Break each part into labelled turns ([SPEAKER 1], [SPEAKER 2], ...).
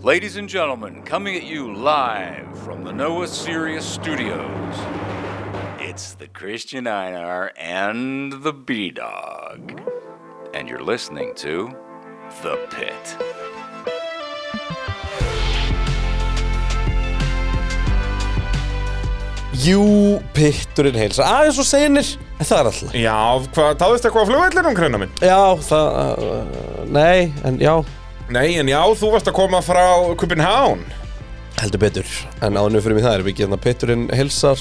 [SPEAKER 1] Ladies and gentlemen, coming at you live from the Noah Sirius Studios, it's the Christian Einar and the B Dog. And you're listening to The Pit.
[SPEAKER 2] Jú, pitturinn heilsa Aðeins og senir, en það er alltaf
[SPEAKER 3] Já, hvað, táðist eitthvað á flugvellinum, greina minn?
[SPEAKER 2] Já, það, uh, nei, en já
[SPEAKER 3] Nei, en já, þú varst að koma frá Copenhagen
[SPEAKER 2] Heldur betur En áðunum fyrir mig það erum við ekki hérna pitturinn heilsar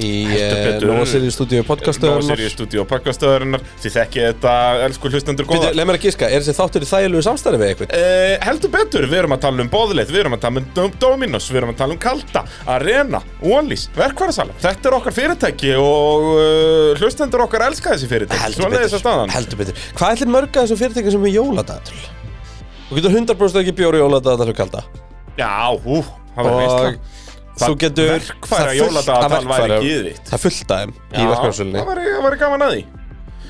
[SPEAKER 2] Í eh,
[SPEAKER 3] betur.
[SPEAKER 2] Nova Sirius stúdíu
[SPEAKER 3] Nova Sirius
[SPEAKER 2] podcastöðunar
[SPEAKER 3] Studio podcastöðurinnar Þið þekkið þetta, elsku hlustendur góða
[SPEAKER 2] Leif mér að gíska, er þessi þáttur í þægilegu samstæri við eitthvað?
[SPEAKER 3] Uh, heldur betur, við erum að tala um bóðleit, við erum að tala um Dom- Dominos, við erum að tala um Kalda, Arena, Wallis, verkvarðasala. Þetta er okkar fyrirtæki og uh, hlustendur okkar elska þessi fyrirtæki.
[SPEAKER 2] Heldur
[SPEAKER 3] Svoleiðis er
[SPEAKER 2] betur,
[SPEAKER 3] staðan.
[SPEAKER 2] heldur betur Hvað ætlir mörg að þessum fyrirtækjum sem er jóladagatul? Þú getur 100% ekki bjóri jóladagatul kalda
[SPEAKER 3] Já, ú, það var
[SPEAKER 2] Og
[SPEAKER 3] veist
[SPEAKER 2] þú getur það
[SPEAKER 3] Verkfæra
[SPEAKER 2] er fullt-
[SPEAKER 3] jóladagatal
[SPEAKER 2] að
[SPEAKER 3] væri
[SPEAKER 2] verkfæra-
[SPEAKER 3] gíðvitt.
[SPEAKER 2] Það er fullt af þeim í
[SPEAKER 3] Það
[SPEAKER 2] verkvæmsölunni
[SPEAKER 3] væri, það væri gaman að því.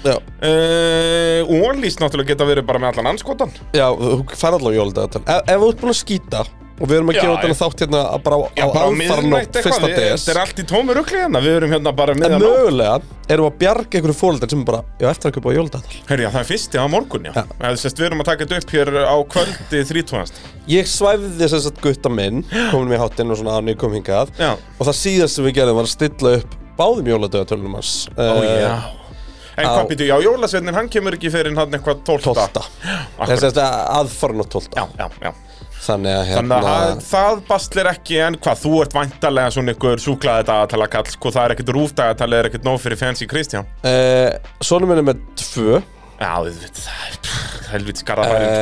[SPEAKER 2] Já,
[SPEAKER 3] Uh, Wallis náttúrulega geta verið bara með allan anskotan.
[SPEAKER 2] já, þú fær allavega jóladagatul Ef ef þú ert búin að skýta og við erum að
[SPEAKER 3] Já,
[SPEAKER 2] gefa
[SPEAKER 3] já.
[SPEAKER 2] þetta þátt hérna að bara á
[SPEAKER 3] Já, bara á miðnætt
[SPEAKER 2] aðfarnótt
[SPEAKER 3] eitthvað.
[SPEAKER 2] fyrsta
[SPEAKER 3] við-
[SPEAKER 2] DS
[SPEAKER 3] Þetta er allt í tómi rugli hérna. Við erum hérna bara
[SPEAKER 2] En
[SPEAKER 3] miðan á.
[SPEAKER 2] mögulega erum við að bjarga einhverju fóreldar sem bara, já, eftir að köpa jóladagatal
[SPEAKER 3] Herja, það er fyrsti á morgun, já.
[SPEAKER 2] Já.
[SPEAKER 3] já. Sest, við erum að taka þetta upp hér á kvöldi þrítúðast.
[SPEAKER 2] Ég svæfði þess að gutta minn komin í hátinn og svona án ég kom hingað
[SPEAKER 3] Já.
[SPEAKER 2] og það síðast sem við gerðum var að stilla upp báðum jóladöðatölunum hans eh,
[SPEAKER 3] Ó, já. En
[SPEAKER 2] á-
[SPEAKER 3] hvað býtu, já, jólasveinninn, hann kemur ekki fyrir en hann eitthvað 12.
[SPEAKER 2] 12.
[SPEAKER 3] Akkurat.
[SPEAKER 2] Þess að aðfarn og 12.
[SPEAKER 3] Já, já, já.
[SPEAKER 2] eh, Þannig að hérna
[SPEAKER 3] Þannig að það bastlir ekki en hvað, þú ert væntalega svona ykkur súklaði dagatala kall, sko, það er ekkit rúfdagatala, er ekkit nóg fyrir fancy Kristján.
[SPEAKER 2] uh, Sónu minn er með 2 uh,
[SPEAKER 3] Já, þú veit, það er pff, helvits garðabæðing.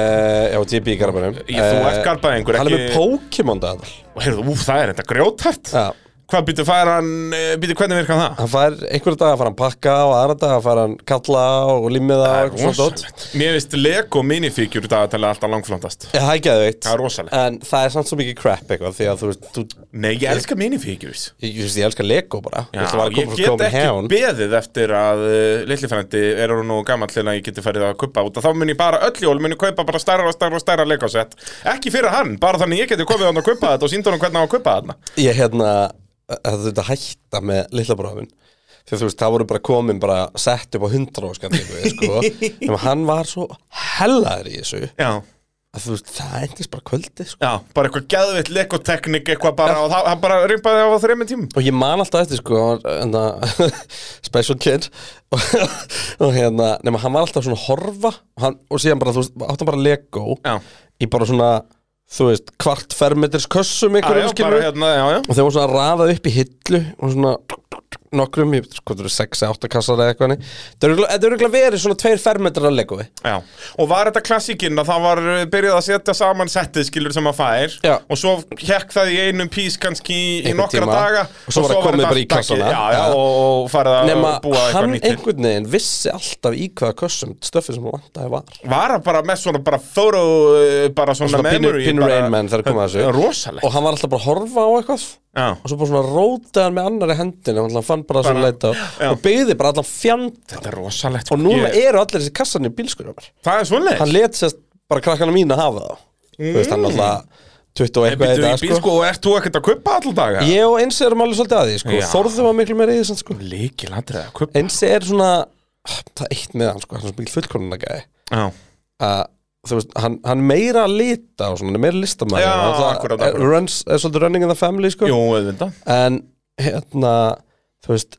[SPEAKER 2] Já, ég býði garabærum
[SPEAKER 3] Ég- þú ert garðbæingur,
[SPEAKER 2] Eh, Hann er með
[SPEAKER 3] ekki-
[SPEAKER 2] Pokémon daðal
[SPEAKER 3] Og heyrðu, úf, það er þetta grjótart.
[SPEAKER 2] Já
[SPEAKER 3] Hvað býtu, fær hann, býtu, hvernig virkar það?
[SPEAKER 2] Hann fær, einhverja daga fær hann pakka og aðra daga fær hann kalla og limmiða og eitthvað svona dót
[SPEAKER 3] rosalegt. Mér finnst Lego minifíkjur dagatala alltaf langflóndast.
[SPEAKER 2] Já, það er geðveikt
[SPEAKER 3] Það er rosalegt.
[SPEAKER 2] En það er samt svo mikið crap eitthvað Því að þú veist, þú,
[SPEAKER 3] Nei, ég elska minifíkjurs.
[SPEAKER 2] ég, ég, ég elskar Lego bara Þú
[SPEAKER 3] Já,
[SPEAKER 2] veist, það var að
[SPEAKER 3] ég
[SPEAKER 2] koma frá
[SPEAKER 3] get ekki
[SPEAKER 2] Copenhagen.
[SPEAKER 3] beðið eftir að uh, litlifrændi er hún nú gammal til að ég geti farið að kuppa út og þá mun ég bara öll jól, mun ég kaupa bara stærra og stærra og stærra leikásett ekki fyrir hann, bara þannig ég geti komið hann að kuppa þetta og sínda hann hvernig á að kuppa þarna
[SPEAKER 2] ég hérna það þurfti að hætta með litla bróðin því að þú veist, það voru bara komin bara sett upp á hundra áskandingu sko. en hann var svo hellaður í þessu
[SPEAKER 3] Já,
[SPEAKER 2] að þú veist, það endist bara kvöldi sko.
[SPEAKER 3] já, bara eitthvað geðvitt leikoteknik eitthvað bara og það, hann bara rimpaði á þreyminn tímum
[SPEAKER 2] og ég man alltaf eftir sko, hann var, hérna, special kid og, og hérna, nema hann var alltaf svona að horfa og, hann, og síðan bara, þú veist, átti hann bara Lego
[SPEAKER 3] Já,
[SPEAKER 2] í bara svona, þú veist, kvart fermetris kössum
[SPEAKER 3] já, já
[SPEAKER 2] einhverjum
[SPEAKER 3] bara
[SPEAKER 2] skilur
[SPEAKER 3] hérna, já, já
[SPEAKER 2] og þeir voru svona raðað upp í hillu og svona nokkrum, ég veit sko, það eru 6 eða 8 kassar eða eitthvað þannig. Þetta eru örugglega- þetta eru örugglega verið svona 2 fermetrar að lego við
[SPEAKER 3] Já, og var þetta klassíkinn að það var uh, byrjað að setja saman settið skilur sem að fær
[SPEAKER 2] Já.
[SPEAKER 3] og svo hekk það í einum pís kannski í, í
[SPEAKER 2] Einhvern
[SPEAKER 3] nokkra
[SPEAKER 2] tíma.
[SPEAKER 3] daga
[SPEAKER 2] Og svo var það komið bara í
[SPEAKER 3] þetta allt ekki-
[SPEAKER 2] kassana.
[SPEAKER 3] Já, já,
[SPEAKER 2] Já.
[SPEAKER 3] og, og farið að
[SPEAKER 2] nema
[SPEAKER 3] búa eitthvað
[SPEAKER 2] hann
[SPEAKER 3] nýtt til.
[SPEAKER 2] einhvern veginn vissi alltaf í hvaða kössum stöfið sem hann vantaði var
[SPEAKER 3] Var hann bara með svona bara þóru bara svona,
[SPEAKER 2] svona pínu,
[SPEAKER 3] memory
[SPEAKER 2] pínu
[SPEAKER 3] bara- Eh,
[SPEAKER 2] Rain Man þegar komið að þessu
[SPEAKER 3] Rosalegt
[SPEAKER 2] og hann var alltaf bara að horfa á eitthvað
[SPEAKER 3] Já.
[SPEAKER 2] og svo bara svona rótaðan með annari hendin og hann fann bara svona
[SPEAKER 3] Bara-
[SPEAKER 2] leita
[SPEAKER 3] Já.
[SPEAKER 2] og byggði bara allan fjand
[SPEAKER 3] Þetta er rosalegt sko.
[SPEAKER 2] og núna
[SPEAKER 3] Ég-
[SPEAKER 2] eru allir þessi kassan í bílskurum
[SPEAKER 3] Það er
[SPEAKER 2] hann
[SPEAKER 3] svoleiðis
[SPEAKER 2] let sérst bara krakkana mína hafa það þú veist hann alltaf 20 og eitthvað
[SPEAKER 3] Mm. En
[SPEAKER 2] í
[SPEAKER 3] býttu í
[SPEAKER 2] dag,
[SPEAKER 3] bíl sko og ert þú ekkert að kuppa alltaf daga?
[SPEAKER 2] Ég og Einsi erum alveg svolítið að því sko.
[SPEAKER 3] Já.
[SPEAKER 2] Þorðum var miklu meira í þessan sko.
[SPEAKER 3] Líkil atrið að kuppa
[SPEAKER 2] Einsi er svona Það er eitt með hann sko, hann er svo mikil fullkonuna gæði
[SPEAKER 3] Já
[SPEAKER 2] að þú veist, hann, hann er meira að lita og svona, hann er meira listamæður
[SPEAKER 3] Já,
[SPEAKER 2] hann alltaf
[SPEAKER 3] akkurat,
[SPEAKER 2] er,
[SPEAKER 3] akkurat.
[SPEAKER 2] runs, er svolítið running in the family sko.
[SPEAKER 3] Jú, auðvitað
[SPEAKER 2] en hérna þú veist,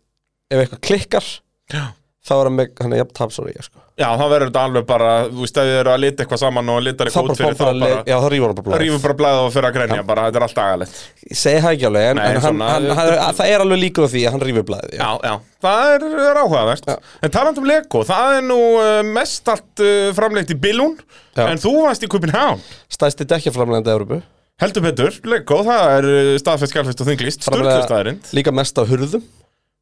[SPEAKER 2] ef eitthvað klikkar
[SPEAKER 3] Já
[SPEAKER 2] þá er hann með, hann er jafn tapsóri ég sko.
[SPEAKER 3] Já, þá verður þetta alveg bara, þú veist, ef þið eru að lita eitthvað saman og litar
[SPEAKER 2] þá
[SPEAKER 3] eitthvað
[SPEAKER 2] bara,
[SPEAKER 3] út fyrir
[SPEAKER 2] bara, bara, le- já, það rýfur hann bara
[SPEAKER 3] Rífum
[SPEAKER 2] blóð
[SPEAKER 3] bara blæða og fyrir að grenja bara, þetta er allt agalegt
[SPEAKER 2] ég segi það ekki alveg, en,
[SPEAKER 3] Nei,
[SPEAKER 2] en hann,
[SPEAKER 3] svona-
[SPEAKER 2] hann, hann, það er alveg líkur á því að hann rýfur blæði
[SPEAKER 3] Já, já, það er, er áhugavert En taland um Lego, það er nú uh, mest allt uh, framleitt í Billún
[SPEAKER 2] Já.
[SPEAKER 3] En þú varst í Copenhagen
[SPEAKER 2] stæsti dekkjaframlegandi Európu
[SPEAKER 3] eh, Heldur betur, Lego, það er uh, staðfest skjálfest og þinglist Sturlustæðarind
[SPEAKER 2] líka mest af hurðum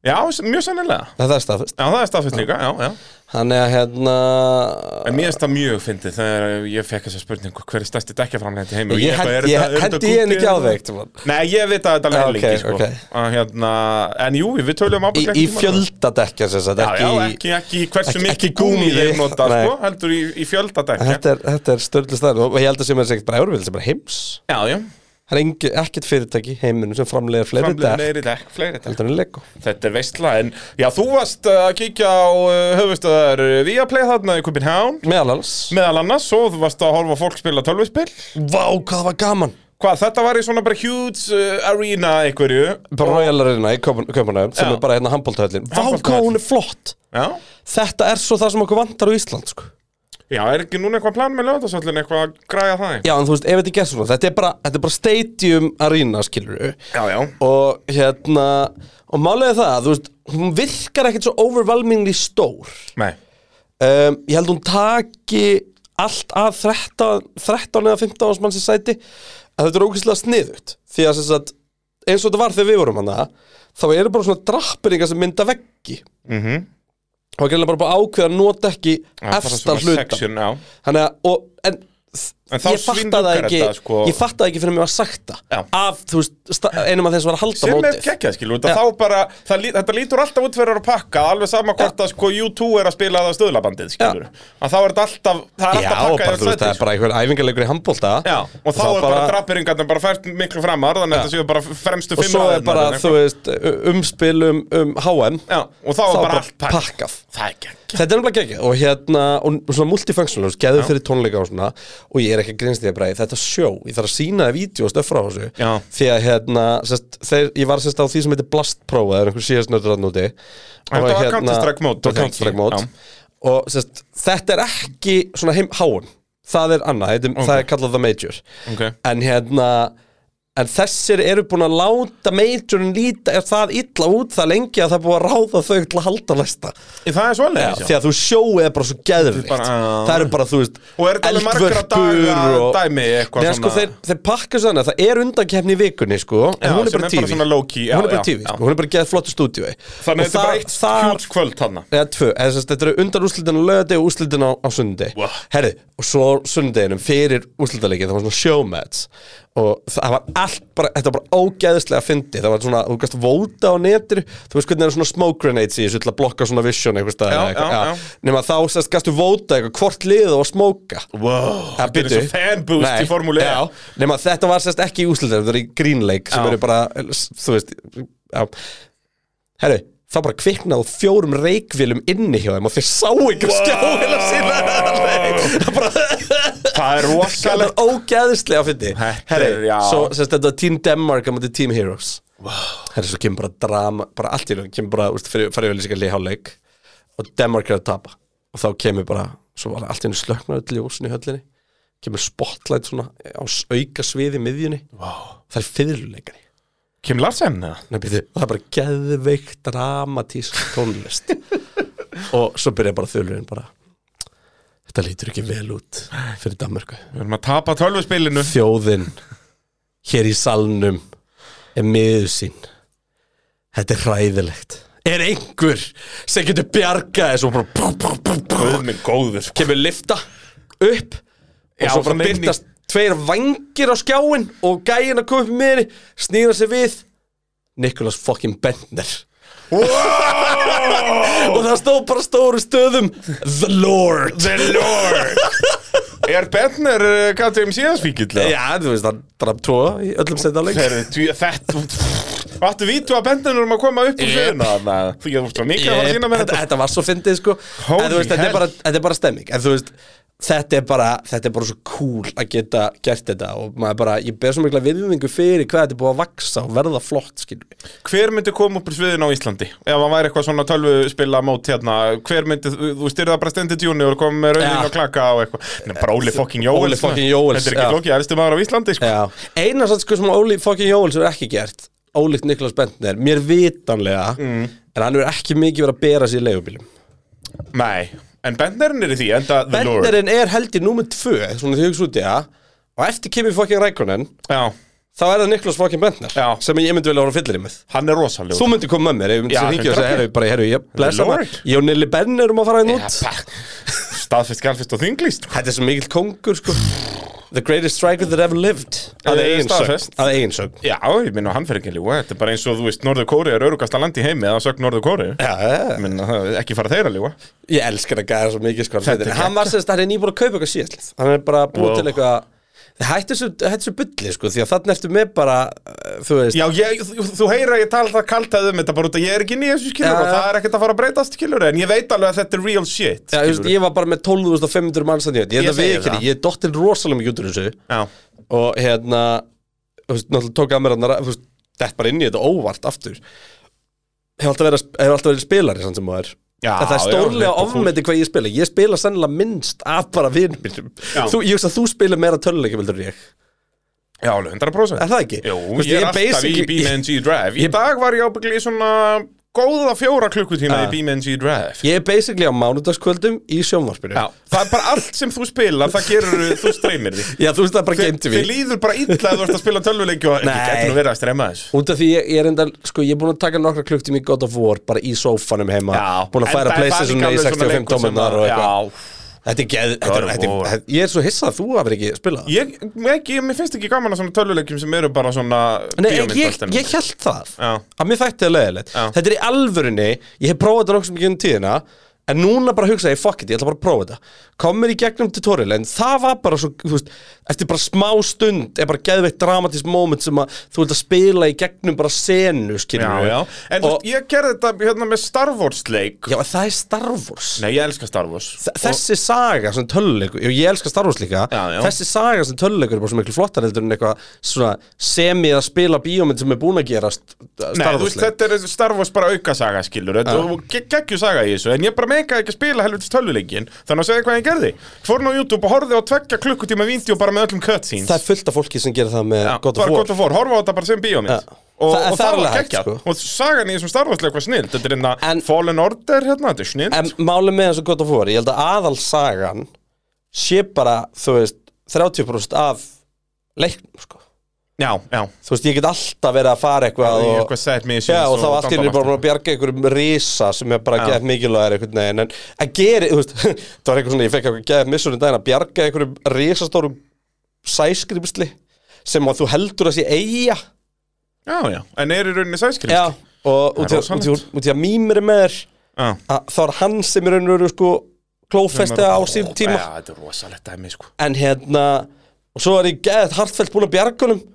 [SPEAKER 3] Já, s- mjög sennilega
[SPEAKER 2] Þetta er staðfest
[SPEAKER 3] Já, það er staðfætt líka, já, já
[SPEAKER 2] Þannig að hérna
[SPEAKER 3] En mér finnst það mjög fyndið þegar ég fekk þessa spurningu Hver er stærsti dekkjaframlegandi heim
[SPEAKER 2] Ég hendi ég, hend ég henni ekki á þig einhvern tímann.
[SPEAKER 3] Nei, ég veit að þetta er
[SPEAKER 2] Já,
[SPEAKER 3] lengi,
[SPEAKER 2] ok,
[SPEAKER 3] sko
[SPEAKER 2] ok.
[SPEAKER 3] Að, hérna, En jú, við töluðum
[SPEAKER 2] Í, í
[SPEAKER 3] ábyggilega ekki um tíma.
[SPEAKER 2] fjöldadekja sem sagt
[SPEAKER 3] Já,
[SPEAKER 2] ekki,
[SPEAKER 3] já,
[SPEAKER 2] í-
[SPEAKER 3] ekki, ekki í hversu
[SPEAKER 2] ekki-
[SPEAKER 3] mikið
[SPEAKER 2] ekki
[SPEAKER 3] gúmi
[SPEAKER 2] gúmmí,
[SPEAKER 3] þeir nota,
[SPEAKER 2] nei.
[SPEAKER 3] sko Heldur í, í fjöldadekkja
[SPEAKER 2] Þetta er, þetta er störlu stæðan og ég held að sem er ekkert bara Euróvill, sem bara heims
[SPEAKER 3] Já, já,
[SPEAKER 2] Það er engi, ekkert fyrirtæki í heiminum sem framleiðir fleiri
[SPEAKER 3] framlega
[SPEAKER 2] dekk
[SPEAKER 3] meiri dekk, fleiri dekk
[SPEAKER 2] heldur en Lego
[SPEAKER 3] Þetta er veistla, en já, þú varst uh, að kíkja á uh, höfustöðar Viaplay þarna í Copenhagen
[SPEAKER 2] Meðal alls
[SPEAKER 3] Meðal annars, svo þú varst að horfa á fólk spila tölvuspill
[SPEAKER 2] Vá, hvað það var gaman
[SPEAKER 3] Hvað, þetta var í svona bara huge uh, arena einhverju
[SPEAKER 2] Bara Royal Arena í Köpunum sem
[SPEAKER 3] Já.
[SPEAKER 2] er bara hérna handbóltahöllin Vá, hvað
[SPEAKER 3] Handboltahöllin.
[SPEAKER 2] hún er flott
[SPEAKER 3] Já,
[SPEAKER 2] Þetta er svo það sem okkur vantar á Ísland sko.
[SPEAKER 3] já, er ekki núna eitthvað plan með lögðarsvöllin eitthvað að græja það í?
[SPEAKER 2] Já, en þú veist, ef þetta ekki er svona Þetta er bara, þetta er bara stadium arena, skilur
[SPEAKER 3] Já, já,
[SPEAKER 2] Og hérna Og málega það, þú veist Hún virkar ekkert svo overwhelmingly stór
[SPEAKER 3] nei,
[SPEAKER 2] um, Ég held hún taki allt að 13, 13 eða 15 árs manns í sæti að þetta er ógæslega sniðut því að sem sagt, eins og þetta var þegar við vorum hana þá eru bara svona drapperingar sem mynda veggi mm -hmm. og það er bara bara ákveða að nota ekki
[SPEAKER 3] Mhm. Já, það er
[SPEAKER 2] efsta
[SPEAKER 3] svona
[SPEAKER 2] hluta
[SPEAKER 3] section, já.
[SPEAKER 2] Þannig að, og, en,
[SPEAKER 3] En þá
[SPEAKER 2] ég fatta það
[SPEAKER 3] svinduggar
[SPEAKER 2] ekki
[SPEAKER 3] þetta, sko.
[SPEAKER 2] ég fatta það ekki fyrir mig var sagt
[SPEAKER 3] Já.
[SPEAKER 2] það af, þú veist, sta- einum af þeim sem var að halda
[SPEAKER 3] sem er
[SPEAKER 2] mótið
[SPEAKER 3] geggjað skilur þetta,
[SPEAKER 2] Já.
[SPEAKER 3] þá bara, það, lí- þetta lítur alltaf út fyrir að pakka alveg sama hvort að sko U2 er að spila það stöðlabandið skilur að þá er þetta alltaf,
[SPEAKER 2] Já,
[SPEAKER 3] það er alltaf
[SPEAKER 2] bara,
[SPEAKER 3] pakkað
[SPEAKER 2] þú veist, það er bara einhver æfingarleikur í handbólta
[SPEAKER 3] Já, og þá er bara drapperingarnir bara fært miklu framar þannig að þetta séu bara fremstu
[SPEAKER 2] og
[SPEAKER 3] fimm
[SPEAKER 2] svo er
[SPEAKER 3] raðirnar
[SPEAKER 2] bara,
[SPEAKER 3] eða
[SPEAKER 2] þú
[SPEAKER 3] eitthvað.
[SPEAKER 2] veist, umspil um, um HM
[SPEAKER 3] Já, og þá er bara allt pakkað.
[SPEAKER 2] pakkað
[SPEAKER 3] Það er geggjað
[SPEAKER 2] Þetta er nefnilega geggjað og hérna, og svona multifunctional, geðu fyrir tónleika og svona og ég er ekki að grínst því að bræði, þetta er sjó ég þarf að sína það vídeo og stöffra á þessu
[SPEAKER 3] Já.
[SPEAKER 2] því að hérna, sest, þeir, ég var sérst á því sem heitir Blast Pro, það er einhver síðast nördur að núti
[SPEAKER 3] Þetta var Counter-Strike mót,
[SPEAKER 2] og, hérna,
[SPEAKER 3] var það
[SPEAKER 2] Counter-Strike
[SPEAKER 3] ekki?
[SPEAKER 2] mót.
[SPEAKER 3] Já.
[SPEAKER 2] og sest, þetta er ekki svona heim háum, það er annað heitir, það er kallað The Major
[SPEAKER 3] Ok.
[SPEAKER 2] en hérna En þessir eru búin að láta majorin líta er það illa út það lengi að það er búið að ráða þau til að halda næsta
[SPEAKER 3] Það er
[SPEAKER 2] Já,
[SPEAKER 3] svoleiðis,
[SPEAKER 2] því
[SPEAKER 3] já
[SPEAKER 2] að þú sjóið er bara svo geðvikt
[SPEAKER 3] Bara, já.
[SPEAKER 2] Það eru bara, þú veist,
[SPEAKER 3] Og er þetta alveg margra daga dæmi eitthvað
[SPEAKER 2] Nei, sko,
[SPEAKER 3] svona-
[SPEAKER 2] þeir, þeir pakka svo þannig að það er undankefni í vikunni, sko
[SPEAKER 3] Já,
[SPEAKER 2] En hún er
[SPEAKER 3] sem
[SPEAKER 2] bara
[SPEAKER 3] er bara
[SPEAKER 2] tífi
[SPEAKER 3] svona low-key, já,
[SPEAKER 2] Hún er bara
[SPEAKER 3] já,
[SPEAKER 2] tífi,
[SPEAKER 3] já.
[SPEAKER 2] sko, hún er bara geð flottu stúdíu
[SPEAKER 3] Þannig að þetta er bara eitt huge kvöld hann
[SPEAKER 2] Eða tvö, eða þess að þetta eru undan úrslitin á lögði og úrslitin á, á sundi
[SPEAKER 3] Wow.
[SPEAKER 2] Herri, og svo sundeginum fyrir úrslitaleikin það var svona showmatch og það var allt bara, þetta var bara ógeðislega fyndi, það var svona, þú gæst vóta á netir, þú veist hvernig er svona smoke grenades í þessu til að blokka svona vision einhvers staðar
[SPEAKER 3] Já,
[SPEAKER 2] eða eitthvað,
[SPEAKER 3] já, já.
[SPEAKER 2] nema þá sérst gæstu vóta eitthvað hvort liðið var að smóka
[SPEAKER 3] Wow,
[SPEAKER 2] Það
[SPEAKER 3] þetta er
[SPEAKER 2] bíddu.
[SPEAKER 3] svo fanboost
[SPEAKER 2] Nei,
[SPEAKER 3] í formúli
[SPEAKER 2] já,
[SPEAKER 3] Já,
[SPEAKER 2] nema þetta var sérst ekki í úslitum þetta er í Greenlake sem
[SPEAKER 3] Já.
[SPEAKER 2] eru bara, þú veist já. herru, þá bara kviknaðu fjórum reikvílum inni hjá þeim og þeir sáu ykkur wow. skjáðina sína hérna það bara
[SPEAKER 3] það er
[SPEAKER 2] það er
[SPEAKER 3] rosalegt
[SPEAKER 2] ógæðislega að fyndi
[SPEAKER 3] Þetta er-
[SPEAKER 2] herru,
[SPEAKER 3] já.
[SPEAKER 2] svo sérst þetta var Team Denmark á móti Team Heroes wow. herru, svo kemur bara drama, bara allt í raun kemur bara, úst, fyrir, farið við líka leik og Denmark er að tapa og þá kemur bara, svo var allt í raun slöknar öll ljósin í höllinni kemur spotlight svona á s- auka sviði í miðjunni
[SPEAKER 3] Vá.
[SPEAKER 2] það er fiðluleikari
[SPEAKER 3] Kim Larsen, eða?
[SPEAKER 2] Nei, byrju, það er bara geðveikt dramatísk tónlist og svo byrja bara þulurinn bara þetta lítur ekki vel út fyrir Danmörku
[SPEAKER 3] við erum að tapa tölvuspilinu
[SPEAKER 2] þjóðin hér í salnum er miður sín þetta er hræðilegt er einhver sem getur bjargað þessu og bara bú, bú, bú, bú,
[SPEAKER 3] Guð minn góður, sko
[SPEAKER 2] kemur lifta upp og
[SPEAKER 3] Já,
[SPEAKER 2] svo
[SPEAKER 3] bara
[SPEAKER 2] bara
[SPEAKER 3] inn í-
[SPEAKER 2] byrtast tveir vangir á skjáin og gæin að koma upp meðri snýra sér við Nikolas fucking Bender og það stóð bara stóru stöðum The Lord
[SPEAKER 3] The Lord Er Bentner uh, KTM síðansvíkill?
[SPEAKER 2] Já, þú veist, hann draf tvo í öllum setjáleik
[SPEAKER 3] Þetta Vattu vítu að Bentner um að koma upp úr
[SPEAKER 2] Yep.
[SPEAKER 3] sviðina þarna? Þú getur svo mikið að fara að sína með
[SPEAKER 2] þetta,
[SPEAKER 3] þetta
[SPEAKER 2] þetta var svo fyndið sko en,
[SPEAKER 3] Holy
[SPEAKER 2] þú veist, þetta,
[SPEAKER 3] hell.
[SPEAKER 2] er bara, þetta er bara stemming en, þú veist, þetta, er bara, þetta er bara svo cool að geta gert þetta og maður bara, ég ber svo mikla virðingu fyrir hvað þetta er búið að vaksa og verða flott skilur við.
[SPEAKER 3] Hver myndi koma upp úr sviðin á Íslandi? Ef hann væri eitthvað svona tölvuspilla mót hérna Hver myndi, þú styrði það bara stendur tjúni og kom með
[SPEAKER 2] Já.
[SPEAKER 3] raunin og klaka og eitthvað Nei, bara Óli fucking Jóels
[SPEAKER 2] Óli fucking
[SPEAKER 3] maður.
[SPEAKER 2] Jóels,
[SPEAKER 3] Þetta er ekki
[SPEAKER 2] já.
[SPEAKER 3] flókið, elsti maður á Íslandi sko.
[SPEAKER 2] Já. eina satt sko sem Óli fucking Jóhels er ekki gert ólíkt Niklas Bentner, mér vitanlega
[SPEAKER 3] Mm.
[SPEAKER 2] en hann er ekki mikið verið að bera sér í leigubílum
[SPEAKER 3] Nei, en Bentnerinn er í því, enda The Lord
[SPEAKER 2] Bentnerinn er held í númer tvö svona því hugsa út í það og eftir kemur fucking Rækonen
[SPEAKER 3] Já,
[SPEAKER 2] þá er það Niklas Fokkin Bentner
[SPEAKER 3] Já.
[SPEAKER 2] sem ég myndi velja að voru fyllir í með
[SPEAKER 3] Hann er rosalegur
[SPEAKER 2] Þú myndi koma með mér ef ég myndi
[SPEAKER 3] Já,
[SPEAKER 2] hringja og segja,
[SPEAKER 3] 100%.
[SPEAKER 2] herru, bara, herru, ég blessa hana
[SPEAKER 3] Lord.
[SPEAKER 2] Ég og Nilli Benn erum að fara einn út
[SPEAKER 3] ja, Staðfist, galfist og þinglist
[SPEAKER 2] Þetta er svo mikill kongur, sko The greatest striker that ever lived Að
[SPEAKER 3] Eh,
[SPEAKER 2] eigin sögn
[SPEAKER 3] staðfest.
[SPEAKER 2] Að eigin sögn
[SPEAKER 3] Já, ég minna hann fyrir ekki líka Þetta er bara eins og þú veist, Norður Kóri er örugasta land í heimi eða sögn Norður Kóri
[SPEAKER 2] Já, já, já.
[SPEAKER 3] Minna, það er ekki fara þeirra líka
[SPEAKER 2] Ég elskar að gæða svo mikið sko
[SPEAKER 3] Þetta er
[SPEAKER 2] Hann var semst, hann er nýbúin að kaupa eitthvað síðastlið Hann er bara búið
[SPEAKER 3] Wow.
[SPEAKER 2] til eitthvað Þið hættu svo, hættu svo bulli sko Því að þarna ertu með bara, uh, þú veist
[SPEAKER 3] Já, ég, þú, þú heyra að ég tala það kaltaði um þetta bara út að ég er ekki nýja þessu skilur
[SPEAKER 2] Já,
[SPEAKER 3] og
[SPEAKER 2] já.
[SPEAKER 3] það er ekkert að fara að breytast skilur en ég veit alveg að þetta er real shit
[SPEAKER 2] Já, ég, veist,
[SPEAKER 3] skilurðu.
[SPEAKER 2] ég var bara með 12.500 manns að nýtt Ég
[SPEAKER 3] Ég
[SPEAKER 2] held að við
[SPEAKER 3] segi
[SPEAKER 2] ekki,
[SPEAKER 3] það.
[SPEAKER 2] ég er dottin rosalega mikið út úr þessu
[SPEAKER 3] Já.
[SPEAKER 2] og hérna þú veist, náttúrulega tók að mér hann þú veist, dett bara inn í þetta óvart aftur hefur alltaf verið, hef alltaf verið spilari sann sem maður
[SPEAKER 3] Já,
[SPEAKER 2] En það er
[SPEAKER 3] já,
[SPEAKER 2] stórlega
[SPEAKER 3] Liverpool.
[SPEAKER 2] ofmeti hvað ég spila Ég spila sennilega minnst af bara vinum mínum
[SPEAKER 3] Já.
[SPEAKER 2] þú, Ég hugsa að þú spila meira töluleikja vildur ég
[SPEAKER 3] Já, alveg, 100%
[SPEAKER 2] Er það ekki?
[SPEAKER 3] Jú,
[SPEAKER 2] Þú veist,
[SPEAKER 3] ég er
[SPEAKER 2] ég
[SPEAKER 3] alltaf í
[SPEAKER 2] basic-
[SPEAKER 3] BMNG Drive Í dag var ég ábyggli í svona góða fjóra klukkutíma í BMNG Drive
[SPEAKER 2] Ég er basically á mánudagskvöldum í sjónvarpinu
[SPEAKER 3] Já, það er bara allt sem þú spilar, það gerur þú streymir því
[SPEAKER 2] Já, þú veist það er bara game
[SPEAKER 3] Þið
[SPEAKER 2] TV
[SPEAKER 3] líður bara illa að þú ert að spila tölvuleikju og ekki
[SPEAKER 2] Nei.
[SPEAKER 3] getur nú verið að streyma þessu
[SPEAKER 2] Út af því ég, ég er enda, sko, ég er búin að taka nokkra klukktum í God of War bara í sófanum heima Búin að færa playstation í 65 tómunar og eitthvað
[SPEAKER 3] Já,
[SPEAKER 2] Þetta er geð, þetta er,
[SPEAKER 3] God of
[SPEAKER 2] þetta
[SPEAKER 3] War.
[SPEAKER 2] er, þetta ég er svo hissað að þú hafir ekki spilað það.
[SPEAKER 3] Ég, mér ekki, mér finnst ekki gaman að svona tölvuleikjum sem eru bara svona
[SPEAKER 2] Nei, ég,
[SPEAKER 3] bíómyndar
[SPEAKER 2] ég,
[SPEAKER 3] stemning.
[SPEAKER 2] ég held það
[SPEAKER 3] Já.
[SPEAKER 2] að mér þætti það leiðilegt
[SPEAKER 3] Já.
[SPEAKER 2] Þetta er í alvörunni, ég hef prófað þetta nokkuð mikið um tíðina En núna bara hugsaði ég, fuck it, ég ætla bara að prófa þetta Komir í gegnum tutorial, en það var bara svo, þú veist Eftir bara smá stund, er bara geðveitt dramatísk moment sem að þú vilt að spila í gegnum bara senu,
[SPEAKER 3] Já,
[SPEAKER 2] skilur
[SPEAKER 3] já, en þú
[SPEAKER 2] og,
[SPEAKER 3] veist, ég gerði þetta hérna með Star Wars leik
[SPEAKER 2] Já, en það er Star Wars
[SPEAKER 3] Nei, ég elska Star Wars
[SPEAKER 2] Þa- Þessi saga sem töluleikur, jú, ég elska Star Wars líka
[SPEAKER 3] Já, já.
[SPEAKER 2] Þessi saga sem töluleikur er bara svo miklu flottar heldur en eitthvað svona semi að spila bíómynd sem er búin að gerast uh,
[SPEAKER 3] Nei,
[SPEAKER 2] Star
[SPEAKER 3] þú
[SPEAKER 2] Wars
[SPEAKER 3] veist,
[SPEAKER 2] leik
[SPEAKER 3] þetta er Star Wars bara aukasaga, skilur Þetta
[SPEAKER 2] Já.
[SPEAKER 3] og ge- geggjuð saga í þessu En ég bara meikaði ekki að spila helvitis tölvuleikin Þannig að segja hvað ég gerði Fór nú á YouTube og horfði á tveggja klukkutíma vídeo bara með öllum cutscenes
[SPEAKER 2] Það er fullt af fólki sem gerir það með
[SPEAKER 3] Já,
[SPEAKER 2] God of
[SPEAKER 3] bara
[SPEAKER 2] War
[SPEAKER 3] God of War, horfa á þetta bara sem bíómynd
[SPEAKER 2] Já.
[SPEAKER 3] og,
[SPEAKER 2] Það-
[SPEAKER 3] og
[SPEAKER 2] það er
[SPEAKER 3] það
[SPEAKER 2] alveg
[SPEAKER 3] var
[SPEAKER 2] hægt,
[SPEAKER 3] geggjað
[SPEAKER 2] sko.
[SPEAKER 3] og sagan í þessum Star Wars leik var snill þetta er hérna
[SPEAKER 2] En-
[SPEAKER 3] Fallen Order hérna, þetta er snill
[SPEAKER 2] En málið með þessu God of War, ég held að aðalsagan sé bara, þú veist 30% af leiknum, sko
[SPEAKER 3] já, já,
[SPEAKER 2] Þú veist, ég get alltaf verið að fara eitthvað
[SPEAKER 3] Í
[SPEAKER 2] og
[SPEAKER 3] eitthvað set missions
[SPEAKER 2] Já, og þá allt í henni bara
[SPEAKER 3] bandamaster.
[SPEAKER 2] búin að bjarga einhverjum risa sem er bara
[SPEAKER 3] Já.
[SPEAKER 2] gett mikilvægir einhvern veginn, en að gera, þú veist, það var eitthvað svona, ég fekk eitthvað gett missunum daginn að bjarga einhverjum risastórum sæskrymsli sem að þú heldur að sé eiga
[SPEAKER 3] Já, já, en er í rauninni sæskrim
[SPEAKER 2] Já, og út
[SPEAKER 3] Það er
[SPEAKER 2] í að-
[SPEAKER 3] rosalegt.
[SPEAKER 2] út í að- út í að mýmir er með þér
[SPEAKER 3] já.
[SPEAKER 2] að þá er hann sem er raunveru sko klófesta á sín tíma
[SPEAKER 3] Já, þetta er rosalegt dæmi, sko
[SPEAKER 2] en hérna, og svo er ég gett hartfælt búin að bjarga honum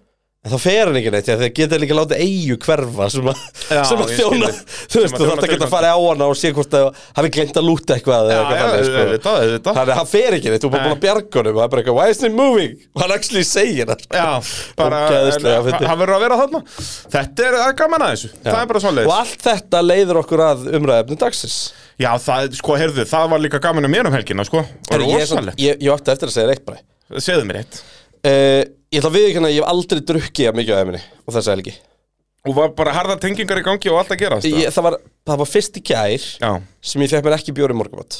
[SPEAKER 2] En þá fer hann ekki neitt, þegar geta líka látið eigu hverfa sem að,
[SPEAKER 3] Já,
[SPEAKER 2] sem að
[SPEAKER 3] ég skil
[SPEAKER 2] þjóna þú
[SPEAKER 3] þig.
[SPEAKER 2] veist,
[SPEAKER 3] Sem að
[SPEAKER 2] þú
[SPEAKER 3] þjóna
[SPEAKER 2] þarf ekki að
[SPEAKER 3] tilgangi.
[SPEAKER 2] fara á hana og sé hvort að hafi glemt að lúta eitthvað eða
[SPEAKER 3] Já,
[SPEAKER 2] eitthvað
[SPEAKER 3] já,
[SPEAKER 2] þannig, sko.
[SPEAKER 3] auðvitað, auðvitað
[SPEAKER 2] Þannig að hann fer ekki neitt, þú er bara
[SPEAKER 3] Nei.
[SPEAKER 2] búin að bjarga honum og það er bara eitthvað, why isn't it moving? Og hann actually segir það sko.
[SPEAKER 3] Já, bara,
[SPEAKER 2] Ógeðslega
[SPEAKER 3] en-
[SPEAKER 2] fyndið.
[SPEAKER 3] hann verður að vera þarna Þetta er, það er gaman að þessu, það er bara
[SPEAKER 2] Og
[SPEAKER 3] svoleiðis
[SPEAKER 2] allt þetta leiðir okkur að umræðefni dagsins
[SPEAKER 3] Já, það, sko, heyrðu, það var líka gaman um mér um helgina, sko Og
[SPEAKER 2] Herru, ég, er samt-
[SPEAKER 3] rosalegt,
[SPEAKER 2] ég, ég átti eftir að segja reitt bara
[SPEAKER 3] segðu mér eitt
[SPEAKER 2] uh, Ég ætla að við ekki að ég hef aldrei drukkið að mikið á eminni og þess að helgi
[SPEAKER 3] Og var bara harða tengingar í gangi og allt að gera
[SPEAKER 2] ég, það, var, það var fyrst í gær
[SPEAKER 3] Já,
[SPEAKER 2] sem ég fekk mér ekki bjóri morgumat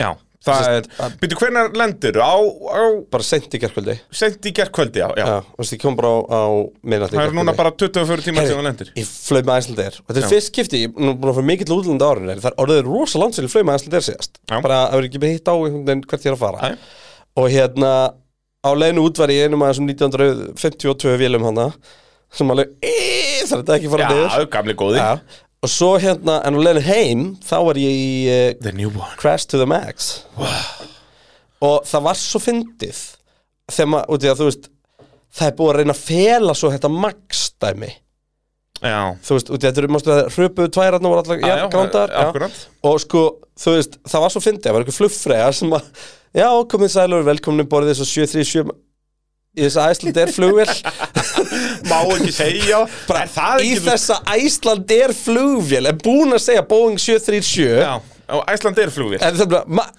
[SPEAKER 3] já, það er Býtu, hvenær lendir? Á, á,
[SPEAKER 2] bara sent í gerkvöldi
[SPEAKER 3] sent í gerkvöldi, já, já
[SPEAKER 2] Já, þú veist, ég kom bara á, á minnati
[SPEAKER 3] Það er núna bara 24 tíma sem hún lendir
[SPEAKER 2] Ég flög með Æslandeir Og þetta er
[SPEAKER 3] Já.
[SPEAKER 2] fyrst skipti, ég er nú búin að fara mikill útlund árin Það er orðið rosa langt sem ég flög með Æslandeir síðast
[SPEAKER 3] Já.
[SPEAKER 2] Bara að vera ekki með hitt á einhvern veginn hvert ég er að fara
[SPEAKER 3] Æ.
[SPEAKER 2] Og hérna á leiðinu út var ég einum aðeins um 1952 vélum hana Sem alveg, "Í, þarf þetta ekki að fara
[SPEAKER 3] Já,
[SPEAKER 2] niður
[SPEAKER 3] gamli góði
[SPEAKER 2] Já. Og svo hérna, en á leiðinu heim Þá var ég í uh,
[SPEAKER 3] The new one
[SPEAKER 2] Crash to the Max og það var svo fyndið þegar maður, út í að þú veist það er búið að reyna að fela svo þetta Max dæmi,
[SPEAKER 3] Já,
[SPEAKER 2] þú veist, út í að þetta eru mástu að hröpuðu tværarnar voru allar, já,
[SPEAKER 3] já,
[SPEAKER 2] grándar já.
[SPEAKER 3] akkurat.
[SPEAKER 2] og sko, þú veist, það var svo fyndið það var eitthvað flugfreyja sem að já, komið sælur, velkomin um borðið þessu 737 í þessu Æslandeir flugvél
[SPEAKER 3] má ekki segja
[SPEAKER 2] bara
[SPEAKER 3] Er það
[SPEAKER 2] í
[SPEAKER 3] ekki
[SPEAKER 2] þessa Æslandeir flugvél er búin að segja Boeing 737 Eh.
[SPEAKER 3] Já, og Æsland er flugvér
[SPEAKER 2] En það er bara ma-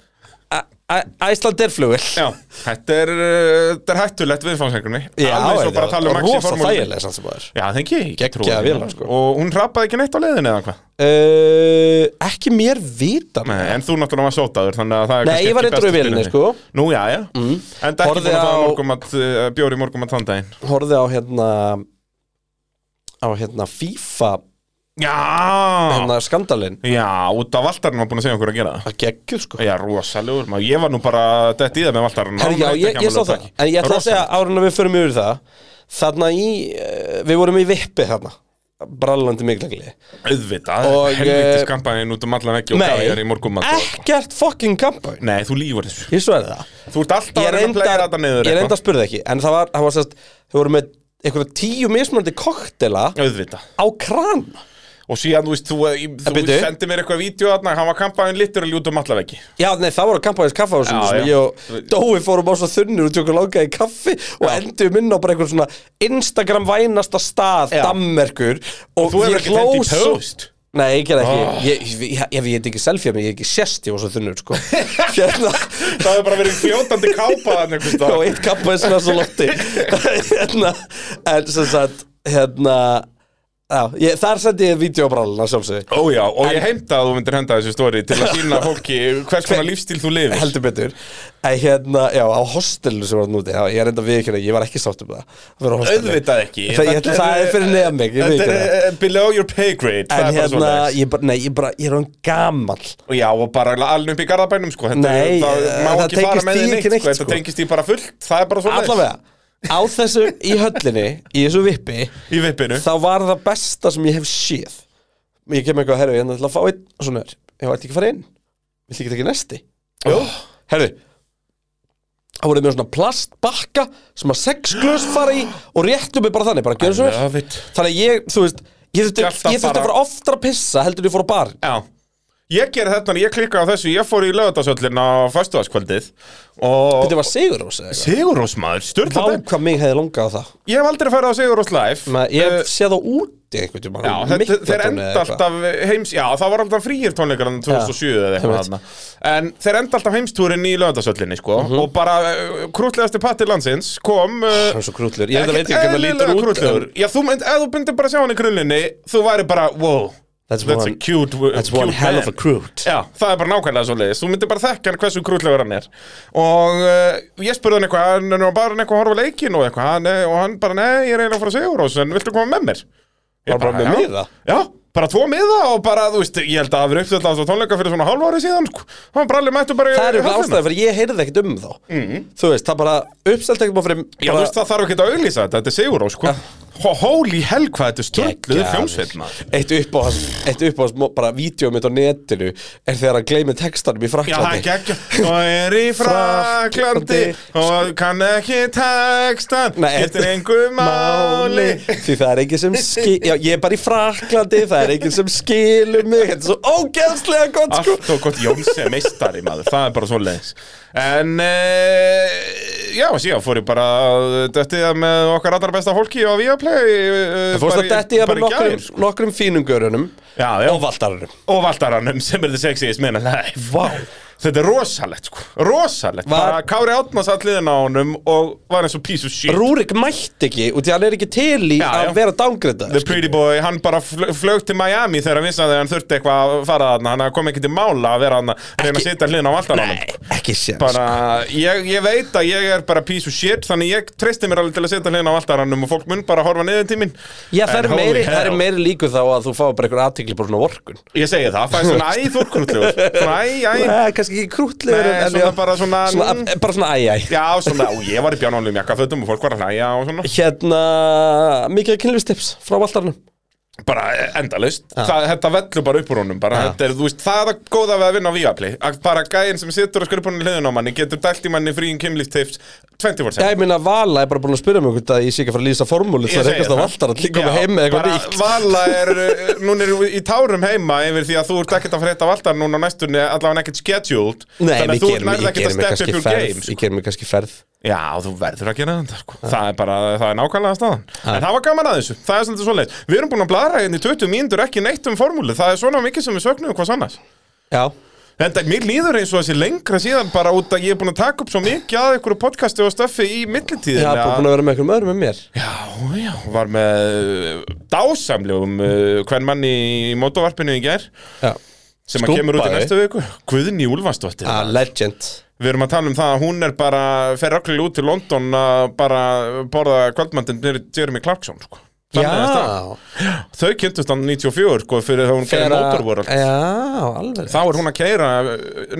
[SPEAKER 2] a- Æsland er flugil
[SPEAKER 3] Já, þetta er, uh, þetta er hættulegt viðfáðsengunni Alveg svo bara að tala um Maxi
[SPEAKER 2] Rósa
[SPEAKER 3] formúlu.
[SPEAKER 2] þægileg samt sem aður
[SPEAKER 3] Já, það ekki,
[SPEAKER 2] Geggjaða
[SPEAKER 3] ég trúi því.
[SPEAKER 2] vélar, sko.
[SPEAKER 3] Og hún rapaði ekki neitt á leiðinni eða hvað
[SPEAKER 2] uh, Ekki mér vita
[SPEAKER 3] Nei, En þú náttúrulega var sótaður Þannig að það er
[SPEAKER 2] Nei,
[SPEAKER 3] kannski
[SPEAKER 2] ég var
[SPEAKER 3] ekki
[SPEAKER 2] reyndar
[SPEAKER 3] besta
[SPEAKER 2] í vélinni,
[SPEAKER 3] spilunni.
[SPEAKER 2] sko. Mm.
[SPEAKER 3] Nú, já, já En það er
[SPEAKER 2] Horfði
[SPEAKER 3] ekki búin að
[SPEAKER 2] á-
[SPEAKER 3] fá morgumat, uh, bjóri morgumat þann daginn
[SPEAKER 2] Horfði á hérna Á hérna FIFA
[SPEAKER 3] Já,
[SPEAKER 2] Hérna skandalinn
[SPEAKER 3] já, út af Valtarinn var búin að segja okkur að gera það
[SPEAKER 2] Það geggjur sko
[SPEAKER 3] Já, rosalegur, maður, ég var nú bara dett í það með Valtarinn
[SPEAKER 2] Herri, já, ég, ég sá það, en ég ætla að segja árun að við förum yfir það Þarna í, eh, við vorum í vippi þarna Brallandi miklegli
[SPEAKER 3] Auðvitað,
[SPEAKER 2] Og,
[SPEAKER 3] helviti
[SPEAKER 2] eh,
[SPEAKER 3] skampaninn út um allan ekki og
[SPEAKER 2] Nei,
[SPEAKER 3] gæjar í morgumat og-
[SPEAKER 2] ekkert fucking kampavín
[SPEAKER 3] Nei, þú lífur þessu
[SPEAKER 2] Ég sverði það hérna
[SPEAKER 3] Þú ert alltaf
[SPEAKER 2] Ég
[SPEAKER 3] að reyna að plegja þetta niður
[SPEAKER 2] reyndar, ég reyndar spurði ekki En það var, það var sérst, þau voru með einhverja tíu mismunandi koktela
[SPEAKER 3] Auðvita
[SPEAKER 2] á kran
[SPEAKER 3] Og síðan, þú veist, þú, þú
[SPEAKER 2] bíddu.
[SPEAKER 3] sendi mér eitthvað vídeo þarna Hann var kampaðin littur að ljúta um allaveggi
[SPEAKER 2] Já, nei, það voru kampaðins kaffahúsinu
[SPEAKER 3] Já,
[SPEAKER 2] sem
[SPEAKER 3] já.
[SPEAKER 2] ég og Dói fórum á svo þunnur og tjókum langaði í kaffi og endum inn á bara einhvern svona Instagram vænasta stað,
[SPEAKER 3] Já.
[SPEAKER 2] dammerkur og,
[SPEAKER 3] Þú hefur
[SPEAKER 2] ég
[SPEAKER 3] ekki þendt í
[SPEAKER 2] svo-
[SPEAKER 3] post
[SPEAKER 2] Nei, ég gerði ekki,
[SPEAKER 3] Ah.
[SPEAKER 2] ég, ég, ég, ég, ég ekki selfie að mig, ég hef ekki sérst, ég var svo þunnur, sko Hérna,
[SPEAKER 3] Það hefur bara verið fljótandi
[SPEAKER 2] og
[SPEAKER 3] kápaðan einhvers
[SPEAKER 2] eitt kampaðins með svo lotti Hérna, en sem sagt, hérna, já, ég, þar sendi ég vídeobráluna sjálfsög
[SPEAKER 3] Ó já, og ég heimta að þú myndir henda þessu stóri til að sína fólki hvers konar lífstíl þú lifir
[SPEAKER 2] heldur betur en hérna, já, á hostelinu sem var núti já, ég er enda við ekki, ég var ekki sátt um það að vera á hostelinu.
[SPEAKER 3] Auðvitað ekki
[SPEAKER 2] það, ég,
[SPEAKER 3] Þetta
[SPEAKER 2] það er fyrir nefn mig, ég veit
[SPEAKER 3] Þetta
[SPEAKER 2] ekki
[SPEAKER 3] er
[SPEAKER 2] það
[SPEAKER 3] eh, below your pay grade Það
[SPEAKER 2] en
[SPEAKER 3] er bara
[SPEAKER 2] hérna,
[SPEAKER 3] svoleiðis.
[SPEAKER 2] ég bara, nei, ég bara, ég er hann gammal
[SPEAKER 3] Og Já, og bara alveg upp í garðabænum sko. Þetta er-
[SPEAKER 2] Nei,
[SPEAKER 3] það
[SPEAKER 2] eh,
[SPEAKER 3] má
[SPEAKER 2] það
[SPEAKER 3] ekki fara
[SPEAKER 2] tengist
[SPEAKER 3] með
[SPEAKER 2] því
[SPEAKER 3] því
[SPEAKER 2] ekki
[SPEAKER 3] neitt
[SPEAKER 2] neitt,
[SPEAKER 3] sko. Þetta
[SPEAKER 2] sko.
[SPEAKER 3] tengist því bara fullt Það er bara svona
[SPEAKER 2] allavega, á þessu í höllinni í þessu vippi,
[SPEAKER 3] Í vippinu
[SPEAKER 2] þá var það besta sem ég hef séð ég kem eitthvað, herru, ég ætla að fá einn svona er, ég ætti ekki að fara inn vill ekki ekki næsti
[SPEAKER 3] Jú.
[SPEAKER 2] herru það voru með svona plastbakka sem að sex glös fara í og réttu mig bara þannig, bara gjörum svo vel
[SPEAKER 3] Love it.
[SPEAKER 2] Þannig að ég, þú veist Ég þurfti,
[SPEAKER 3] Hjartað
[SPEAKER 2] ég þurfti
[SPEAKER 3] bara-
[SPEAKER 2] að fara oftar að pissa heldur en ég fór á bar
[SPEAKER 3] Já Ég gerði þetta, ég klikkaði á þessu, ég fór í lögatarsöllin á föstuðaskvöldið og
[SPEAKER 2] Þetta var Sigurós eða eitthvað
[SPEAKER 3] Sigurós maður,
[SPEAKER 2] Vá
[SPEAKER 3] styrla þeim
[SPEAKER 2] hvað mig hefði langað á það
[SPEAKER 3] Ég hef aldrei farið á Sigurós live
[SPEAKER 2] Maður, Ég hef séð það úti einhvern tímann
[SPEAKER 3] Eh, Já,
[SPEAKER 2] á
[SPEAKER 3] þetta, þeir
[SPEAKER 2] Miklatóni
[SPEAKER 3] enda
[SPEAKER 2] eða eitthvað.
[SPEAKER 3] alltaf heims Já, það var alltaf frýir tónleikar en 2007 eða eitthvað
[SPEAKER 2] einmitt.
[SPEAKER 3] þarna. En þeir enda alltaf heimstúrin í lögatarsöllinni sko.
[SPEAKER 2] Mhm.
[SPEAKER 3] Og bara uh, krútlegasti patti landsins kom uh,
[SPEAKER 2] Hann er svo krúllur Ég veit ekki hvernig
[SPEAKER 3] eðlilega
[SPEAKER 2] það lítur
[SPEAKER 3] krútlegur.
[SPEAKER 2] út en
[SPEAKER 3] Já, þú mynd, ef þú myndir bara sjá hann í krullinni Þú væri bara, wow
[SPEAKER 2] That's
[SPEAKER 3] a
[SPEAKER 2] one-
[SPEAKER 3] cute, uh,
[SPEAKER 2] That's
[SPEAKER 3] cute
[SPEAKER 2] one hell of
[SPEAKER 3] man."
[SPEAKER 2] a crút
[SPEAKER 3] Já, það er bara nákvæmlega svo leiðis Þú myndir bara þekka hann hversu krútlegur hann er Og uh, ég spurði hann eitthvað Hann er bara eitthvað að horfa á leikinn og eitthvað hann, eh, Og hann bara, nei, ég er eiginlega frá Sigurós En viltu koma með mér? Ég
[SPEAKER 2] Bara bara með
[SPEAKER 3] "Já."
[SPEAKER 2] miða?
[SPEAKER 3] Já, bara tvo miða og bara, þú veist Ég held að það hafi uppsett á þessu tónleika fyrir svona hálf ári síðan sko. Hann bara allir mættu bara í
[SPEAKER 2] Það er eitthvað
[SPEAKER 3] höllina.
[SPEAKER 2] ástæði fyrir ég heyrði ekkert um þá Þú veist, það bara uppselt ekkert bara fyrir
[SPEAKER 3] Mhm. Já, þú
[SPEAKER 2] bara-
[SPEAKER 3] veist, það þarf ekki að auglýsa þetta, þetta er Sigurós, sko. Ho- Holy hell, hvað þetta er störtluð
[SPEAKER 2] Geggjaður.
[SPEAKER 3] hljómsveit, maður.
[SPEAKER 2] Eitt uppáhans, eitt uppáhans bara vídeo mitt á netinu er þegar hann gleymi textanum í
[SPEAKER 3] Já, það er
[SPEAKER 2] Fraklandi
[SPEAKER 3] geggja. Og er í Fraklandi og kann ekki textan,
[SPEAKER 2] Nei,
[SPEAKER 3] getur engu máli.
[SPEAKER 2] Því það er enginn sem skil Já, ég er bara í Fraklandi, það er enginn sem skilur mig Þetta er svo ógeðslega gott sko
[SPEAKER 3] Allt og gott Jóns er meistari, maður, það er bara svo leiðis. En, e, já, síðan fór ég bara döttið með okkar allra besta fólki á Viaplay. eh,
[SPEAKER 2] Það fórst að detti ég með nokkrum, nokkrum fínum görunum
[SPEAKER 3] sko. Já, já.
[SPEAKER 2] Og valdarunum
[SPEAKER 3] og valdaranum sem er the sexiest man alive wow. þetta er rosalegt sko, rosalegt
[SPEAKER 2] Var-
[SPEAKER 3] bara Kári Átnars alliðin á honum og var eins og piece of shit
[SPEAKER 2] Rúrik mætti ekki, út í hann er ekki til í
[SPEAKER 3] Já, já.
[SPEAKER 2] að vera dángrita
[SPEAKER 3] The Pretty Boy, hann bara fl flög til Miami þegar hann vissi að hann þurfti eitthvað að fara þarna hann kom ekki til mála að vera hann að reyna að sitja hliðin á valdaranum
[SPEAKER 2] Nei, sko. ekki séns
[SPEAKER 3] bara, ég, ég veit að ég er bara piece of shit þannig ég treysti mér alveg til að sitja hliðin á valdaranum og fólk mun bara horfa niður til mín
[SPEAKER 2] Já, það
[SPEAKER 3] En
[SPEAKER 2] eru
[SPEAKER 3] holy
[SPEAKER 2] meiri,
[SPEAKER 3] hell.
[SPEAKER 2] það eru meiri líku þá að þú fá bara einhver aðtikli bara svona vorkun
[SPEAKER 3] ég segi það, það er svona æ, þú er krútlegur svona æ, æ,
[SPEAKER 2] Nei, kannski ekki krútlegur
[SPEAKER 3] Nei,
[SPEAKER 2] en- en
[SPEAKER 3] svona
[SPEAKER 2] já,
[SPEAKER 3] bara svona- "Mm."
[SPEAKER 2] svona eh, Bara svona æjæ
[SPEAKER 3] já, svona, og ég var í bjánálum jakkafötum og fólk var að hlæja og svona
[SPEAKER 2] Hérna, mikið kynlífstips frá valdarunum
[SPEAKER 3] bara e- endalaust það, þetta vellur bara upp úr honum bara, þetta er, þú veist, það er það góða við að vinna á Viaplay að bara gæinn sem situr og skruppunni hliðin á manni getur dælt í manni fríin kemlíftips 24
[SPEAKER 2] Já, ég minna Vala er bara búin að spyrja mig hvort að ég sé ekki að fara að lýsa formúlu
[SPEAKER 3] Ég
[SPEAKER 2] Það er
[SPEAKER 3] segi
[SPEAKER 2] eitthvað að valtar að líka með heim með eitthvað
[SPEAKER 3] bara
[SPEAKER 2] nýtt
[SPEAKER 3] Vala er, uh, núna erum við í tárum heima yfir því að þú ert ekkert að frétta Valtar núna á næstunni allavega ekkert scheduled
[SPEAKER 2] Nei, en ég
[SPEAKER 3] þannig að þú
[SPEAKER 2] gerum,
[SPEAKER 3] nærð
[SPEAKER 2] ég
[SPEAKER 3] ekkert
[SPEAKER 2] gerum mig
[SPEAKER 3] að step
[SPEAKER 2] kannski
[SPEAKER 3] upp your
[SPEAKER 2] ferð
[SPEAKER 3] game sko.
[SPEAKER 2] Ég gerum mig kannski ferð
[SPEAKER 3] Já, þú verður að gera þetta sko. Það er bara, það er nákvæmlega staðan En það var gaman að þessu, það er svolítið svoleiðis Við um erum búin að blara hérna í 20 mínútur ekki neitt um formúlu Það er svona mikið sem við sögnum hvað sannast
[SPEAKER 2] Já,
[SPEAKER 3] Þetta, mér líður eins og þessi lengra síðan bara út að ég er búin að taka upp svo mikið að ykkur podcasti og stöffi í
[SPEAKER 2] Ég
[SPEAKER 3] millitíðin
[SPEAKER 2] hafði bara búin að vera með einhverjum öðrum með mér
[SPEAKER 3] Já, já, var með uh, dásamlegum uh, hvern manni í mótovarpinu í gær
[SPEAKER 2] Já.
[SPEAKER 3] sem að kemur út í
[SPEAKER 2] Stúmpaði.
[SPEAKER 3] næstu viku Guðni Úlfarsdóttir
[SPEAKER 2] Ah, legend
[SPEAKER 3] Við erum að tala um það að hún er bara fer öll út til London að bara borða kvöldmandinn með Jeremy Clarkson sko. Þannig er það.
[SPEAKER 2] Já
[SPEAKER 3] Þau kynntust hann 94 sko, fyrir það hún gerir
[SPEAKER 2] Þegar að- Eh.
[SPEAKER 3] Motorworld
[SPEAKER 2] Já, alveg
[SPEAKER 3] Þá er hún að keira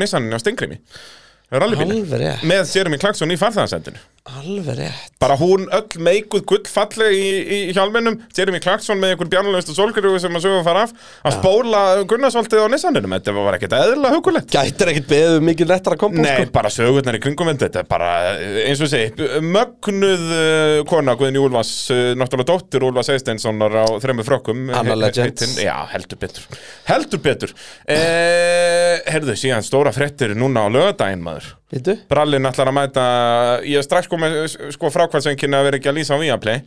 [SPEAKER 3] Nissaninni á Stingrimi Rallybíli
[SPEAKER 2] Alveg rétt,
[SPEAKER 3] Með Jeremy Clarkson í farþæðarsendinu
[SPEAKER 2] alveg rétt
[SPEAKER 3] Bara hún öll meikuð gullfalleg í, í hjálminum Jeremy Clarkson með einhver bjarnulegust og solgriðu sem að sögum fara af að spóla Gunnarsvaldið á Nissaninum Þetta var ekkert eðlilega hugulegt
[SPEAKER 2] Gætir ekkert beðið um mikið lettara kombo
[SPEAKER 3] Nei, bara sögurnar í kringum þetta Þetta er bara, eh, eins og ég segi, mögnuð uh, kona Guðni Úlfas, uh, náttúrulega dóttir Úlfas Eisteinssonar á þremur frökkum eh,
[SPEAKER 2] Anna
[SPEAKER 3] he-
[SPEAKER 2] legend.
[SPEAKER 3] heitin. Já, heldur betur Heldur betur eh, Herðu, síðan stóra fréttir núna á lögadaginn maður
[SPEAKER 2] Vitu?
[SPEAKER 3] Brallin ætlar að mæta, ég er strax komið sko frákvæðsenginni að vera ekki að lýsa á Viaplay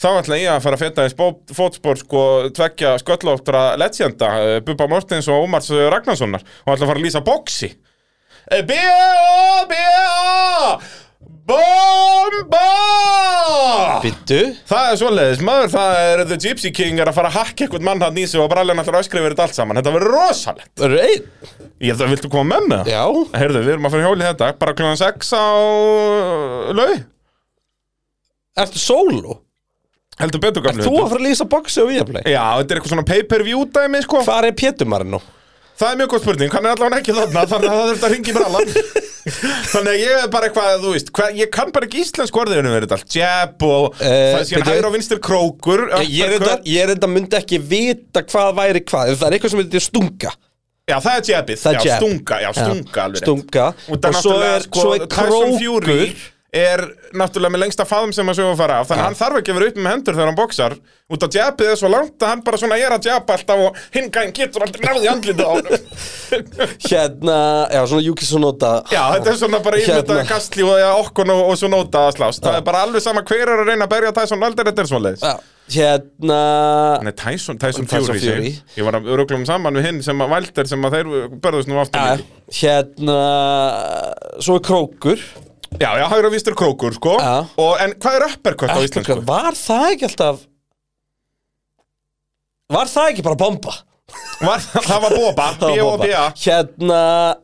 [SPEAKER 3] Þá ætla ég að fara að feta í spó- fótspor sko tvekja sköllóttra legenda eh, Bubba Mortens og Ómars eh, Ragnarssonar og ætla að fara að lýsa boxi Eh, B.A. B.A. Bomba
[SPEAKER 2] Vitu?
[SPEAKER 3] Það er svoleiðis, maður, það er The Gypsy King er að fara að hakka eitthvað mann hann í sig og brallin ætlar að öskra yfir þetta allt saman Þetta verður rosalegt
[SPEAKER 2] Reit?
[SPEAKER 3] Ég held að viltu koma með með það?
[SPEAKER 2] Já
[SPEAKER 3] Herðu, við erum að fara í hjólið þetta Bara kljóðan 6 á lau
[SPEAKER 2] Ertu sólu?
[SPEAKER 3] Heldur betur gamlu
[SPEAKER 2] Þú að fara að lýsa boxi og viðaplay?
[SPEAKER 3] Já, þetta er eitthvað svona pay-per-view dæmi sko.
[SPEAKER 2] Hvar er Pétumarinn nú?
[SPEAKER 3] Það er mjög góð spurning, hann er allavega ekki þarna Þannig að það þurft að ringi brallan Þannig að ég er bara eitthvað, þú veist hver, Ég kann bara ekki íslensk orðinu verið allt Jab og
[SPEAKER 2] Eh,
[SPEAKER 3] það sé
[SPEAKER 2] byrju.
[SPEAKER 3] hægur og vinstir krókur
[SPEAKER 2] Ég er enda, ég er enda myndi ekki vita hvað væri hvað Ef Það er eitthvað sem heitir stunga
[SPEAKER 3] Já, það er jabið,
[SPEAKER 2] Það er
[SPEAKER 3] já,
[SPEAKER 2] jab.
[SPEAKER 3] stunga Já, stunga alveg rétt.
[SPEAKER 2] Stunga
[SPEAKER 3] Og, og
[SPEAKER 2] svo er,
[SPEAKER 3] sko,
[SPEAKER 2] svo er
[SPEAKER 3] Tyson Fury
[SPEAKER 2] krókur
[SPEAKER 3] er náttúrulega með lengsta faðum sem að sögum fara af þannig að hann þarf ekki að vera upp með hendur þegar hann boxar út að jabið er svo langt að hann bara svona er að jabba alltaf og hinn gæn getur aldrei náði andlita á hann
[SPEAKER 2] Hérna, já svona Yuki Sonoda
[SPEAKER 3] Já, þetta er svona bara
[SPEAKER 2] Hérna.
[SPEAKER 3] yfirmyndaði kastli og ja, okkon og, og svo nóta að slást það er bara alveg sama hver er að reyna að berja Tyson aldrei þetta er svona leiðis
[SPEAKER 2] Já, Hérna
[SPEAKER 3] Nei, Tyson, Tyson,
[SPEAKER 2] Tyson
[SPEAKER 3] Fury,
[SPEAKER 2] Fury.
[SPEAKER 3] Fury. Ég var að öruglum saman við hinn sem að Valder sem að þeir börðust nú aftur
[SPEAKER 2] já,
[SPEAKER 3] mikið.
[SPEAKER 2] Hérna Svo er krókur
[SPEAKER 3] Já, já, hægra vistur krókur, sko
[SPEAKER 2] Já.
[SPEAKER 3] og, En hvað er uppercut á íslensku?
[SPEAKER 2] Uppercut, Var það ekki alltaf Var það ekki bara bomba?
[SPEAKER 3] Var, það var Boba,
[SPEAKER 2] Það var
[SPEAKER 3] B-O-B-A
[SPEAKER 2] Hérna,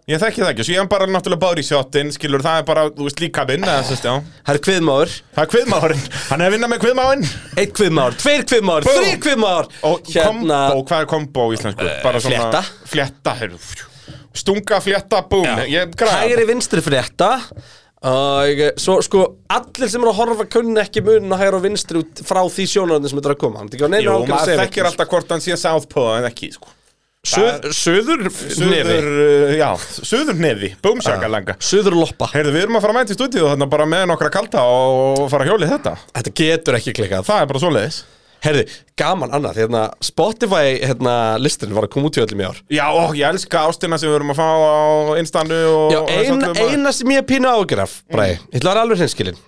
[SPEAKER 3] Ég þekki það ekki, svo ég er bara náttúrulega bár í sjóttin Skilur, það er bara, þú veist, líka vinn eða, sérst, já.
[SPEAKER 2] það er kviðmáður
[SPEAKER 3] Það er kviðmáðurinn, hann er að vinna með kviðmáðinn
[SPEAKER 2] Eitt kviðmáður, tveir kviðmáður,
[SPEAKER 3] Boom.
[SPEAKER 2] þrjir kviðmáður
[SPEAKER 3] Og
[SPEAKER 2] Hérna, Eh,
[SPEAKER 3] kombo, hvað er kombo í íslensku? Bara
[SPEAKER 2] flétta.
[SPEAKER 3] Flétta, heyrðu Stunga, flétta, búm Ég græði
[SPEAKER 2] hægri vinstri frétta Og svo sko, allir sem eru að horfa kunni ekki munin á hægri og vinstri út frá því sjónaröndin sem þetta er að koma Hann er ekki á neina
[SPEAKER 3] Jú,
[SPEAKER 2] ákveðin að
[SPEAKER 3] maður
[SPEAKER 2] segja
[SPEAKER 3] þekkir alltaf hvort hann sé Southpaw en ekki, sko
[SPEAKER 2] Suð, Suður,
[SPEAKER 3] Suður, uh, já, suður nefi, búmsjaka langa
[SPEAKER 2] Suður loppa
[SPEAKER 3] Heyrðu, við erum að fara að mæta í stúdíu þarna bara með nokkra kalda og fara að hjólið þetta
[SPEAKER 2] Þetta getur ekki klikkað
[SPEAKER 3] Það er bara svoleiðis
[SPEAKER 2] Herði, gaman annað, því hérna Spotify hérna, listin var að koma út í öllum í ár
[SPEAKER 3] Já, og ég elska ástina sem við erum að fá á instanu og
[SPEAKER 2] Já,
[SPEAKER 3] og um þessu
[SPEAKER 2] ein,
[SPEAKER 3] öllu maður.
[SPEAKER 2] eina sem ég er pínu ágraf Bræði,
[SPEAKER 3] Mm.
[SPEAKER 2] ég ætla að vera alveg hinskilin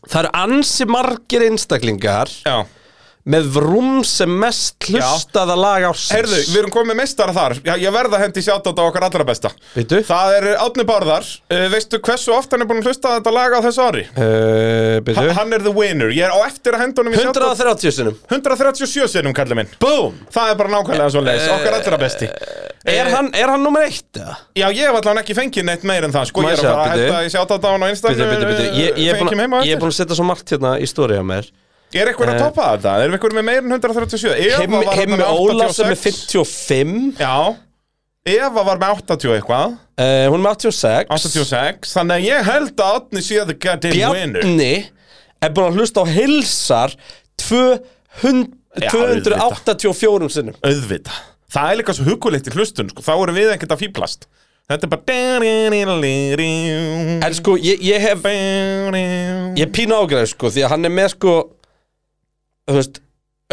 [SPEAKER 2] Það eru ansi margir einstaklingar
[SPEAKER 3] Já,
[SPEAKER 2] með vrúm sem mest hlustaða lag ársins
[SPEAKER 3] heyrðu, við erum komið mestara þar Já, ég verða hendi sjátt á okkar allra besta
[SPEAKER 2] Veitu?
[SPEAKER 3] Það er Átni Bárðar uh, Veistu hversu oft hann er búin að hlusta á þetta lag á þessu ári?
[SPEAKER 2] Uh,
[SPEAKER 3] Ha,
[SPEAKER 2] byrju.
[SPEAKER 3] hann er the winner Ég er á eftir að henda honum í sjátt
[SPEAKER 2] 130 sinum
[SPEAKER 3] 137 sinnum, kallið minn
[SPEAKER 2] Búm! Eh,
[SPEAKER 3] Það er bara nákvæmlega svo leiðis, okkar allra besti
[SPEAKER 2] Er
[SPEAKER 3] Eh,
[SPEAKER 2] hann, er hann nummer eitt? eða?
[SPEAKER 3] Já, ég hef allan ekki fengið neitt meir en það sko. Ég
[SPEAKER 2] Má ég
[SPEAKER 3] er að
[SPEAKER 2] sjá,
[SPEAKER 3] fara að
[SPEAKER 2] bíddu?
[SPEAKER 3] henda í sjátt á hann á
[SPEAKER 2] Byrju,
[SPEAKER 3] instanu
[SPEAKER 2] byrju, byrju. Ég, ég, er búinn
[SPEAKER 3] Fengjum heima á
[SPEAKER 2] að- ég er
[SPEAKER 3] eftir
[SPEAKER 2] búin að setja svo margt hérna í stóri á mér
[SPEAKER 3] Er eitthvað að
[SPEAKER 2] Eh.
[SPEAKER 3] toppa þetta? Er eitthvað með meir en 137? Eva
[SPEAKER 2] Heim,
[SPEAKER 3] var þarna
[SPEAKER 2] heim
[SPEAKER 3] með
[SPEAKER 2] Óla sem er
[SPEAKER 3] 86.
[SPEAKER 2] 55
[SPEAKER 3] Já Eva var með 80 eitthvað
[SPEAKER 2] uh, Hún er með 86
[SPEAKER 3] 86 Þannig að ég held að Otni sé the goddamn winner
[SPEAKER 2] Bjarni er búin að hlusta á hilsar 200,
[SPEAKER 3] Já,
[SPEAKER 2] 284 sinnum
[SPEAKER 3] Auðvita Það er líka svo hugulegt í hlustun sko. Þá erum við ekkert að fýblast Þetta er bara
[SPEAKER 2] En sko, ég, ég hef Ég pína ágræð, sko, því að hann er með, sko Þú veist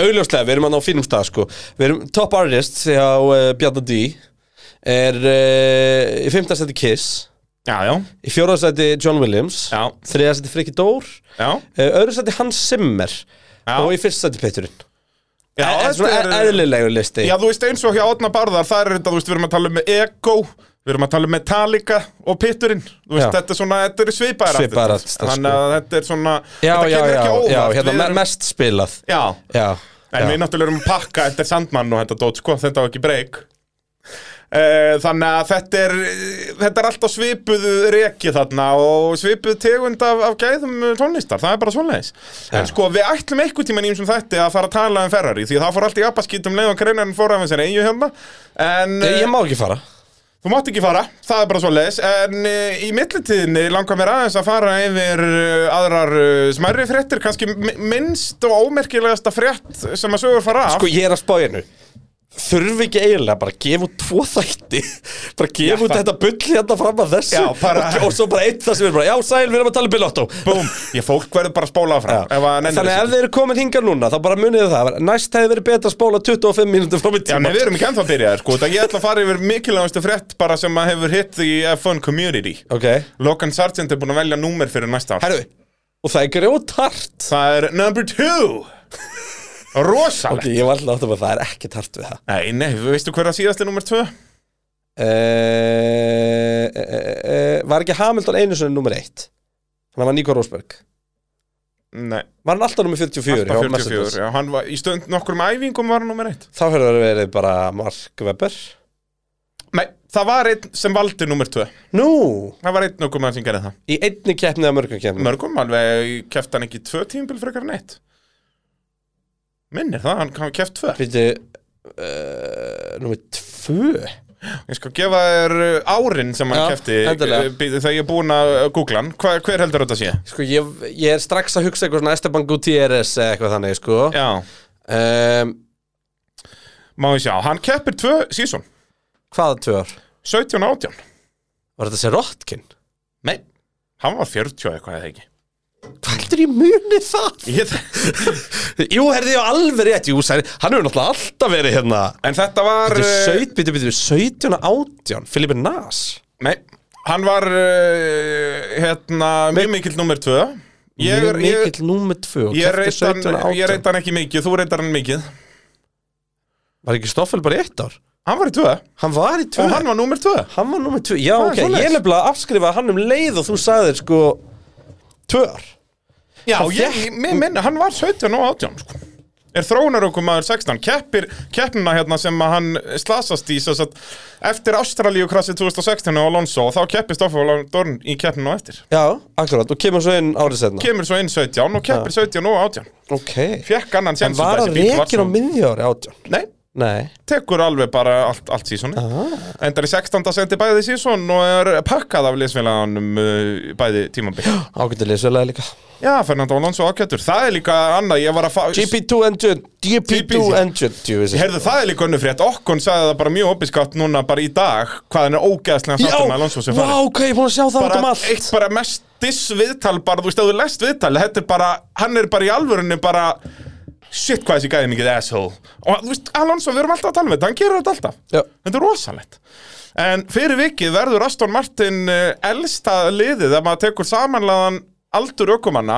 [SPEAKER 2] Augljóslega, við erum hann á fínum stað, sko Við erum top artist því að uh, Bjarni D Er uh, í fimmta seti Kiss
[SPEAKER 3] Já, já,
[SPEAKER 2] Í fjóra seti John Williams
[SPEAKER 3] Já.
[SPEAKER 2] Þriða seti Friki Dór uh,
[SPEAKER 3] já
[SPEAKER 2] Öðru seti Hans Zimmer
[SPEAKER 3] Já.
[SPEAKER 2] Og í fyrsta seti Peturinn
[SPEAKER 3] Já,
[SPEAKER 2] En svona
[SPEAKER 3] þetta
[SPEAKER 2] er...
[SPEAKER 3] er-
[SPEAKER 2] eðlilegu listi
[SPEAKER 3] Já, þú veist eins og hjá Otna Barðar, það er þetta, þú veist, við erum að tala um Ego, við erum að tala um Metallica og Pitturinn, þú veist,
[SPEAKER 2] Já.
[SPEAKER 3] þetta er svona, þetta er svipaðar
[SPEAKER 2] Svipaðar artistar, sko.
[SPEAKER 3] Þannig að þetta er svona,
[SPEAKER 2] já,
[SPEAKER 3] þetta
[SPEAKER 2] já, já,
[SPEAKER 3] kemur ekki á óvart
[SPEAKER 2] já, hérna,
[SPEAKER 3] við
[SPEAKER 2] me-
[SPEAKER 3] erum,
[SPEAKER 2] mest spilað
[SPEAKER 3] Já,
[SPEAKER 2] Já,
[SPEAKER 3] en
[SPEAKER 2] já.
[SPEAKER 3] við náttúrulega erum að pakka, þetta er Sandmann og þetta dót, sko, þetta var ekki break Eh, Þannig að þetta er, þetta er alltaf svipuð reki þarna og svipuð tegund af, af gæðum eh, tónlistar, það er bara svoleiðis. En sko, við ætlum einhvern tímann ímsum þetta að fara að tala um Ferrari, því að það fór allt í appaskítum leið og greinarinn fór af þessari eigu hérna. En, eh,
[SPEAKER 2] Nei, Ég má ekki fara
[SPEAKER 3] Þú mátt ekki fara, það er bara svo leiðis En uh, í millitíðinni langar mér aðeins að fara yfir uh, aðrar uh, smærri fréttir Kannski mi- minnst og ómerkilegasta frétt sem að sögur fara af
[SPEAKER 2] Sko, ég er að spá hérna Þurfi ekki eiginlega bara að gefa út tvo þætti Bara að gefa
[SPEAKER 3] Já,
[SPEAKER 2] út
[SPEAKER 3] það-
[SPEAKER 2] þetta bull hérna fram að þessu
[SPEAKER 3] Já, bara-
[SPEAKER 2] og, og svo bara eitt það sem er bara Já, sæl, við erum að tala um Bilotto
[SPEAKER 3] Búm, ég fólk verður bara að spóla áfram ef að
[SPEAKER 2] Þannig
[SPEAKER 3] nennir þessu
[SPEAKER 2] ef
[SPEAKER 3] ekki.
[SPEAKER 2] þeir eru komin hingað núna Þá bara munið þið það Næst hefði verið betra að spóla 25 mínútur frá mitt
[SPEAKER 3] Já, nei, við erum ekki ennþá byrjaðir, sko Það ég ætla að fara yfir mikilvægastu frétt bara sem að hefur hitt í F1 community
[SPEAKER 2] Ok
[SPEAKER 3] Logan Sargent er búin að velja númer fyrir næsta ár
[SPEAKER 2] Herru Og það er grjótart
[SPEAKER 3] Það er number two
[SPEAKER 2] Ok,
[SPEAKER 3] Rosalegt
[SPEAKER 2] ég var alltaf átt að það er ekkert hart við það
[SPEAKER 3] Nei, nei, veistu hver að síðasti nummer tvö?
[SPEAKER 2] Eh, eh, eh, eh, Var ekki Hamilton einu sinni nummer eitt Þannig var Nico Rosberg
[SPEAKER 3] Nei,
[SPEAKER 2] Var hann alltaf nummer 44
[SPEAKER 3] alltaf
[SPEAKER 2] hjá Mercedes?
[SPEAKER 3] 44 Já, hann var í stund nokkrum æfingum var hann nummer eitt
[SPEAKER 2] Þá hefur það verið bara Mark Webber
[SPEAKER 3] Nei, það var einn sem valdi nummer 2
[SPEAKER 2] Nú,
[SPEAKER 3] Það var einn okkur maður sem gerði það
[SPEAKER 2] í einni keppni eða mörgum keppni
[SPEAKER 3] Mörgum alveg keft hann ekki tvö tímbil frekar en eitt Minnir það, hann hafi keft tvö
[SPEAKER 2] Býtu uh, Númer tvö
[SPEAKER 3] Ég skal gefa þér uh, árin sem hann
[SPEAKER 2] Já,
[SPEAKER 3] kefti
[SPEAKER 2] endilega.
[SPEAKER 3] Þegar ég er búinn að uh, googla hann Hva, Hver heldur þetta sé?
[SPEAKER 2] Sko, ég, ég er strax að hugsa eitthvað svona Esteban Gutierrez eða eitthvað þannig, sko
[SPEAKER 3] Já,
[SPEAKER 2] um,
[SPEAKER 3] má við sjá Hann keppir tvö sísón
[SPEAKER 2] Hvaða tvö ár?
[SPEAKER 3] 17 og 18
[SPEAKER 2] Var þetta sér Rotkin?
[SPEAKER 3] Nei Hann var 40 og eitthvað eða ekki
[SPEAKER 2] Hvað heldur ég muni það?
[SPEAKER 3] ég,
[SPEAKER 2] Jú, herði ég á alveg rétt Jú, særi, hann hefur náttúrulega alltaf verið hérna
[SPEAKER 3] En þetta var
[SPEAKER 2] Býtu,
[SPEAKER 3] uh,
[SPEAKER 2] söyt, býtu, býtu, 17 og 18 Filipe Nas
[SPEAKER 3] Nei, hann var uh, hérna, mjög mikill nummer 2 Ég er,
[SPEAKER 2] Mjög
[SPEAKER 3] ég,
[SPEAKER 2] mikill númer tvö og
[SPEAKER 3] Ég
[SPEAKER 2] keppti
[SPEAKER 3] reyndar
[SPEAKER 2] 17 og 18.
[SPEAKER 3] hann, hann ekki mikið, þú reyndar hann mikið
[SPEAKER 2] Var ekki Stoffel bara í eitt ár?
[SPEAKER 3] Hann var í tvö
[SPEAKER 2] Hann var í tvö
[SPEAKER 3] og hann var númer tvö
[SPEAKER 2] Hann var númer tvö, já
[SPEAKER 3] er
[SPEAKER 2] ok
[SPEAKER 3] Ah, svoleiðis.
[SPEAKER 2] Ég nefnilega afskrifaði hann um leið og þú sagðir sko Tvö ár
[SPEAKER 3] Já,
[SPEAKER 2] Hann
[SPEAKER 3] ég,
[SPEAKER 2] fékk-
[SPEAKER 3] mér minna, hann var 17 og 18 sko. Er þróunar okkur maður 16 Keppir keppnina hérna sem að hann slasast í svo að Eftir Ástralíu krasið 2016 og Alonso Og þá keppir Stoffel Dorn í keppnina á eftir
[SPEAKER 2] Já, akkurat, og kemur svo inn árið setna
[SPEAKER 3] Kemur svo inn 17 og keppir 17 og 18
[SPEAKER 2] Ok
[SPEAKER 3] Fekk annan
[SPEAKER 2] Hann
[SPEAKER 3] séns
[SPEAKER 2] var
[SPEAKER 3] út
[SPEAKER 2] að
[SPEAKER 3] af þessi bíll var
[SPEAKER 2] rekin á
[SPEAKER 3] svo-
[SPEAKER 2] miðju ári átján
[SPEAKER 3] Nei,
[SPEAKER 2] Nei
[SPEAKER 3] tekur alveg bara allt, allt sísoni
[SPEAKER 2] Ah.
[SPEAKER 3] Endar í 16. sendi bæði síson Og er pakkað af liðsfélaganum uh, Bæði tímambil
[SPEAKER 2] Ágættu leysvelega líka
[SPEAKER 3] Já, Fernando Alonso ágættur, það er líka annað, ég var að fá...
[SPEAKER 2] GP2 engine GP2
[SPEAKER 3] GP2
[SPEAKER 2] engine djöfis.
[SPEAKER 3] Herðu, það er líka önnur frétt, Okkon sagði það bara mjög opiskatt núna bara í dag, hvað hann er ógeðslega
[SPEAKER 2] Já,
[SPEAKER 3] sáttur með Alonso sem
[SPEAKER 2] vá, ok, ég er búin að sjá það út
[SPEAKER 3] Bara
[SPEAKER 2] um allt
[SPEAKER 3] eitt bara mest dissviðtal, bara þú veist, ef þú lest viðtal, þetta er bara, hann er bara í alvörunni bara, shit hvað þessi gæði mikið asshole. Og þú veist, Alonso, við erum alltaf að tala með þetta, hann gerir þetta alltaf.
[SPEAKER 2] Já.
[SPEAKER 3] Þetta er rosalegt. En fyrir vikið verður Aston Martin eh, elsta liðið, ef maður tekur samanlegan aldur ökumanna,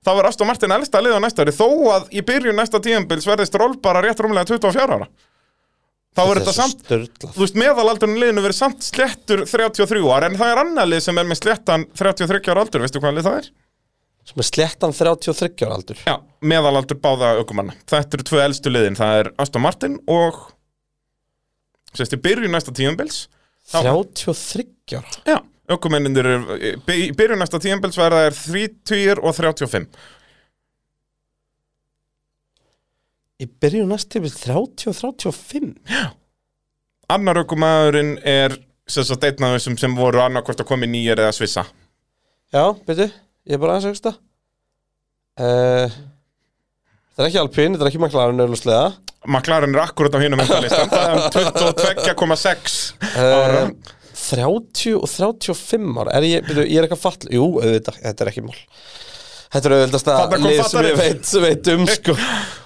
[SPEAKER 3] þá verður Aston Martin elsta liðið á næsta ári, þó að í byrjun næsta tíðanbils verðist Rolf bara rétt rúmlega 24 ára. Þá verður þetta samt
[SPEAKER 2] Störla
[SPEAKER 3] þú veist, meðalaldurinn í liðinu verið samt slettur 33 ára, en það er annað lið sem er með slettan 33 ára aldur, veistu hvað lið það er?
[SPEAKER 2] Sem er slettan 33 ára aldur
[SPEAKER 3] Já, meðalaldur báða ökumanna. Þetta eru tvö elstu liðin, það er Aston Martin og sérst, í byrju næsta tíumbils
[SPEAKER 2] 33 ára
[SPEAKER 3] Já, ökumennindir eru- í byrju næsta tíumbils verða er 30 og 35
[SPEAKER 2] Ég byrju næst tíma 30 og 35
[SPEAKER 3] Annar ökumæðurinn er sérst að deitna þessum sem voru annarkvort að koma í nýjar eða svissa
[SPEAKER 2] Já, byrju, ég er bara aðeins að hugsta uh, Þetta er ekki Alpín, þetta er ekki McLaren auðvitað
[SPEAKER 3] McLaren er akkurat á hinum endalistan, það er um 22,6 ára
[SPEAKER 2] uh, 30 og 35 ára Er ég, byrju, ég er eitthvað fall Jú, auðvitað, þetta er ekki mál Þetta er
[SPEAKER 3] Þarna
[SPEAKER 2] auðvitað
[SPEAKER 3] kom
[SPEAKER 2] lið sem ég
[SPEAKER 3] fattarinn.
[SPEAKER 2] veit, veit um sko.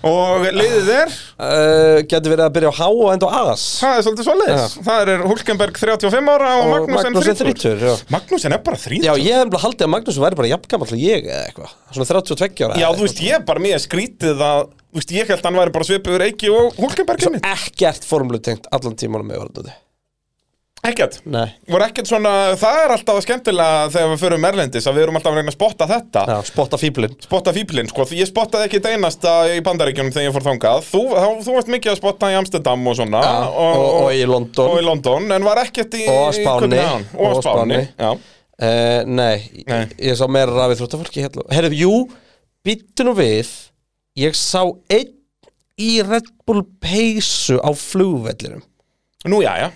[SPEAKER 3] Og liðið er,
[SPEAKER 2] uh, Gæti verið að byrja á H og enda á Aðas
[SPEAKER 3] það er svolítið svoleiðis Það er Hulkenberg 35 ára og,
[SPEAKER 2] Og
[SPEAKER 3] Magnúsen
[SPEAKER 2] Magnús er
[SPEAKER 3] 30
[SPEAKER 2] þrítur já.
[SPEAKER 3] Magnúsen er bara 30
[SPEAKER 2] já, ég hef bara haldið að Magnús væri bara jafngamall og ég eða eitthvað Svona 32 ára
[SPEAKER 3] Já,
[SPEAKER 2] eða
[SPEAKER 3] þú veist, ég er bara mjög skrítið að Þú veist, ég held að hann væri bara svipuður Eiki og Hulkenberg inni
[SPEAKER 2] Ekkert formlutengt allan tímanum með orðið
[SPEAKER 3] Ekkert
[SPEAKER 2] Nei
[SPEAKER 3] Voru ekkert svona, það er alltaf skemmtilega þegar við förum Erlendis að við erum alltaf að reyna að spotta þetta
[SPEAKER 2] Já, spotta fíblin
[SPEAKER 3] Spotta fíblinn, sko, því ég spottaði ekki einasta í bandaríkjunum þegar ég fór þangað Þú, þá, þú varst mikið að spotta í Amsterdam og svona
[SPEAKER 2] Já, og- og í London.
[SPEAKER 3] Og í London, en var ekkert í
[SPEAKER 2] Og á
[SPEAKER 3] í
[SPEAKER 2] Spáni.
[SPEAKER 3] Kaupmannahöfn. Og,
[SPEAKER 2] Og á
[SPEAKER 3] og Spáni, já
[SPEAKER 2] uh, Nei,
[SPEAKER 3] Nei.
[SPEAKER 2] Ég, ég sá meira rafið þróttafólki hérna Herðu, jú, býttu nú við Ég sá einn í Red Bull peysu á flugvellinum
[SPEAKER 3] Nú, já, já,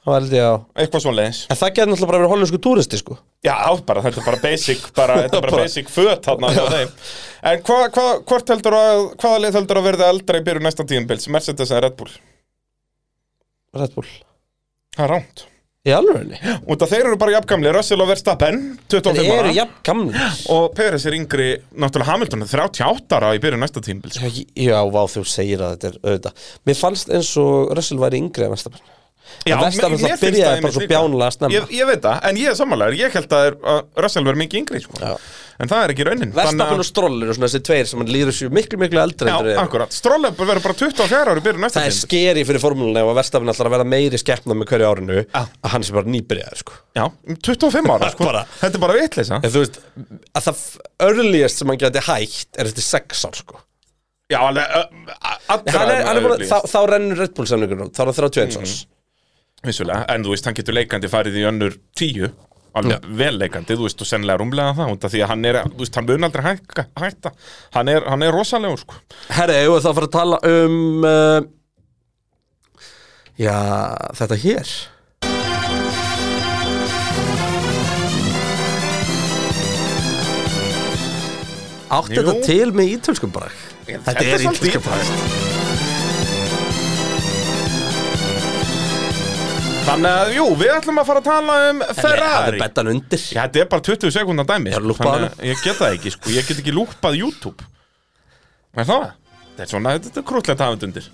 [SPEAKER 2] Það var held ég á
[SPEAKER 3] eitthvað svoleiðis
[SPEAKER 2] En það gerði náttúrulega bara verið hollensku túristi sko
[SPEAKER 3] Já, bara, þetta er bara basic bara, þetta er bara
[SPEAKER 2] Bara-
[SPEAKER 3] basic föt þarna hjá þeim En hva, hva, hvort heldur að hvaða lið heldur að verða eldra í byrju næsta tíðanbils Mercedes eða Red Bull?
[SPEAKER 2] Red Bull
[SPEAKER 3] Það er rámt
[SPEAKER 2] Í alvegni
[SPEAKER 3] Út að þeir eru bara jafngamli, Russell og Verstappen
[SPEAKER 2] Það
[SPEAKER 3] 25
[SPEAKER 2] eru
[SPEAKER 3] ára
[SPEAKER 2] jafn gamli
[SPEAKER 3] og Peres er yngri, náttúrulega Hamilton er 38 ára í byrju næsta tíðanbils
[SPEAKER 2] Já, já, vá, þú segir að þetta er auðvitað Mér fannst eins og Russell væri yngri en Vestabenn
[SPEAKER 3] Já,
[SPEAKER 2] En Verstappen
[SPEAKER 3] mér-
[SPEAKER 2] það
[SPEAKER 3] mér finnst
[SPEAKER 2] byrjaði
[SPEAKER 3] það
[SPEAKER 2] bara svo
[SPEAKER 3] einmitt líka.
[SPEAKER 2] bjánlega snemma.
[SPEAKER 3] Ég, ég veit það, en ég er sammálaður, ég held að, er- að Russell verði mikið yngri sko.
[SPEAKER 2] Já.
[SPEAKER 3] En það er ekki raunin Þannig
[SPEAKER 2] Vestabenn
[SPEAKER 3] að-
[SPEAKER 2] og Stroll eru svona þessi tveir sem hann líður sér miklu, miklu eldri en þeir
[SPEAKER 3] Já,
[SPEAKER 2] eru.
[SPEAKER 3] akkurat, Stroll verður bara 24 ára í byrju næsta
[SPEAKER 2] Það er
[SPEAKER 3] tíðanbils
[SPEAKER 2] skeri fyrir formúlunni og að Verstafinn ætlar að vera meiri skeppna með hverju árinu að hann sé bara nýbyrjaður sko.
[SPEAKER 3] Já, um 25 ára sko.
[SPEAKER 2] Bara-
[SPEAKER 3] Þetta er bara vitleysa
[SPEAKER 2] En þú veist, að það örlíðast sem hann geti hægt er eftir sex ár sko.
[SPEAKER 3] Já, alveg ö, allra
[SPEAKER 2] hann er, Mhm. hann er bara,
[SPEAKER 3] öðruvísi.
[SPEAKER 2] þá, þá rennur Red Bull samlingunum, þá er það 31 árs
[SPEAKER 3] Vissulega, en þú veist, hann getur leikandi farið í önnur tíu Alveg vel leikandi, þú veist, og sennilega rúmlega það út af Því að hann er, þú veist, hann mun aldrei hækka, hætta Hann er, hann er rosalegur, sko
[SPEAKER 2] Herri, eigum við þá að fara að tala um uh, Já, þetta hér Átti
[SPEAKER 3] Jú.
[SPEAKER 2] þetta til með ítölskum brak?
[SPEAKER 3] Ég-
[SPEAKER 2] Þetta
[SPEAKER 3] þetta er
[SPEAKER 2] er
[SPEAKER 3] samt
[SPEAKER 2] ítölskum
[SPEAKER 3] ítölskt.
[SPEAKER 2] brak
[SPEAKER 3] Þannig að, jú, við ætlum að fara að tala um Ferrari Já,
[SPEAKER 2] bettan undir
[SPEAKER 3] þetta er bara 20 sekundar dæmi
[SPEAKER 2] Ég er að lúppa
[SPEAKER 3] Þannig
[SPEAKER 2] hana.
[SPEAKER 3] að ég get það ekki, sko Ég get ekki lúpað YouTube Hvað er það? Þetta er svona, þetta er krútlegt hafund undir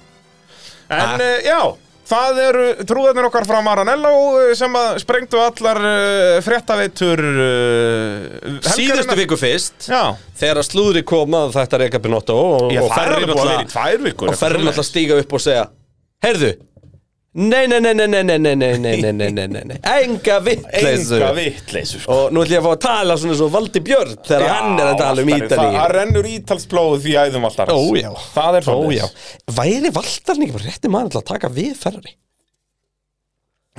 [SPEAKER 3] En, ah. já Það eru trúðarnir okkar frá Maranello eh, sem að sprengdu allar uh, fréttaveitur uh,
[SPEAKER 2] Síðustu viku fyrst
[SPEAKER 3] Já,
[SPEAKER 2] Þegar að slúðri koma þetta reyka Pinotto og,
[SPEAKER 3] Já,
[SPEAKER 2] og
[SPEAKER 3] það er
[SPEAKER 2] ferri
[SPEAKER 3] alveg búið að vera í
[SPEAKER 2] náttúrulega
[SPEAKER 3] tvær vikur
[SPEAKER 2] og ferri náttúrulega stíga upp og segja Heyrðu Nei, nei, nei, nei, nei, nei, nei, nei, nei, nei, nei, nei, nei, nei Enga vitleysu
[SPEAKER 3] Enga vitleysu sko.
[SPEAKER 2] Og nú ætlum ég að fá að tala svona svo Valdi Björn þegar hann er að tala um Ítalíu
[SPEAKER 3] Það rennur ítalsblóð í æðum alltaf
[SPEAKER 2] Ó já
[SPEAKER 3] Það er
[SPEAKER 2] Ó já
[SPEAKER 3] svolítið
[SPEAKER 2] Væri Valdarn ekki bara rétti maður til að taka við Ferrari?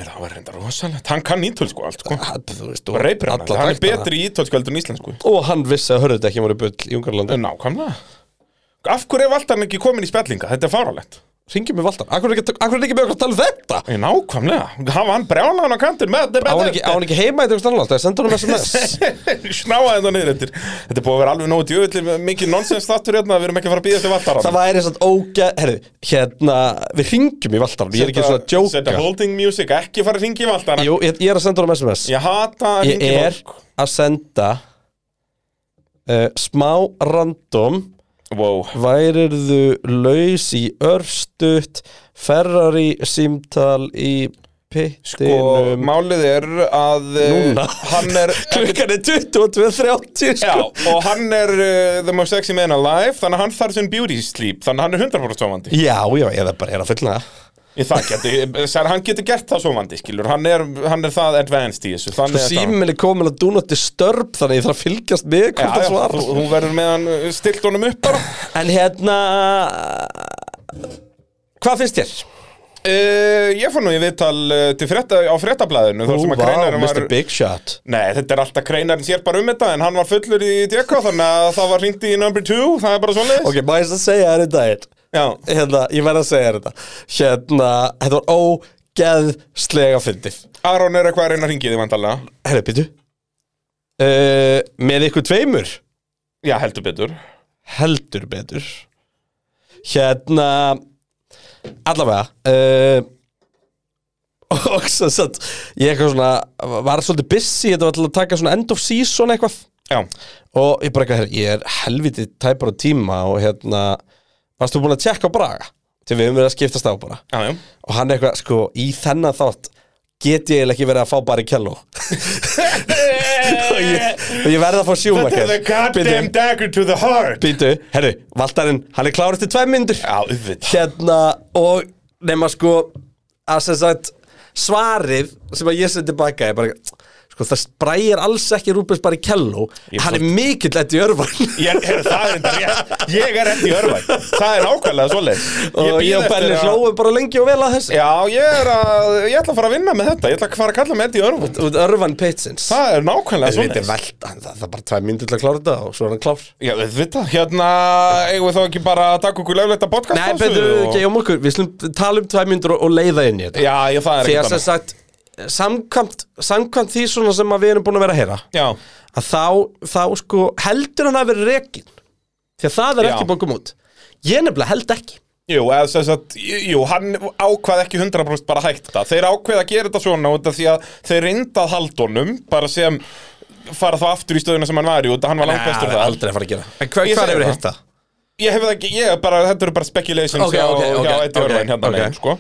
[SPEAKER 3] Það var reynda rosalegt Hann kann ítalsku allt sko
[SPEAKER 2] Að, Þú veist, og
[SPEAKER 3] Reipir hann
[SPEAKER 2] alla
[SPEAKER 3] Hann er
[SPEAKER 2] helgana.
[SPEAKER 3] betri í ítalsku heldur en íslensku
[SPEAKER 2] Og hann vissi að hörðu þetta ekki voru bull í Ungarlandi
[SPEAKER 3] Nákvæmlega Af hverju er Valdarn ekki komin í spellinga? Þetta er fáralegt
[SPEAKER 2] Ringjum með Valdarn Akkur er ekki, akkur er ekki með okkur að tala um þetta?
[SPEAKER 3] Nákvæmlega Hafa hann brjálaðan á kantin með
[SPEAKER 2] Á hann ekki, á hann ekki heima í þessu annars Það er sendur hann SMS
[SPEAKER 3] Snáa þetta niður eftir Þetta er búið að vera alveg nógu djöfulli Mikið nonsens þáttur hérna Við erum ekki að fara að býða eftir Valdarn
[SPEAKER 2] Það væri samt ógæð, herru, hérna, við ringjum í Valdarn, ég er ekki svona að
[SPEAKER 3] Setta
[SPEAKER 2] djóka
[SPEAKER 3] holding music Ekki fara að ringi í Valdarn
[SPEAKER 2] Jú, ég, ég er að senda honum SMS
[SPEAKER 3] Ég hata að
[SPEAKER 2] Ég
[SPEAKER 3] hringja í
[SPEAKER 2] er
[SPEAKER 3] fólk.
[SPEAKER 2] að senda uh, smá random
[SPEAKER 3] Wow.
[SPEAKER 2] værirðu laus í örstutt Ferrari símtal í
[SPEAKER 3] Og
[SPEAKER 2] pittinum
[SPEAKER 3] málið er að eh,
[SPEAKER 2] Núna.
[SPEAKER 3] hann er
[SPEAKER 2] klukkan er 22.30
[SPEAKER 3] Já,
[SPEAKER 2] sko.
[SPEAKER 3] og hann er uh, the most sexy man alive Þannig að hann þarf sinn beauty sleep Þannig að hann er 100% sofandi
[SPEAKER 2] já, já, eða bara er að fylla það.
[SPEAKER 3] Ég það geti, sér, hann getur gert það sofandi skilur Hann er, hann er það advanced í þessu Þannig er það.
[SPEAKER 2] síminn er komin að dúna til störp þannig ég þarf að fylgjast með
[SPEAKER 3] Já,
[SPEAKER 2] hvort
[SPEAKER 3] já,
[SPEAKER 2] það svar
[SPEAKER 3] þú, þú verður með hann eh, stillt honum upp bara
[SPEAKER 2] en hérna hvað finnst þér?
[SPEAKER 3] uh, Ég fór nú í viðtal uh, til frétta, á fréttablaðinu þar
[SPEAKER 2] Ú,
[SPEAKER 3] sem að
[SPEAKER 2] vá,
[SPEAKER 3] greinarinn
[SPEAKER 2] Mr.
[SPEAKER 3] var-
[SPEAKER 2] Big Shot
[SPEAKER 3] Nei, þetta er alltaf kreinarinn sér bara um þetta En hann var fullur í DK Þannig að það var hringt í number two Það er bara svoleiðis
[SPEAKER 2] ok, maður þess að segja þér þetta eitt
[SPEAKER 3] Já.
[SPEAKER 2] hérna, ég verð að segja þér þetta hérna, þetta var ógeðslega fyndið
[SPEAKER 3] Aron er eitthvað að reyna að hringið í vandalega
[SPEAKER 2] herri, býtu uh, með ykkur tveimur
[SPEAKER 3] Já, heldur betur
[SPEAKER 2] heldur betur hérna allavega uh, og sem sagt ég eitthvað svona, var svolítið busy þetta var til að taka svona end of season eitthvað
[SPEAKER 3] Já,
[SPEAKER 2] og ég bara eitthvað, herri, ég er helviti tæpar á tíma og hérna varst þú búin að tjekka á Braga? til við höfum verið að skiptast á bara
[SPEAKER 3] já, já
[SPEAKER 2] og hann eitthvað, sko, í þennan þátt get ég eiginlega ekki verið að fá bara í kelló og ég, og ég verði að fá
[SPEAKER 3] Þetta er Eh, the goddamn
[SPEAKER 2] sjúmakar
[SPEAKER 3] dagger to the heart
[SPEAKER 2] Býtu, herru, Valdarinn, hann er klár eftir tvær myndur
[SPEAKER 3] Já, auðvitað
[SPEAKER 2] hérna og nema sko að sem sagt svarið sem að ég sendi baka er bara sko það spræjar alls ekki Rúbens bara í kelló
[SPEAKER 3] Ég
[SPEAKER 2] hann
[SPEAKER 3] fór-
[SPEAKER 2] er mikill eftir örvarn
[SPEAKER 3] Ég, heru, það er enda rétt Ég er eftir örvæg Það er nákvæmlega svoleið
[SPEAKER 2] og ég og Benni hlóum bara lengi og vel að þessu
[SPEAKER 3] Já, ég er að Ég ætla að fara að vinna með þetta Ég ætla að fara að kalla með eftir örvæg
[SPEAKER 2] út örvan pitsins
[SPEAKER 3] Það er nákvæmlega
[SPEAKER 2] Við veitum
[SPEAKER 3] svoleið
[SPEAKER 2] velta, hann- það, það er bara tvær myndir til að klára þetta og svo er hann klár
[SPEAKER 3] Já, auðvitað Hérna, eigum við þá ekki bara að taka okkur lögleita podcast
[SPEAKER 2] Nei,
[SPEAKER 3] á þessu
[SPEAKER 2] betur við
[SPEAKER 3] og-
[SPEAKER 2] ekki um okkur, við slum tala um tvær myndir og, og leiða inn í þetta
[SPEAKER 3] Já, ég, það er
[SPEAKER 2] Því að
[SPEAKER 3] ekkert
[SPEAKER 2] sem sagt, samkvæmt, samkvæmt því svona sem að við erum búin að vera að heyra
[SPEAKER 3] annað. Já,
[SPEAKER 2] að þá, þá sko heldur hann að vera rekin því að það er
[SPEAKER 3] Já.
[SPEAKER 2] ekki bókum út ég nefnilega held ekki
[SPEAKER 3] Jú, eða sem sagt, jú, hann ákvað ekki 100% bara að hætta. Þeir ákveða að gera þetta svona út af því að þeir reyndað haldunum, bara sem fara þá aftur í stöðuna sem hann var í út af hann var langt bestur
[SPEAKER 2] Nei,
[SPEAKER 3] það.
[SPEAKER 2] aldrei að fara að gera En hvað
[SPEAKER 3] Ég segi
[SPEAKER 2] hefur
[SPEAKER 3] það.
[SPEAKER 2] hirt það?
[SPEAKER 3] Ég hef það ekki, ég er bara, þetta eru bara speculations
[SPEAKER 2] Ok, ok,
[SPEAKER 3] hjá,
[SPEAKER 2] ok,
[SPEAKER 3] hjá Eddie
[SPEAKER 2] ok,
[SPEAKER 3] Irvine hérna
[SPEAKER 2] ok.
[SPEAKER 3] meginn, sko.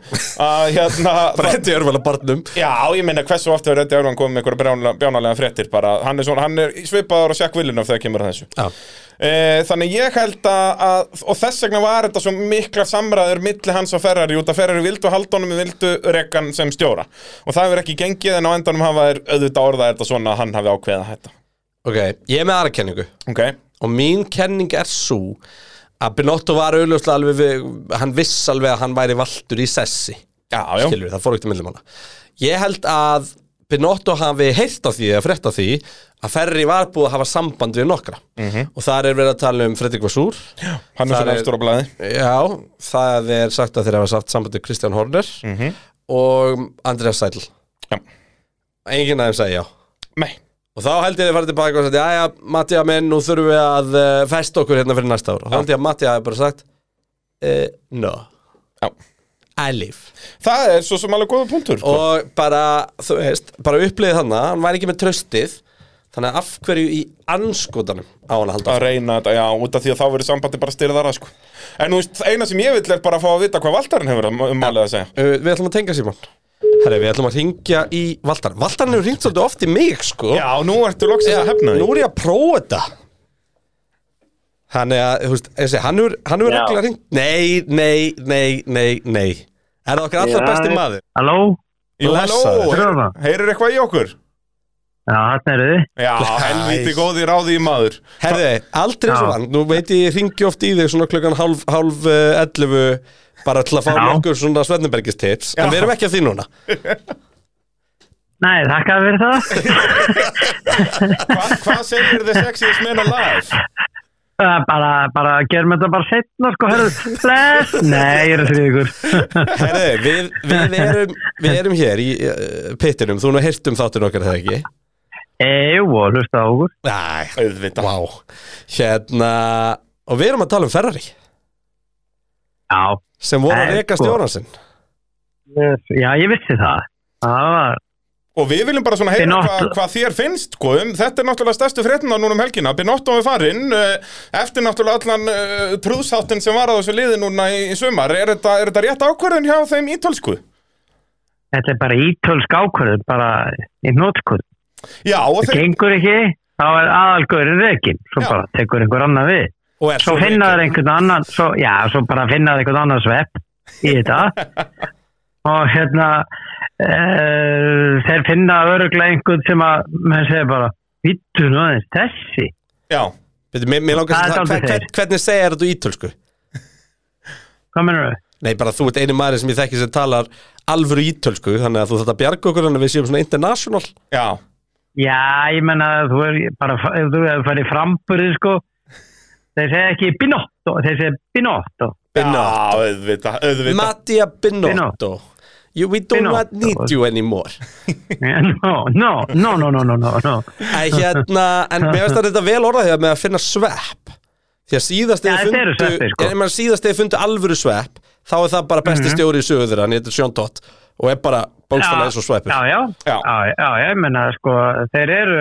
[SPEAKER 3] Að hérna,
[SPEAKER 2] Bara
[SPEAKER 3] það,
[SPEAKER 2] hitt í örvala barnum
[SPEAKER 3] já, ég meina hversu ofta er Eddie Irvine komið með einhverja bjánalega fréttir bara, hann er svona, hann er svipaður og sjakk villinaf þegar kemur að þessu.
[SPEAKER 2] Já,
[SPEAKER 3] Eh, Þannig ég held að, að og þess vegna var þetta svo mikla samræður milli hans og Ferrari út að Ferrari vildu haldunum vildu rekkan sem stjóra og það hefur ekki gengið en á endanum hafa þeir auðvitað orðað þetta svona að hann hafi ákveða þetta
[SPEAKER 2] ok, ég er með aðra kenningu
[SPEAKER 3] Ok,
[SPEAKER 2] og mín kenning er svo að Binotto var auðljóslega alveg við, hann viss alveg að hann væri valtur í sessi
[SPEAKER 3] já, já,
[SPEAKER 2] skilur við, það fór ekkert millum hana ég held að Binotto hafi heyrt af því eða frétt af því að Ferri var búið að hafa samband við nokkra
[SPEAKER 3] Mhm.
[SPEAKER 2] -hmm. og þar er verið að tala um Fredrik Vassúr
[SPEAKER 3] hann er
[SPEAKER 2] Það
[SPEAKER 3] svona
[SPEAKER 2] er-
[SPEAKER 3] efstur á blæði
[SPEAKER 2] Já, það er sagt að þeir hafa satt sambandið Kristján Horner og Andreas Sæl
[SPEAKER 3] Já,
[SPEAKER 2] Enginn aðeins sagði já
[SPEAKER 3] nei,
[SPEAKER 2] Og þá held ég að fara tilbaka og sagði Jæja, Matti að minn, nú þurfum við að uh, festa okkur hérna fyrir næsta ár Og þá held ég að Matti hafi bara sagt uh, No,
[SPEAKER 3] já
[SPEAKER 2] I live
[SPEAKER 3] Það er svo sem alveg góða punktur sko.
[SPEAKER 2] Og bara, þú veist, bara upplýðið þannig Hann væri ekki með traustið Þannig að af hverju í anskotanum á hann að halda
[SPEAKER 3] að reyna þetta, já, út af því að þá verður sambandi bara styrðara, sko En þú veist, eina sem ég vill er bara að fá að vita hvað Valdarinn hefur um um málið að segja
[SPEAKER 2] Uh, Við ætlum að tengja Simon Herri, við ætlum að ringja í Valdarn Valdarn hefur ringt svolítið oft í mig, sko
[SPEAKER 3] Já, nú ertu loksins að hefna því
[SPEAKER 2] Nú er ég að prófa þetta Hann er að, þú veist, þessi, hann er, hann er
[SPEAKER 4] Já.
[SPEAKER 2] reglulega hringt Nei, nei, nei, nei, nei Er það okkar allra
[SPEAKER 4] Já,
[SPEAKER 2] besti
[SPEAKER 4] ég-
[SPEAKER 2] maður?
[SPEAKER 4] Halló?
[SPEAKER 3] Jú,
[SPEAKER 2] Blessaður.
[SPEAKER 3] halló,
[SPEAKER 4] Þrjóðan.
[SPEAKER 3] heyrir eitthvað í okkur?
[SPEAKER 4] Já, þarna eru þið.
[SPEAKER 3] Já, helviti góði ráði í maður
[SPEAKER 2] Herði, aldrei
[SPEAKER 4] Já.
[SPEAKER 2] svo hann Nú veit ég, ég ringi oft í þig svona klukkan hálf, hálf uh, 11 Bara til að fá
[SPEAKER 4] Já.
[SPEAKER 2] nokkur svona Svefnubergis tips En við erum ekki að því núna
[SPEAKER 4] Nei, þakka fyrir það.
[SPEAKER 3] Hva, Hvað segir þið sexiest men alive?
[SPEAKER 4] Það er bara, bara, gerum þetta bara setna, sko, hörðu, bless. Nei, ég er að þrjóða ykkur.
[SPEAKER 2] Herði, við, við, erum, við erum hér í uh, pittinum Þú nú heyrt um þáttun okkar þegar ekki
[SPEAKER 4] E, jú, og hlusta á okkur.
[SPEAKER 2] Æ,
[SPEAKER 3] Auðvitað
[SPEAKER 2] vá Hérna, og við erum að tala um Ferrari
[SPEAKER 4] Já,
[SPEAKER 2] sem voru að
[SPEAKER 4] Nei,
[SPEAKER 2] reka
[SPEAKER 4] sko.
[SPEAKER 2] stjóran sinn
[SPEAKER 4] yes. já, ég vissi það. Það var,
[SPEAKER 3] Og við viljum bara svona heyra
[SPEAKER 4] Binotto.
[SPEAKER 3] hvað hva þér finnst sko, um, Þetta er náttúrulega stærstu fréttina núna um helgina Binotto er farinn eh, Eftir náttúrulega allan uh, trúðsáttin sem var á þessu liði núna í, í sumar Er þetta, er þetta rétt ákvörðin hjá þeim ítölsku?
[SPEAKER 4] þetta er bara ítölsk ákvörðun, bara í nótskur.
[SPEAKER 3] Já, og
[SPEAKER 4] Það
[SPEAKER 3] þeir
[SPEAKER 4] gengur ekki, þá er aðalgöðurinn rekin. Svo
[SPEAKER 3] Já.
[SPEAKER 4] bara tekur einhver annar við.
[SPEAKER 2] og er
[SPEAKER 4] Svo finnaður einhvern annan, svo, já, svo bara finnaður einhvern annan svepp í þetta. og hérna, e, þeir finna öruglega einhvern sem að, menn segir bara, vittu nú aðeins þessi.
[SPEAKER 3] Já,
[SPEAKER 2] Veitu, mér, mér
[SPEAKER 4] Það
[SPEAKER 2] langast að
[SPEAKER 4] er dálítið
[SPEAKER 2] hvern, hvern,
[SPEAKER 4] þeir.
[SPEAKER 2] hvernig segir þetta á ítölsku?
[SPEAKER 4] Hvað mennur þau?
[SPEAKER 2] Nei, bara þú ert einu maður sem ég þekki sem talar alvöru ítölsku, þannig að þú þarft að bjarga okkur þannig að við séum svona international
[SPEAKER 3] já
[SPEAKER 4] Já, ég menna að þú er bara, ef þú hefur farið framburði, sko, þeir segja ekki binotto, þeir segja binotto.
[SPEAKER 2] Binotto.
[SPEAKER 3] Já, auðvitað, auðvitað
[SPEAKER 2] Mattia Binotto,
[SPEAKER 4] Binotto.
[SPEAKER 2] You, We do not
[SPEAKER 4] Binotto.
[SPEAKER 2] need you anymore
[SPEAKER 4] No, no, no, no, no, no, no, no.
[SPEAKER 2] Æ, hérna, En mér veist að þetta vel orða þegar með að finna svepp Því að síðast
[SPEAKER 4] Já, þetta eru sveppir, sko. Mhm.
[SPEAKER 2] en, síðast eða fundu alvöru svepp þá er það bara besti stjóri í sögur þeirra hann heitir Sean Todd og er bara bókstælega eins og sveppur
[SPEAKER 4] já, já,
[SPEAKER 3] Já.
[SPEAKER 4] já, já, já, ég menna sko, þeir eru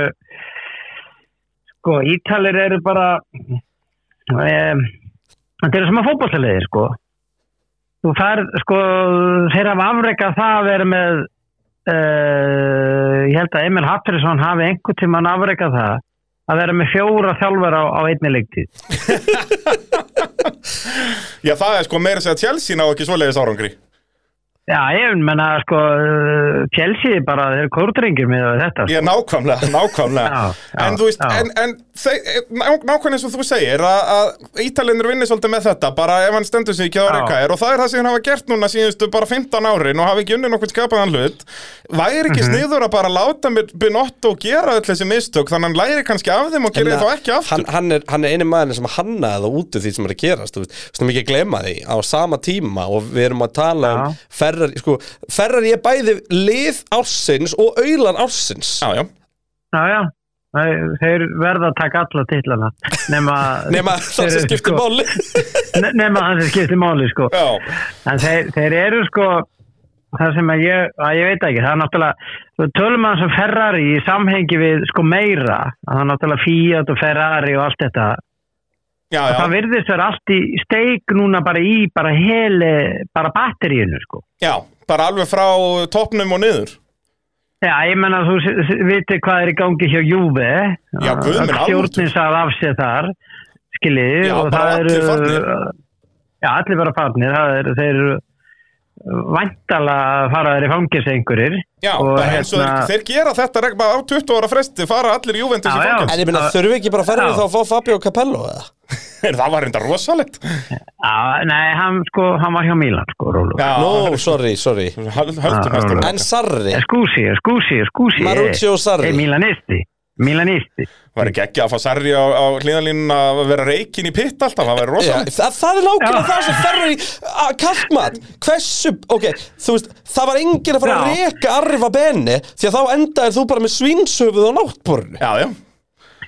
[SPEAKER 4] sko, Ítalir eru bara um, þeir eru sem að fótbollaliðir sko þú færð, sko, þeir hafa afrekað það að vera með uh, ég held að Emil Haftarsson hafi einhvern tímann afreikað það að vera með fjóra þjálfara á, á einni leiktíð.
[SPEAKER 3] Já, það er sko meira að segja Chelsea ná ekki svoleiðis árangri
[SPEAKER 4] Já, ég menna sko uh, Chelsea bara, þeir eru kórdringir með þetta.
[SPEAKER 3] Ég nákvæmlega, nákvæmlega
[SPEAKER 4] Já, já,
[SPEAKER 3] En þú veist,
[SPEAKER 4] já.
[SPEAKER 3] en, en þe- ná, nákvæmlega eins og þú segir að, að Ítalinur vinni svolítið með þetta bara ef hann stendur sig ekki að
[SPEAKER 4] Já.
[SPEAKER 3] orðika er og það er það sem hann hafa gert núna síðustu bara 15 árin og hafi ekki unni nokkuð skapaðan hlut væri
[SPEAKER 4] Mhm.
[SPEAKER 3] ekki sniður að bara láta mér Binotto gera öll þessi mistök þannig hann læri kannski af þeim og gerir þá ekki aftur
[SPEAKER 2] hann, hann, er, hann er eini maðurinn sem hannaði það út úr því sem er að gerast, þú veist, þú veist ekki að glema því á sama tíma og við erum að tala um
[SPEAKER 4] Já.
[SPEAKER 2] ferrar, sko, ferrar ég bæði lið ársins og auðlan ársins
[SPEAKER 3] Já, já,
[SPEAKER 4] Já, já. Þeir, þeir verða að taka alla titlana. Nema,
[SPEAKER 2] nema það sem
[SPEAKER 4] Sko.
[SPEAKER 2] skiptir máli
[SPEAKER 4] máli. Nema það sem skiptir máli, sko.
[SPEAKER 3] já,
[SPEAKER 4] En þeir, þeir eru sko það sem að ég, að ég veit ekki það er náttúrulega, þú tölum að þessu Ferrari í samhengi við sko meira að það er náttúrulega Fiat og Ferrari og allt þetta
[SPEAKER 3] já,
[SPEAKER 4] það
[SPEAKER 3] já,
[SPEAKER 4] virðist vera allt í steik núna bara í, bara hele, bara batteríinu sko.
[SPEAKER 3] já bara alveg frá toppnum og niður
[SPEAKER 4] Já, ég menna þú s- s- viti hvað er í gangi hjá Juve
[SPEAKER 3] Já, guð minn almáttugur.
[SPEAKER 4] Stjórnin sagði af sér þar skiljiði
[SPEAKER 3] Já,
[SPEAKER 4] og
[SPEAKER 3] bara
[SPEAKER 4] það
[SPEAKER 3] allir
[SPEAKER 4] eru
[SPEAKER 3] farnir.
[SPEAKER 4] Já, allir bara farnir það eru, þeir eru væntala að fara þeir í fangis einhverjir
[SPEAKER 3] Já,
[SPEAKER 4] Og
[SPEAKER 3] bara eins og
[SPEAKER 4] hérna-
[SPEAKER 3] þeir, þeir gera þetta regn- bara á 20 ára fresti fara allir júvendis í
[SPEAKER 4] Já, já.
[SPEAKER 3] fangins
[SPEAKER 2] en ég minna þurfi ekki bara ferrar
[SPEAKER 4] Já.
[SPEAKER 2] þá að fá Fabio Capello eða?
[SPEAKER 3] Það var reynda rosalegt
[SPEAKER 4] Já, nei, hann sko, hann var hjá Mílan sko, Rólu.
[SPEAKER 3] Já,
[SPEAKER 2] no, sorry, sorry
[SPEAKER 3] höldum næstu
[SPEAKER 4] já, já.
[SPEAKER 2] en Sarri,
[SPEAKER 4] Skúsi, skúsi, skúsi.
[SPEAKER 2] Maruccio Sarri.
[SPEAKER 4] Hey, Mílanisti, Mílanisti.
[SPEAKER 3] Var ekki ekki að fá Sarri á, á hlýðanlínun að vera reikin í pitt alltaf, það væri
[SPEAKER 2] Já,
[SPEAKER 3] rosalegt
[SPEAKER 2] það, það er nákvæmlega
[SPEAKER 4] Já.
[SPEAKER 2] það sem ferrar í kallmat hversu, ok, þú veist það var enginn að fara að
[SPEAKER 4] Já.
[SPEAKER 2] reka Arriva Bene því að þá endaðir þú bara með svinshöfuð á náttborinu
[SPEAKER 3] Já, já,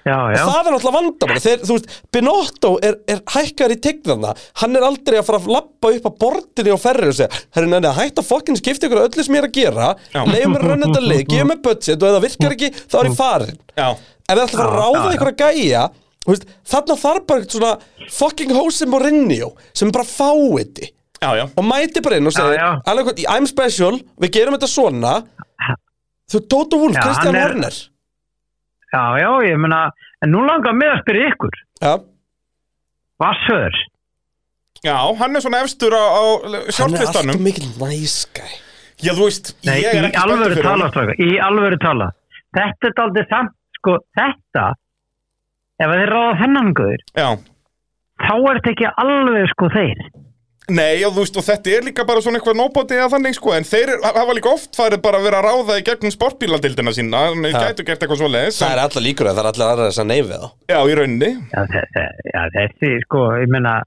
[SPEAKER 4] Já, já.
[SPEAKER 2] það er náttúrulega vandamál þeir, þú veist, Binotto er, er hækkar í tegnana hann er aldrei að fara að lappa upp á bordinu og ferri og segja herru neina, hætt að fokkin skipta ykkur af öllu sem ég er að gera
[SPEAKER 3] Já.
[SPEAKER 2] leiðum mér að rönna þetta leið, gefum mér budget og ef það virkar ekki, þá er ég farin
[SPEAKER 3] já
[SPEAKER 2] ef við ætlum að fara að
[SPEAKER 4] Já,
[SPEAKER 2] ráða
[SPEAKER 4] já,
[SPEAKER 2] ykkur að gæja þú veist, þarna þarf bara eitthvað svona fucking Jose Mourinho sem er bara fáiði
[SPEAKER 3] Já, já,
[SPEAKER 2] og mæti bara inn og segir
[SPEAKER 4] Já, já.
[SPEAKER 2] alveg hvort, I'm special, við gerum þetta svona þú Tóta Wolf,
[SPEAKER 4] Já, hann
[SPEAKER 2] Kristján
[SPEAKER 4] er-
[SPEAKER 2] Horner
[SPEAKER 4] Já, já, ég meina, en nú langar mig að spyrja ykkur.
[SPEAKER 2] já,
[SPEAKER 4] Vassur.
[SPEAKER 3] já, hann er svona efstur á, á
[SPEAKER 2] hann er alltaf
[SPEAKER 3] sjálflistanum
[SPEAKER 2] mikil næskæ
[SPEAKER 3] Já, þú veist,
[SPEAKER 4] Nei,
[SPEAKER 3] ég er
[SPEAKER 4] í
[SPEAKER 3] ekki spenntur
[SPEAKER 4] alvöru
[SPEAKER 3] fyrir
[SPEAKER 4] tala,
[SPEAKER 3] honum.
[SPEAKER 4] stráka, í alvöru tala. Þetta er aldrei samt, sko, þetta, ef þeir ráða þennan guður,
[SPEAKER 3] Já,
[SPEAKER 4] þá er þetta ekki alveg sko þeir.
[SPEAKER 3] nei, já, þú veist, og þetta er líka bara svona eitthvað nóbóti eða þannig, sko, en þeir er- hafa líka oft farið bara að vera að ráða í gegnum sportbíladildina sína, þannig
[SPEAKER 2] Já.
[SPEAKER 3] gætu gert eitthvað svoleiðis
[SPEAKER 2] það er alltaf líkur að það er alltaf aðra þess að neyfi þá
[SPEAKER 3] Já, í rauninni
[SPEAKER 4] Já, þe- þe- já, þessi, sko, ég meina,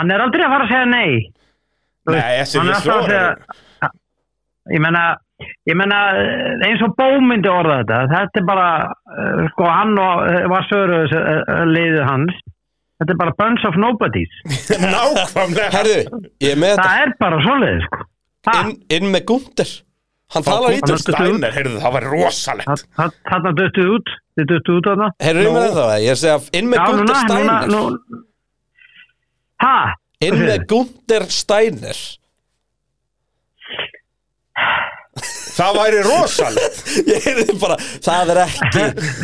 [SPEAKER 4] hann er aldrei að fara að segja nei. Þú
[SPEAKER 3] Nei,
[SPEAKER 4] veist,
[SPEAKER 3] þessi
[SPEAKER 4] hann er
[SPEAKER 3] vissu
[SPEAKER 4] alltaf að
[SPEAKER 3] orð
[SPEAKER 4] segja- ég meina ég meina eh, eins og bómyndi orða þetta þetta er bara uh, sko hann og uh, var söru uh, liðið hans þetta er bara bunch of nobodies
[SPEAKER 3] Nákvæmlega
[SPEAKER 2] herðu, ég er með þetta
[SPEAKER 4] það er bara svoleiðið sko Ha,
[SPEAKER 2] inn, inn með Gunther hann talar
[SPEAKER 3] Gunnar
[SPEAKER 2] ítum
[SPEAKER 3] Steiner, heyrðu, það var rosalegt
[SPEAKER 4] þa- þa- þarna döttuð út þið döttuð út þarna
[SPEAKER 2] um- Heyrðu
[SPEAKER 3] Nú.
[SPEAKER 2] mig það, ég er að segja inn með
[SPEAKER 4] Já,
[SPEAKER 2] Gunther
[SPEAKER 4] núna, núna,
[SPEAKER 2] Steiner
[SPEAKER 4] nú ha,
[SPEAKER 2] inn með Gunther Steiner
[SPEAKER 3] Það væri rosalegt
[SPEAKER 2] ég heyrði bara, það er ekki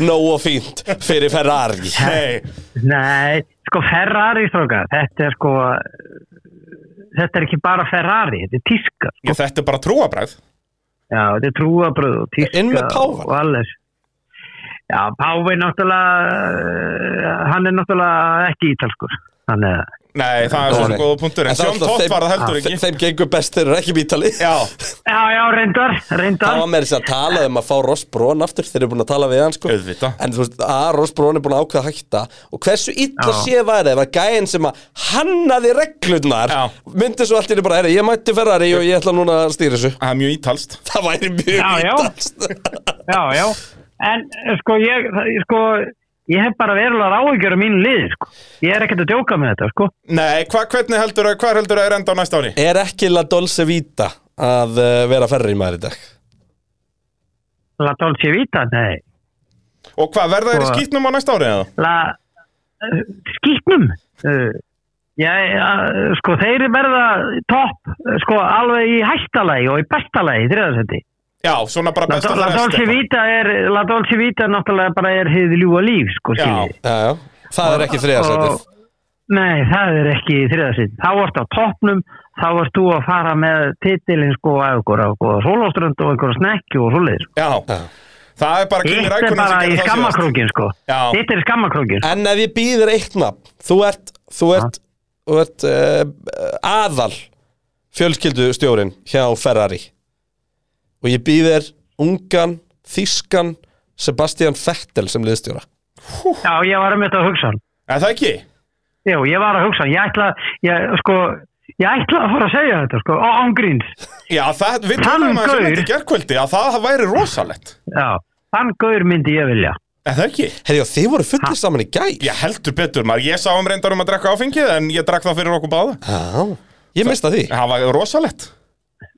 [SPEAKER 2] nógu fínt fyrir Ferrari
[SPEAKER 3] Nei,
[SPEAKER 4] nei, sko Ferrari stróka, þetta er sko eh, þetta er ekki bara Ferrari þetta er tíska,
[SPEAKER 3] ég, þetta er bara trúabræð
[SPEAKER 4] já, þetta er trúabröð og tíska
[SPEAKER 2] Inn með páfann.
[SPEAKER 4] og alles já, Páfi náttúrulega eh, hann er náttúrulega ekki ítalskur hann er
[SPEAKER 3] Nei, það er
[SPEAKER 2] Nei.
[SPEAKER 3] svona góða punktur En
[SPEAKER 2] En það er
[SPEAKER 3] Sjón
[SPEAKER 2] alltaf
[SPEAKER 3] Tótt
[SPEAKER 2] þeim-
[SPEAKER 3] var það heldur
[SPEAKER 2] Þe-
[SPEAKER 3] ekki
[SPEAKER 2] þeim gengur best þeir eru ekki mítali
[SPEAKER 3] Já,
[SPEAKER 4] já, já, reyndar,
[SPEAKER 2] Það
[SPEAKER 4] reyndar
[SPEAKER 2] var með þess að tala um að fá Ross Brón aftur þeir eru búin að tala við hann sko
[SPEAKER 3] Auðvitað.
[SPEAKER 2] En þú veist, að Ross Brón er búin að ákveða að hætta Og hversu illa
[SPEAKER 4] Já.
[SPEAKER 2] séð væri ef að gæinn sem að hannaði reglurnar
[SPEAKER 3] Já.
[SPEAKER 2] Myndi svo allt í einu bara, herri, ég mætti Ferrari og ég ætla núna að stýra þessu
[SPEAKER 3] það er mjög ítalst
[SPEAKER 2] Það væri mjög
[SPEAKER 4] Já, já.
[SPEAKER 2] ítast
[SPEAKER 4] já, já, en eh, sko ég, það- ég, sko ég hef bara verulega ráðugjör á mínu lið, sko ég er ekkert að djóka með þetta, sko
[SPEAKER 3] Nei, hva, hvernig heldur að, hvað heldur að er enda á næsta ári?
[SPEAKER 2] Er ekki La Dolce Vita að uh, vera Ferrari maður í dag?
[SPEAKER 4] La Dolce Vita, nei
[SPEAKER 3] Og hvað, verða þeir í
[SPEAKER 4] Sko-
[SPEAKER 3] skýtnum á næsta ári eða?
[SPEAKER 4] La eh, skýtnum Eh, já, já, eh, sko þeir verða topp, eh, sko alveg í hæstalagi og í bestalagi, þriðasendi
[SPEAKER 3] Já, svona bara besta
[SPEAKER 4] La Dolce Vita er, La Dolce Vita náttúrulega bara er hið ljúa líf, sko,
[SPEAKER 3] Já.
[SPEAKER 4] skiljiði.
[SPEAKER 2] já, já. það er ekki þriðarsætið
[SPEAKER 4] Og- Nei, það er ekki þriðarsætið. Þá varst á toppnum, þá varst þú að fara með titilinn sko að ykkur, ykkur sóláströnd og ykkur snekju og svoleiðis. sko.
[SPEAKER 3] Já, það er bara Kimi
[SPEAKER 4] Hitt er
[SPEAKER 3] Rækonen
[SPEAKER 4] bara
[SPEAKER 3] sem gerir
[SPEAKER 4] í
[SPEAKER 3] það síðast.
[SPEAKER 4] skammakrókin sko.
[SPEAKER 3] Já.
[SPEAKER 4] Hitt er í skammakrókin.
[SPEAKER 2] En ef ég býðir eitt nafn Þú ert, þú ert, þú ert uh, aðal fjölskyldustjórin hjá Ferrari og ég býðir ungan, þýskan Sebastian Vettel sem liðstjóra
[SPEAKER 4] Já, ég var að mynda að hugsa hann.
[SPEAKER 3] Er það ekki?
[SPEAKER 4] Jú, ég var að hugsa hann. Ég ætla, ég, sko, ég ætla að fara að segja þetta sko, á- án gríns.
[SPEAKER 3] Já, það, við
[SPEAKER 4] Hann
[SPEAKER 3] tölum að sem
[SPEAKER 4] gaur.
[SPEAKER 3] þetta í gerkvöldi að það væri rosalegt
[SPEAKER 4] Já, þann gaur myndi ég vilja.
[SPEAKER 3] Er það ekki?
[SPEAKER 2] Herjá, þið voru fullir saman í gæl
[SPEAKER 3] Ég heldur betur maður, ég sá um reyndar um að drekka áfengið en ég drakk það fyrir okkur báða
[SPEAKER 2] Já, ég mista því
[SPEAKER 3] Það var rosalegt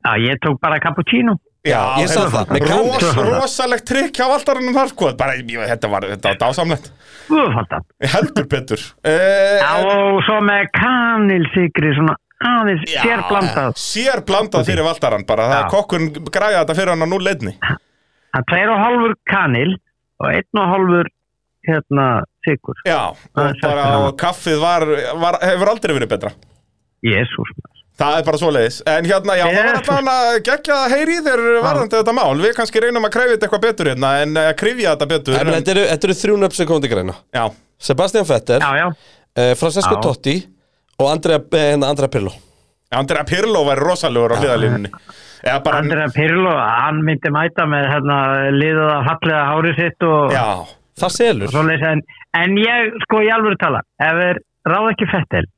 [SPEAKER 4] Já, ég tók bara cappuccino.
[SPEAKER 3] Já,
[SPEAKER 2] ég sagði það, með
[SPEAKER 3] Ros,
[SPEAKER 4] kanil.
[SPEAKER 3] Rosalegt trikk hjá valdarinn þar sko bara, ég, þetta, var, þetta var dásamlegt
[SPEAKER 4] Guðfaldan.
[SPEAKER 3] Ég heldur betur eh,
[SPEAKER 4] Já, og svo með kanilsikri svona aðeins
[SPEAKER 3] Já.
[SPEAKER 4] sérblandað.
[SPEAKER 3] Sér blandað fyrir valdarann bara það
[SPEAKER 4] Já.
[SPEAKER 3] er kokkun græða þetta fyrir hann á núl einni
[SPEAKER 4] Það er tveir og hálfur kanil og einn og hálfur hérna sigur.
[SPEAKER 3] Já, og
[SPEAKER 4] Það er
[SPEAKER 3] bara
[SPEAKER 4] þetta.
[SPEAKER 3] og kaffið var, var, hefur aldrei verið betra
[SPEAKER 4] Jésús.
[SPEAKER 3] Það er bara svoleiðis, en hérna, já, það var
[SPEAKER 4] Yes.
[SPEAKER 3] allan að gegja að heyri þér varðandi þetta mál Við kannski reynum að krefja þetta eitthvað betur hérna, en að krifja þetta betur
[SPEAKER 2] En þetta eru, þetta eru þrjú nöfn sem komið til greina
[SPEAKER 3] Já,
[SPEAKER 2] Sebastian Vettel,
[SPEAKER 4] Já, já.
[SPEAKER 2] uh, Francesco
[SPEAKER 4] Já.
[SPEAKER 2] Totti og Andrea, eh, Andrea Pirlo
[SPEAKER 3] Andrea Pirlo væri rosalegur á hliðalínunni Eða bara,
[SPEAKER 4] Andrea Pirlo, hann myndi mæta með hérna liðaða fallega hárið sitt og
[SPEAKER 3] já,
[SPEAKER 2] Það selur
[SPEAKER 4] svoleiðis. En, en ég, sko, ég alveg tala, ef er ráð ekki fettil,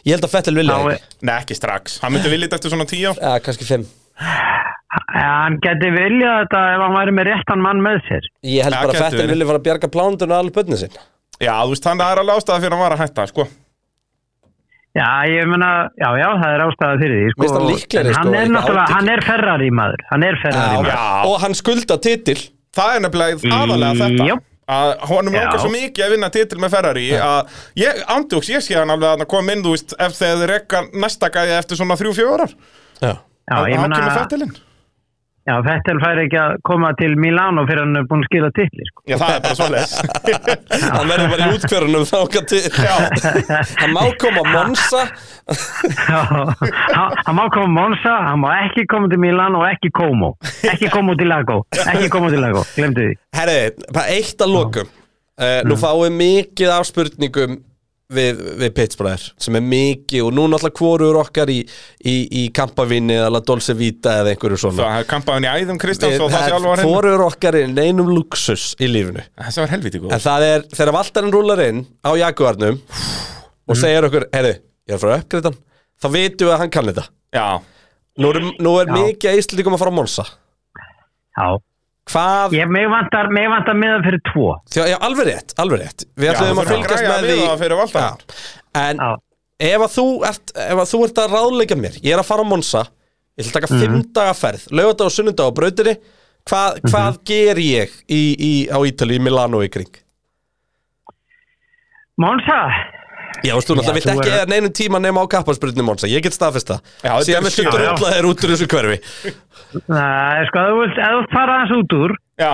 [SPEAKER 2] Ég held að Vettel vilja
[SPEAKER 4] þá
[SPEAKER 2] ekki
[SPEAKER 4] er,
[SPEAKER 3] Nei, ekki strax, hann myndi viljið eftir svona tíu ár.
[SPEAKER 2] Já, kannski fimm
[SPEAKER 4] hann geti viljað þetta ef hann væri með réttan mann með sér.
[SPEAKER 2] Ég held
[SPEAKER 3] Já,
[SPEAKER 2] bara að
[SPEAKER 3] gæti
[SPEAKER 2] Vettel
[SPEAKER 3] verið.
[SPEAKER 2] vilja fara að bjarga plándun og alveg bönni sinn
[SPEAKER 3] Já, þú veist, hann er alveg ástæða fyrir að hann var að hætta, sko
[SPEAKER 4] Já, ég meina, já, já, það er ástæða fyrir því, sko.
[SPEAKER 2] Mér finnst hann líklegri,
[SPEAKER 4] En
[SPEAKER 2] sko,
[SPEAKER 4] Hann er
[SPEAKER 2] eitthvað
[SPEAKER 4] náttúrulega,
[SPEAKER 2] átekið.
[SPEAKER 4] hann er ferrar í maður, hann er ferrar í maður.
[SPEAKER 3] Já.
[SPEAKER 2] Og hann skulda titil
[SPEAKER 3] Það er nefnilega aðalega þetta
[SPEAKER 4] Jú.
[SPEAKER 3] að honum
[SPEAKER 4] Mm, Já.
[SPEAKER 3] langar svo mikið að vinna titil með Ferrari að ég, andjóks, ég sé hann alveg að hann kom inn, þú veist, ef þegar þið rekka næsta gæði eftir svona þrjú-fjórar
[SPEAKER 2] Já
[SPEAKER 4] Já, ég
[SPEAKER 3] hann
[SPEAKER 4] meina-
[SPEAKER 3] kemur fættilinn
[SPEAKER 4] Já, Vettel fær ekki að koma til Milano fyrir hann er búin að skila titli, sko.
[SPEAKER 3] Já, það er bara svoleiðis
[SPEAKER 2] Hann verður bara í útkverunum þá kannti Hann má koma að Monsa
[SPEAKER 4] Já, hann hann má koma Monsa, hann má ekki koma til Milano og ekki Como. Ekki Como til Lago, ekki Como til Lago, glemdu því.
[SPEAKER 2] Herri, bara eitt að lokum uh, Nú fáum mikið af spurningum við, við Pittsbræðir sem er mikið og nú náttúrulega hvorur okkar í, í, í kampavinni eða Dolce Vita eða einhverju
[SPEAKER 3] Það
[SPEAKER 2] svona
[SPEAKER 3] hefði kampaðin í æðum Kristjáns og það sé alveg á hreinu.
[SPEAKER 2] Hvorur okkar er í neinum luxus í lífinu
[SPEAKER 3] Þessi var helviti góð
[SPEAKER 2] En það er, þegar valdarinn rúlar inn á Jaguarnum
[SPEAKER 3] Mm.
[SPEAKER 2] og segir okkur, herri, ég er að fara að uppgreita hann þá vitum við að hann kann þetta
[SPEAKER 3] Já,
[SPEAKER 2] Nú er, nú er
[SPEAKER 4] Já.
[SPEAKER 2] mikið að Íslandingum að fara á Monsa
[SPEAKER 4] Já,
[SPEAKER 2] Hvað?
[SPEAKER 4] ég, mig vantar, mig vantar miða fyrir tvo.
[SPEAKER 2] Þjá, já, alveg rétt, alveg rétt Við
[SPEAKER 3] Já,
[SPEAKER 2] ætlum að
[SPEAKER 3] þú þurfum að
[SPEAKER 2] fylgjast
[SPEAKER 3] græja
[SPEAKER 2] með
[SPEAKER 3] við
[SPEAKER 2] því
[SPEAKER 3] það fyrir valdarinn.
[SPEAKER 2] Já. En
[SPEAKER 4] Já,
[SPEAKER 2] ef að, þú ert, ef að þú ert að ráðleika mér Ég er að fara á Monsa Ég ætla að taka fimm
[SPEAKER 3] Mhm.
[SPEAKER 2] daga ferð Laugardag og sunnudag á brautinni Hvað, hvað ger ég í, í, á Ítali, í Milano í kring?
[SPEAKER 4] Monsa,
[SPEAKER 2] Já, veist, þú náttúrulega vilt
[SPEAKER 4] þú
[SPEAKER 2] ekki
[SPEAKER 4] er-
[SPEAKER 2] eða neinum tíma nema á kapparsprutinu Monsa, ég get staðfesta
[SPEAKER 3] Já, þetta
[SPEAKER 2] Síðan
[SPEAKER 3] er
[SPEAKER 2] viltu
[SPEAKER 3] skýrt.
[SPEAKER 2] drulla þér út úr þessu hverfi
[SPEAKER 4] það er sko, ef þú vilt, ef þú vilt fara aðeins út úr,
[SPEAKER 3] já,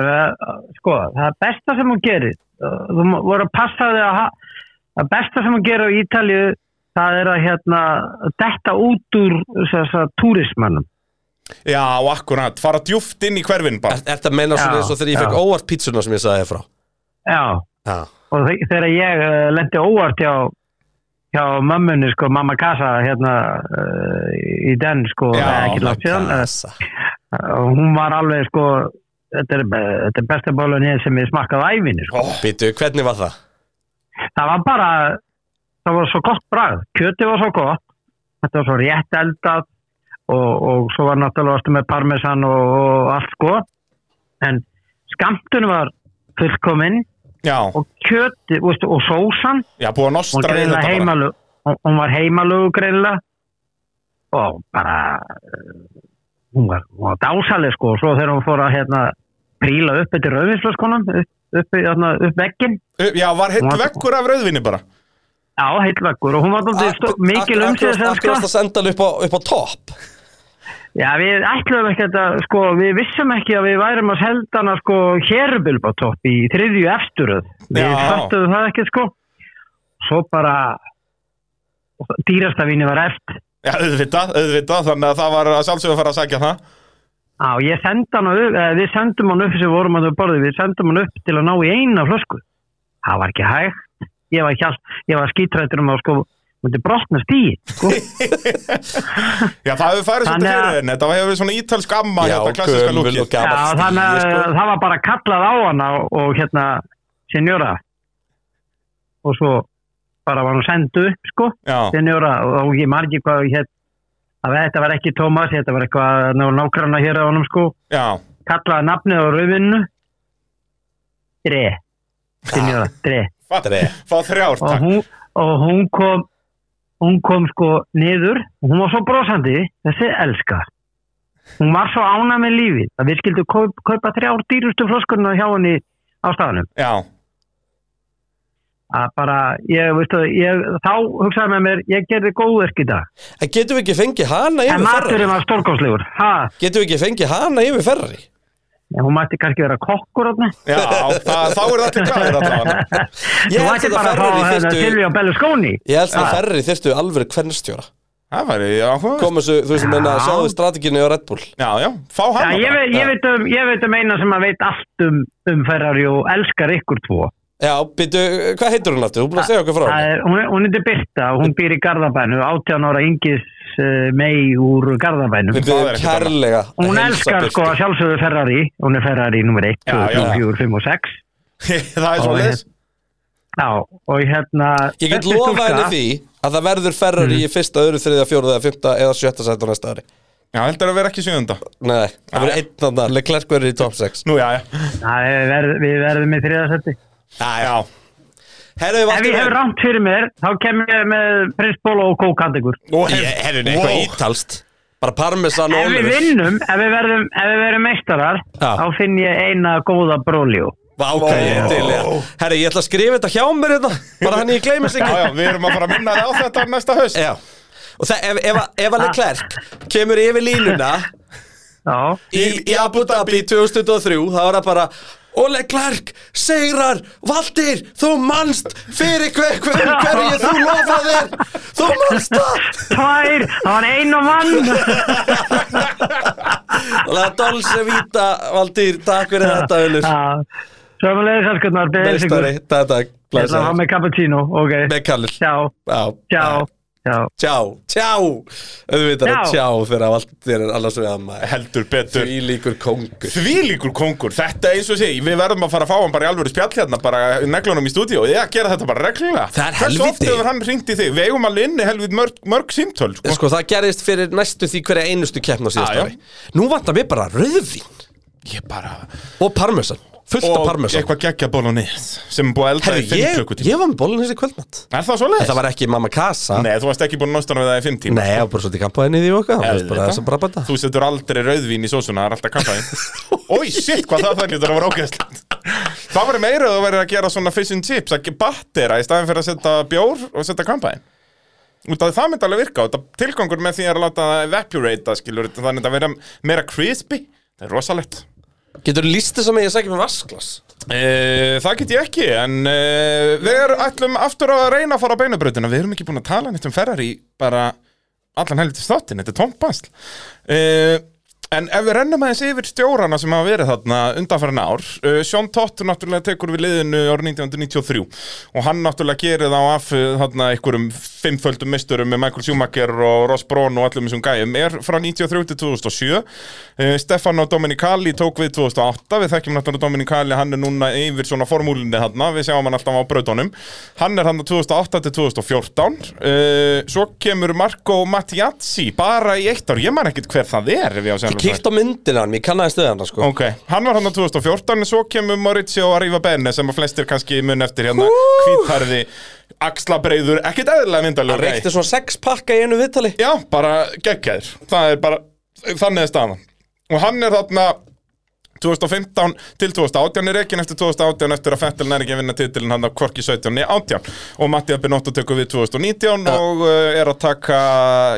[SPEAKER 4] eh, sko, það besta sem hún gerir, eh, þú má- voru að passa þig að, ha- það besta sem hún gerir á Ítalíu, það er að hérna, detta út úr þess að túrismannum.
[SPEAKER 3] já, akkurat Fara djúft inn í hverfin bara
[SPEAKER 2] Er þetta meina svona
[SPEAKER 4] Já,
[SPEAKER 2] eins og þegar ég fekk
[SPEAKER 4] já.
[SPEAKER 2] óvart pítsuna sem ég sagði þér frá
[SPEAKER 4] Já,
[SPEAKER 2] Já,
[SPEAKER 4] og þe- þegar ég uh, lendi óvart hjá, hjá mömmunni sko, mamma Kasa hérna uh, í den sko,
[SPEAKER 3] Já,
[SPEAKER 4] eh, ekki langt síðan uh,
[SPEAKER 2] Kasa.
[SPEAKER 4] hún var alveg sko þetta er, eh, þetta er besta bólun ég sem ég smakkaði á ævinni sko.
[SPEAKER 3] Ó,
[SPEAKER 2] Býtu, hvernig var það?
[SPEAKER 4] það var bara það var svo gott bragð, kjöti var svo gott þetta var svo rétt eldað og, og svo var náttúrulega varstu með parmesan og, og allt sko en skamtun var fullkominn
[SPEAKER 3] Já,
[SPEAKER 4] og kjöti veistu, og sósan
[SPEAKER 3] já, búið að
[SPEAKER 4] hún
[SPEAKER 3] nostra í
[SPEAKER 4] greinlega
[SPEAKER 3] þetta bara
[SPEAKER 4] heimalög hún, hún var heimalög greinlega og bara eh, hún var, hún var dásaleg sko og svo þegar hún fór að hérna príla upp eftir rauðvinsflöskunum upp, upp, hérna, upp veggin
[SPEAKER 3] Ö, Já, var heitt
[SPEAKER 4] Hún var-
[SPEAKER 3] vekkur af rauðvinni bara
[SPEAKER 4] á heillveggur og hún var dálítið stó- mikil sko.
[SPEAKER 2] Akkur- akkur-
[SPEAKER 4] umsýðis
[SPEAKER 2] Akkur varst að senda hann upp á, upp á topp
[SPEAKER 4] Já, við ætlum ekkert að, sko, við vissum ekki að við værum að selda hana, sko, hérubulbátopp í þriðju eftiröð. Við
[SPEAKER 3] Já.
[SPEAKER 4] fattuðum það ekki, sko. Svo bara, dýrastavínu var eft.
[SPEAKER 3] Já, auðvitað, auðvitað, þannig að það var að sjálfsögðu að fara að sækja það.
[SPEAKER 4] Já, ég sendi hana upp, eh, við sendum hann upp sem við vorum að þau borðið, við sendum hann upp til að ná í eina flösku. Það var ekki hægt. Ég var, hjalt, ég var skítrættur um að, sko, myndi brotna stíi, sko.
[SPEAKER 3] Já, það hefur farið svolítið
[SPEAKER 4] Þannig að-
[SPEAKER 3] fyrir henni, þetta hefur verið svona ítalsk amma
[SPEAKER 2] Já,
[SPEAKER 3] hérna, klassíska
[SPEAKER 2] gömul
[SPEAKER 3] lúkið.
[SPEAKER 2] og gamall.
[SPEAKER 4] Já,
[SPEAKER 2] var
[SPEAKER 4] þannig að
[SPEAKER 2] stigi, sko.
[SPEAKER 4] það var bara kallað á hana og, og hérna, senjóra og svo bara var hún sendu upp, sko,
[SPEAKER 3] Já,
[SPEAKER 4] senjóra og, og ég margir hvað hérna, að þetta var ekki Tómas, þetta var eitthvað ná- nágranna hér á honum, sko,
[SPEAKER 3] já,
[SPEAKER 4] kallaði nafnið á rauðinu Dre senjóra, Dre
[SPEAKER 3] Fá-
[SPEAKER 2] Dre.
[SPEAKER 3] fá þrjár,
[SPEAKER 4] og
[SPEAKER 3] takk.
[SPEAKER 4] hún, og hún kom hún kom sko niður og hún var svo brosandi, þessi elska hún var svo ána með lífið að við skildum kaup, kaupa þrjár dýrustu flöskurna hjá henni á staðanum
[SPEAKER 3] Já,
[SPEAKER 4] að bara, ég veistu ég, þá hugsaði með mér, ég gerði góðverk í dag
[SPEAKER 2] En getum við ekki fengið hana
[SPEAKER 4] en
[SPEAKER 2] yfir Ferrari?
[SPEAKER 4] maturinn var stórkoslegur ha,
[SPEAKER 2] Getum við ekki fengið hana yfir Ferrari?
[SPEAKER 4] en hún mætti kannski vera kokkur átni
[SPEAKER 3] já, það, þá er það allir glæðir allavega.
[SPEAKER 2] Ég
[SPEAKER 4] þú
[SPEAKER 2] held
[SPEAKER 4] mætti
[SPEAKER 2] þetta
[SPEAKER 4] bara að
[SPEAKER 2] Ferrari
[SPEAKER 4] fá hérna
[SPEAKER 2] þyrftu-
[SPEAKER 4] Silvi á Bellusconi
[SPEAKER 2] Ég held að Ferrari þyrstu alveg hvernstjóra
[SPEAKER 3] Það væri áhuga.
[SPEAKER 2] Komu þessu, þú veist, menna,
[SPEAKER 4] Já.
[SPEAKER 2] sjáðu strateginu á Red Bull
[SPEAKER 3] Já, já, fá
[SPEAKER 4] Já,
[SPEAKER 3] hana.
[SPEAKER 4] ég, veit, ég, veit um, ég veit um eina sem að veit allt um, um Ferrari og elskar ykkur tvo
[SPEAKER 2] Já, býtu, hvað heitur hún aftur? Þú búin að segja okkur frá
[SPEAKER 4] Það
[SPEAKER 2] henni?
[SPEAKER 4] er, hún, hún heitir Birta og hún býr í Garðabænu, 18 ára yngis uh, mei úr Garðabænu.
[SPEAKER 2] Býtu,
[SPEAKER 3] Það er ekkert
[SPEAKER 2] kærlega að
[SPEAKER 4] Hún
[SPEAKER 2] heilsa
[SPEAKER 4] elskar
[SPEAKER 2] Birtu.
[SPEAKER 4] sko að sjálfsögðu Ferrari, hún er Ferrari nummer 1,
[SPEAKER 3] Já,
[SPEAKER 4] 2,
[SPEAKER 3] já,
[SPEAKER 4] 3,
[SPEAKER 3] já.
[SPEAKER 4] 4, 5 og 6.
[SPEAKER 3] það er svo leis.
[SPEAKER 4] Já, og hérna...
[SPEAKER 2] Ég get
[SPEAKER 4] þessi
[SPEAKER 2] lofað
[SPEAKER 4] stúlka-
[SPEAKER 2] henni því að það verður Ferrari í fyrsta, öðru, þriðja, fjóruða, fymta eða sjötta sæti á næsta ári
[SPEAKER 3] Já, heldur að vera ekki sjöfunda.
[SPEAKER 2] Nei, það verður einn andan, Leclerc verður í top 6
[SPEAKER 3] Nú, já, já.
[SPEAKER 4] Það er verð, við verðum í þriðasetti.
[SPEAKER 3] Já, já.
[SPEAKER 2] Herðu, við
[SPEAKER 4] Ef
[SPEAKER 2] vatnum
[SPEAKER 4] ég hef rámt fyrir mér, þá kem ég með Prins Bóla og Kókandegur.
[SPEAKER 3] Nú,
[SPEAKER 2] Ég- Herðu, nei, eitthvað ítalst Bara parmesan og
[SPEAKER 4] Ef við
[SPEAKER 2] olivur
[SPEAKER 4] vinnum, ef við verðum, ef við verðum meistarar,
[SPEAKER 2] Já.
[SPEAKER 4] þá finn ég eina góða bróljó.
[SPEAKER 2] Vá, ok, ég er til, já. Herri, ég ætla að skrifa þetta hjá mér þetta Bara hann ég gleymis
[SPEAKER 3] Já,
[SPEAKER 2] ekki
[SPEAKER 3] já, við erum að fara að minna þið á þetta næsta haust.
[SPEAKER 2] Já Og það, ef, ef, ef hann er klerk Kemur yfir línuna
[SPEAKER 4] Já,
[SPEAKER 2] í, í Abu Dhabi 2023 þá var það bara Ole Clark, Seirar, Valdir, þú manst fyrir hver, hver, hverju þú lofaðir, þú manst það!
[SPEAKER 4] tvær, það var ein og mann.
[SPEAKER 2] Og það er Dolce Vita, Valdir, takk fyrir þetta, Unnur.
[SPEAKER 4] Sömulegis elskurnar, beðið ykkur.
[SPEAKER 2] Meistari, takk, takk,
[SPEAKER 4] Ég ætla að hafa
[SPEAKER 2] blæsaður.
[SPEAKER 4] með cappuccino, ok.
[SPEAKER 2] Með kallir.
[SPEAKER 4] Tjá,
[SPEAKER 2] Já,
[SPEAKER 4] tjá, tjá.
[SPEAKER 2] Tjá, tjá, auðvitað er
[SPEAKER 4] Já.
[SPEAKER 2] tjá þegar Valdir er annars við að maður.
[SPEAKER 3] Heldur betur.
[SPEAKER 2] Því líkur kongur.
[SPEAKER 3] Því líkur kongur, þetta eins og sé, við verðum að fara að fá hann bara í alvöru spjall hérna, bara neglunum í stúdíu, ég að gera þetta bara reglulega.
[SPEAKER 2] Það er
[SPEAKER 3] Hversu oft
[SPEAKER 2] helvíti.
[SPEAKER 3] hefur hann ringt í þig? Við eigum alveg inni helvit mörg, mörg símtöl, sko.
[SPEAKER 2] Sko, það gerist fyrir næstu því hverja einustu keppn á
[SPEAKER 3] Já, já.
[SPEAKER 2] síðasta ári. Nú vantar mér bara rauðvín.
[SPEAKER 3] Ég bara...
[SPEAKER 2] Og parmesan, fullt af
[SPEAKER 3] Og
[SPEAKER 2] parmesan
[SPEAKER 3] eitthvað geggja bolognese, sem er búið að elda í
[SPEAKER 2] Herri,
[SPEAKER 3] 5
[SPEAKER 2] ég,
[SPEAKER 3] klukkutíma.
[SPEAKER 2] ég var með bólun þessi kvöldmatt
[SPEAKER 3] Er það svo leið?
[SPEAKER 2] En það var ekki mamma kasa Nei,
[SPEAKER 3] Nei, þú varst ekki búin að nástana við það í 5 tíma.
[SPEAKER 2] það var bara svolítið kampaðin í því og okkar Það var bara
[SPEAKER 3] Auðvitað.
[SPEAKER 2] þess að bara bæta
[SPEAKER 3] Þú setur aldrei rauðvín í sósuna, það er alltaf kampaðin. Ói, shit, hvað það það lítur að vera ógeðsland. Það var meira að þú verður að gera svona fish and chips, ekki battera í staðin fyrir að setja bjór og setja kampaðin. Út af því það myndi alveg virka, út af tilgangur með því er að láta það evaporata, skilur, þannig að það vera meira crispy. Það er rosalegt.
[SPEAKER 2] Getur þú líst þess að mig að segja með vasklas?
[SPEAKER 3] E, það get ég ekki, en e, við erum ætlum aftur að reyna að fara á beinubrautina Við erum ekki búin að tala neitt um Ferrari bara allan helviti státtin, þetta er tómpasl e, En ef við rennum aðeins yfir stjórana sem hafa verið þarna undanfærin ár e, Sean Todd náttúrulega tekur við liðinu árið 1993 Og hann náttúrulega gerir þá af e, þarna einhverjum fimmföldum misturum með Michael Schumacher og Ross Brown og allum þessum gæjum Er frá 93 til 2007 e, Stefano Dominicali tók við 2008 Við þekkjum náttúrulega Dominicali, hann er núna yfir svona formúlinni þarna, við sjáum hann alltaf á brautunum hann er hann 2008 til 2014 uh, svo kemur Marco Mattiazzi bara í eitt ár, ég man ekkit hver það er ef ég á að segja alveg
[SPEAKER 2] Kíkt á myndina hann, ég kannaði stöðu hann sko.
[SPEAKER 3] Ok, hann var hann á 2014 en svo kemur Maurizio Arriva Bene sem að flestir kannski mun eftir hérna hvítharði, axlabreiður, ekkit eðlilega
[SPEAKER 2] Hann
[SPEAKER 3] myndalur
[SPEAKER 2] reykti svona sex pakka í einu viðtali
[SPEAKER 3] Já, bara geggjaður Það er bara, þannig er staðan Og hann er þarna 2015 til 2018 er rekin eftir 2018 eftir að Fettel nær ekki að vinna titilin hann af Korki 17 í 18 og Matti Abinotto tekur við 2019 og uh, er að taka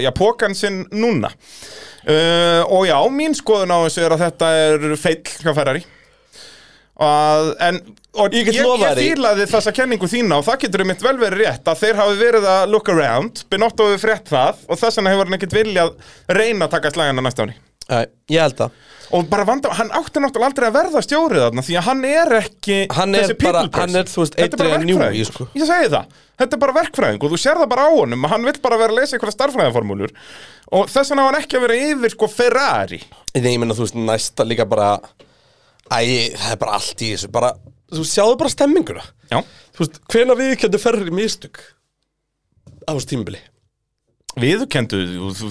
[SPEAKER 3] já, pókan sinn núna uh, og já, mín skoðun á þessu er að þetta er feill hvað Ferrari að, en, og
[SPEAKER 2] Ég
[SPEAKER 3] ég,
[SPEAKER 2] get
[SPEAKER 3] ég,
[SPEAKER 2] lofað því.
[SPEAKER 3] fílaði þessa kenningu þína og það getur um mitt vel verið rétt að þeir hafi verið að look around Binotto hefur frétt það og þess vegna hefur hann ekkert viljað reyna að taka slagina næsta ári
[SPEAKER 2] Æ, ég held að
[SPEAKER 3] og bara vanda, hann átti náttúrulega aldrei að verða stjórið þarna því að hann er ekki
[SPEAKER 2] Hann er
[SPEAKER 3] þessi
[SPEAKER 2] bara-
[SPEAKER 3] people person.
[SPEAKER 2] hann er, þú veist,
[SPEAKER 3] Þetta er bara
[SPEAKER 2] Adrian Newey,
[SPEAKER 3] verkfræðingur.
[SPEAKER 2] sko.
[SPEAKER 3] ég segi það, þetta er bara verkfræðing og þú sér það bara á honum að hann vill bara vera að lesa einhverja starfræðaformúlur og þess vegna á hann ekki að vera yfir sko Ferrari
[SPEAKER 2] Nei, ég meina, þú veist, næsta líka bara Æ, það er bara allt í þessu bara, Þú sjáðu bara stemminguna
[SPEAKER 3] já,
[SPEAKER 2] Þú veist, hvena viðkjöndu ferri mistök á þessu tímabili
[SPEAKER 3] viðkendu,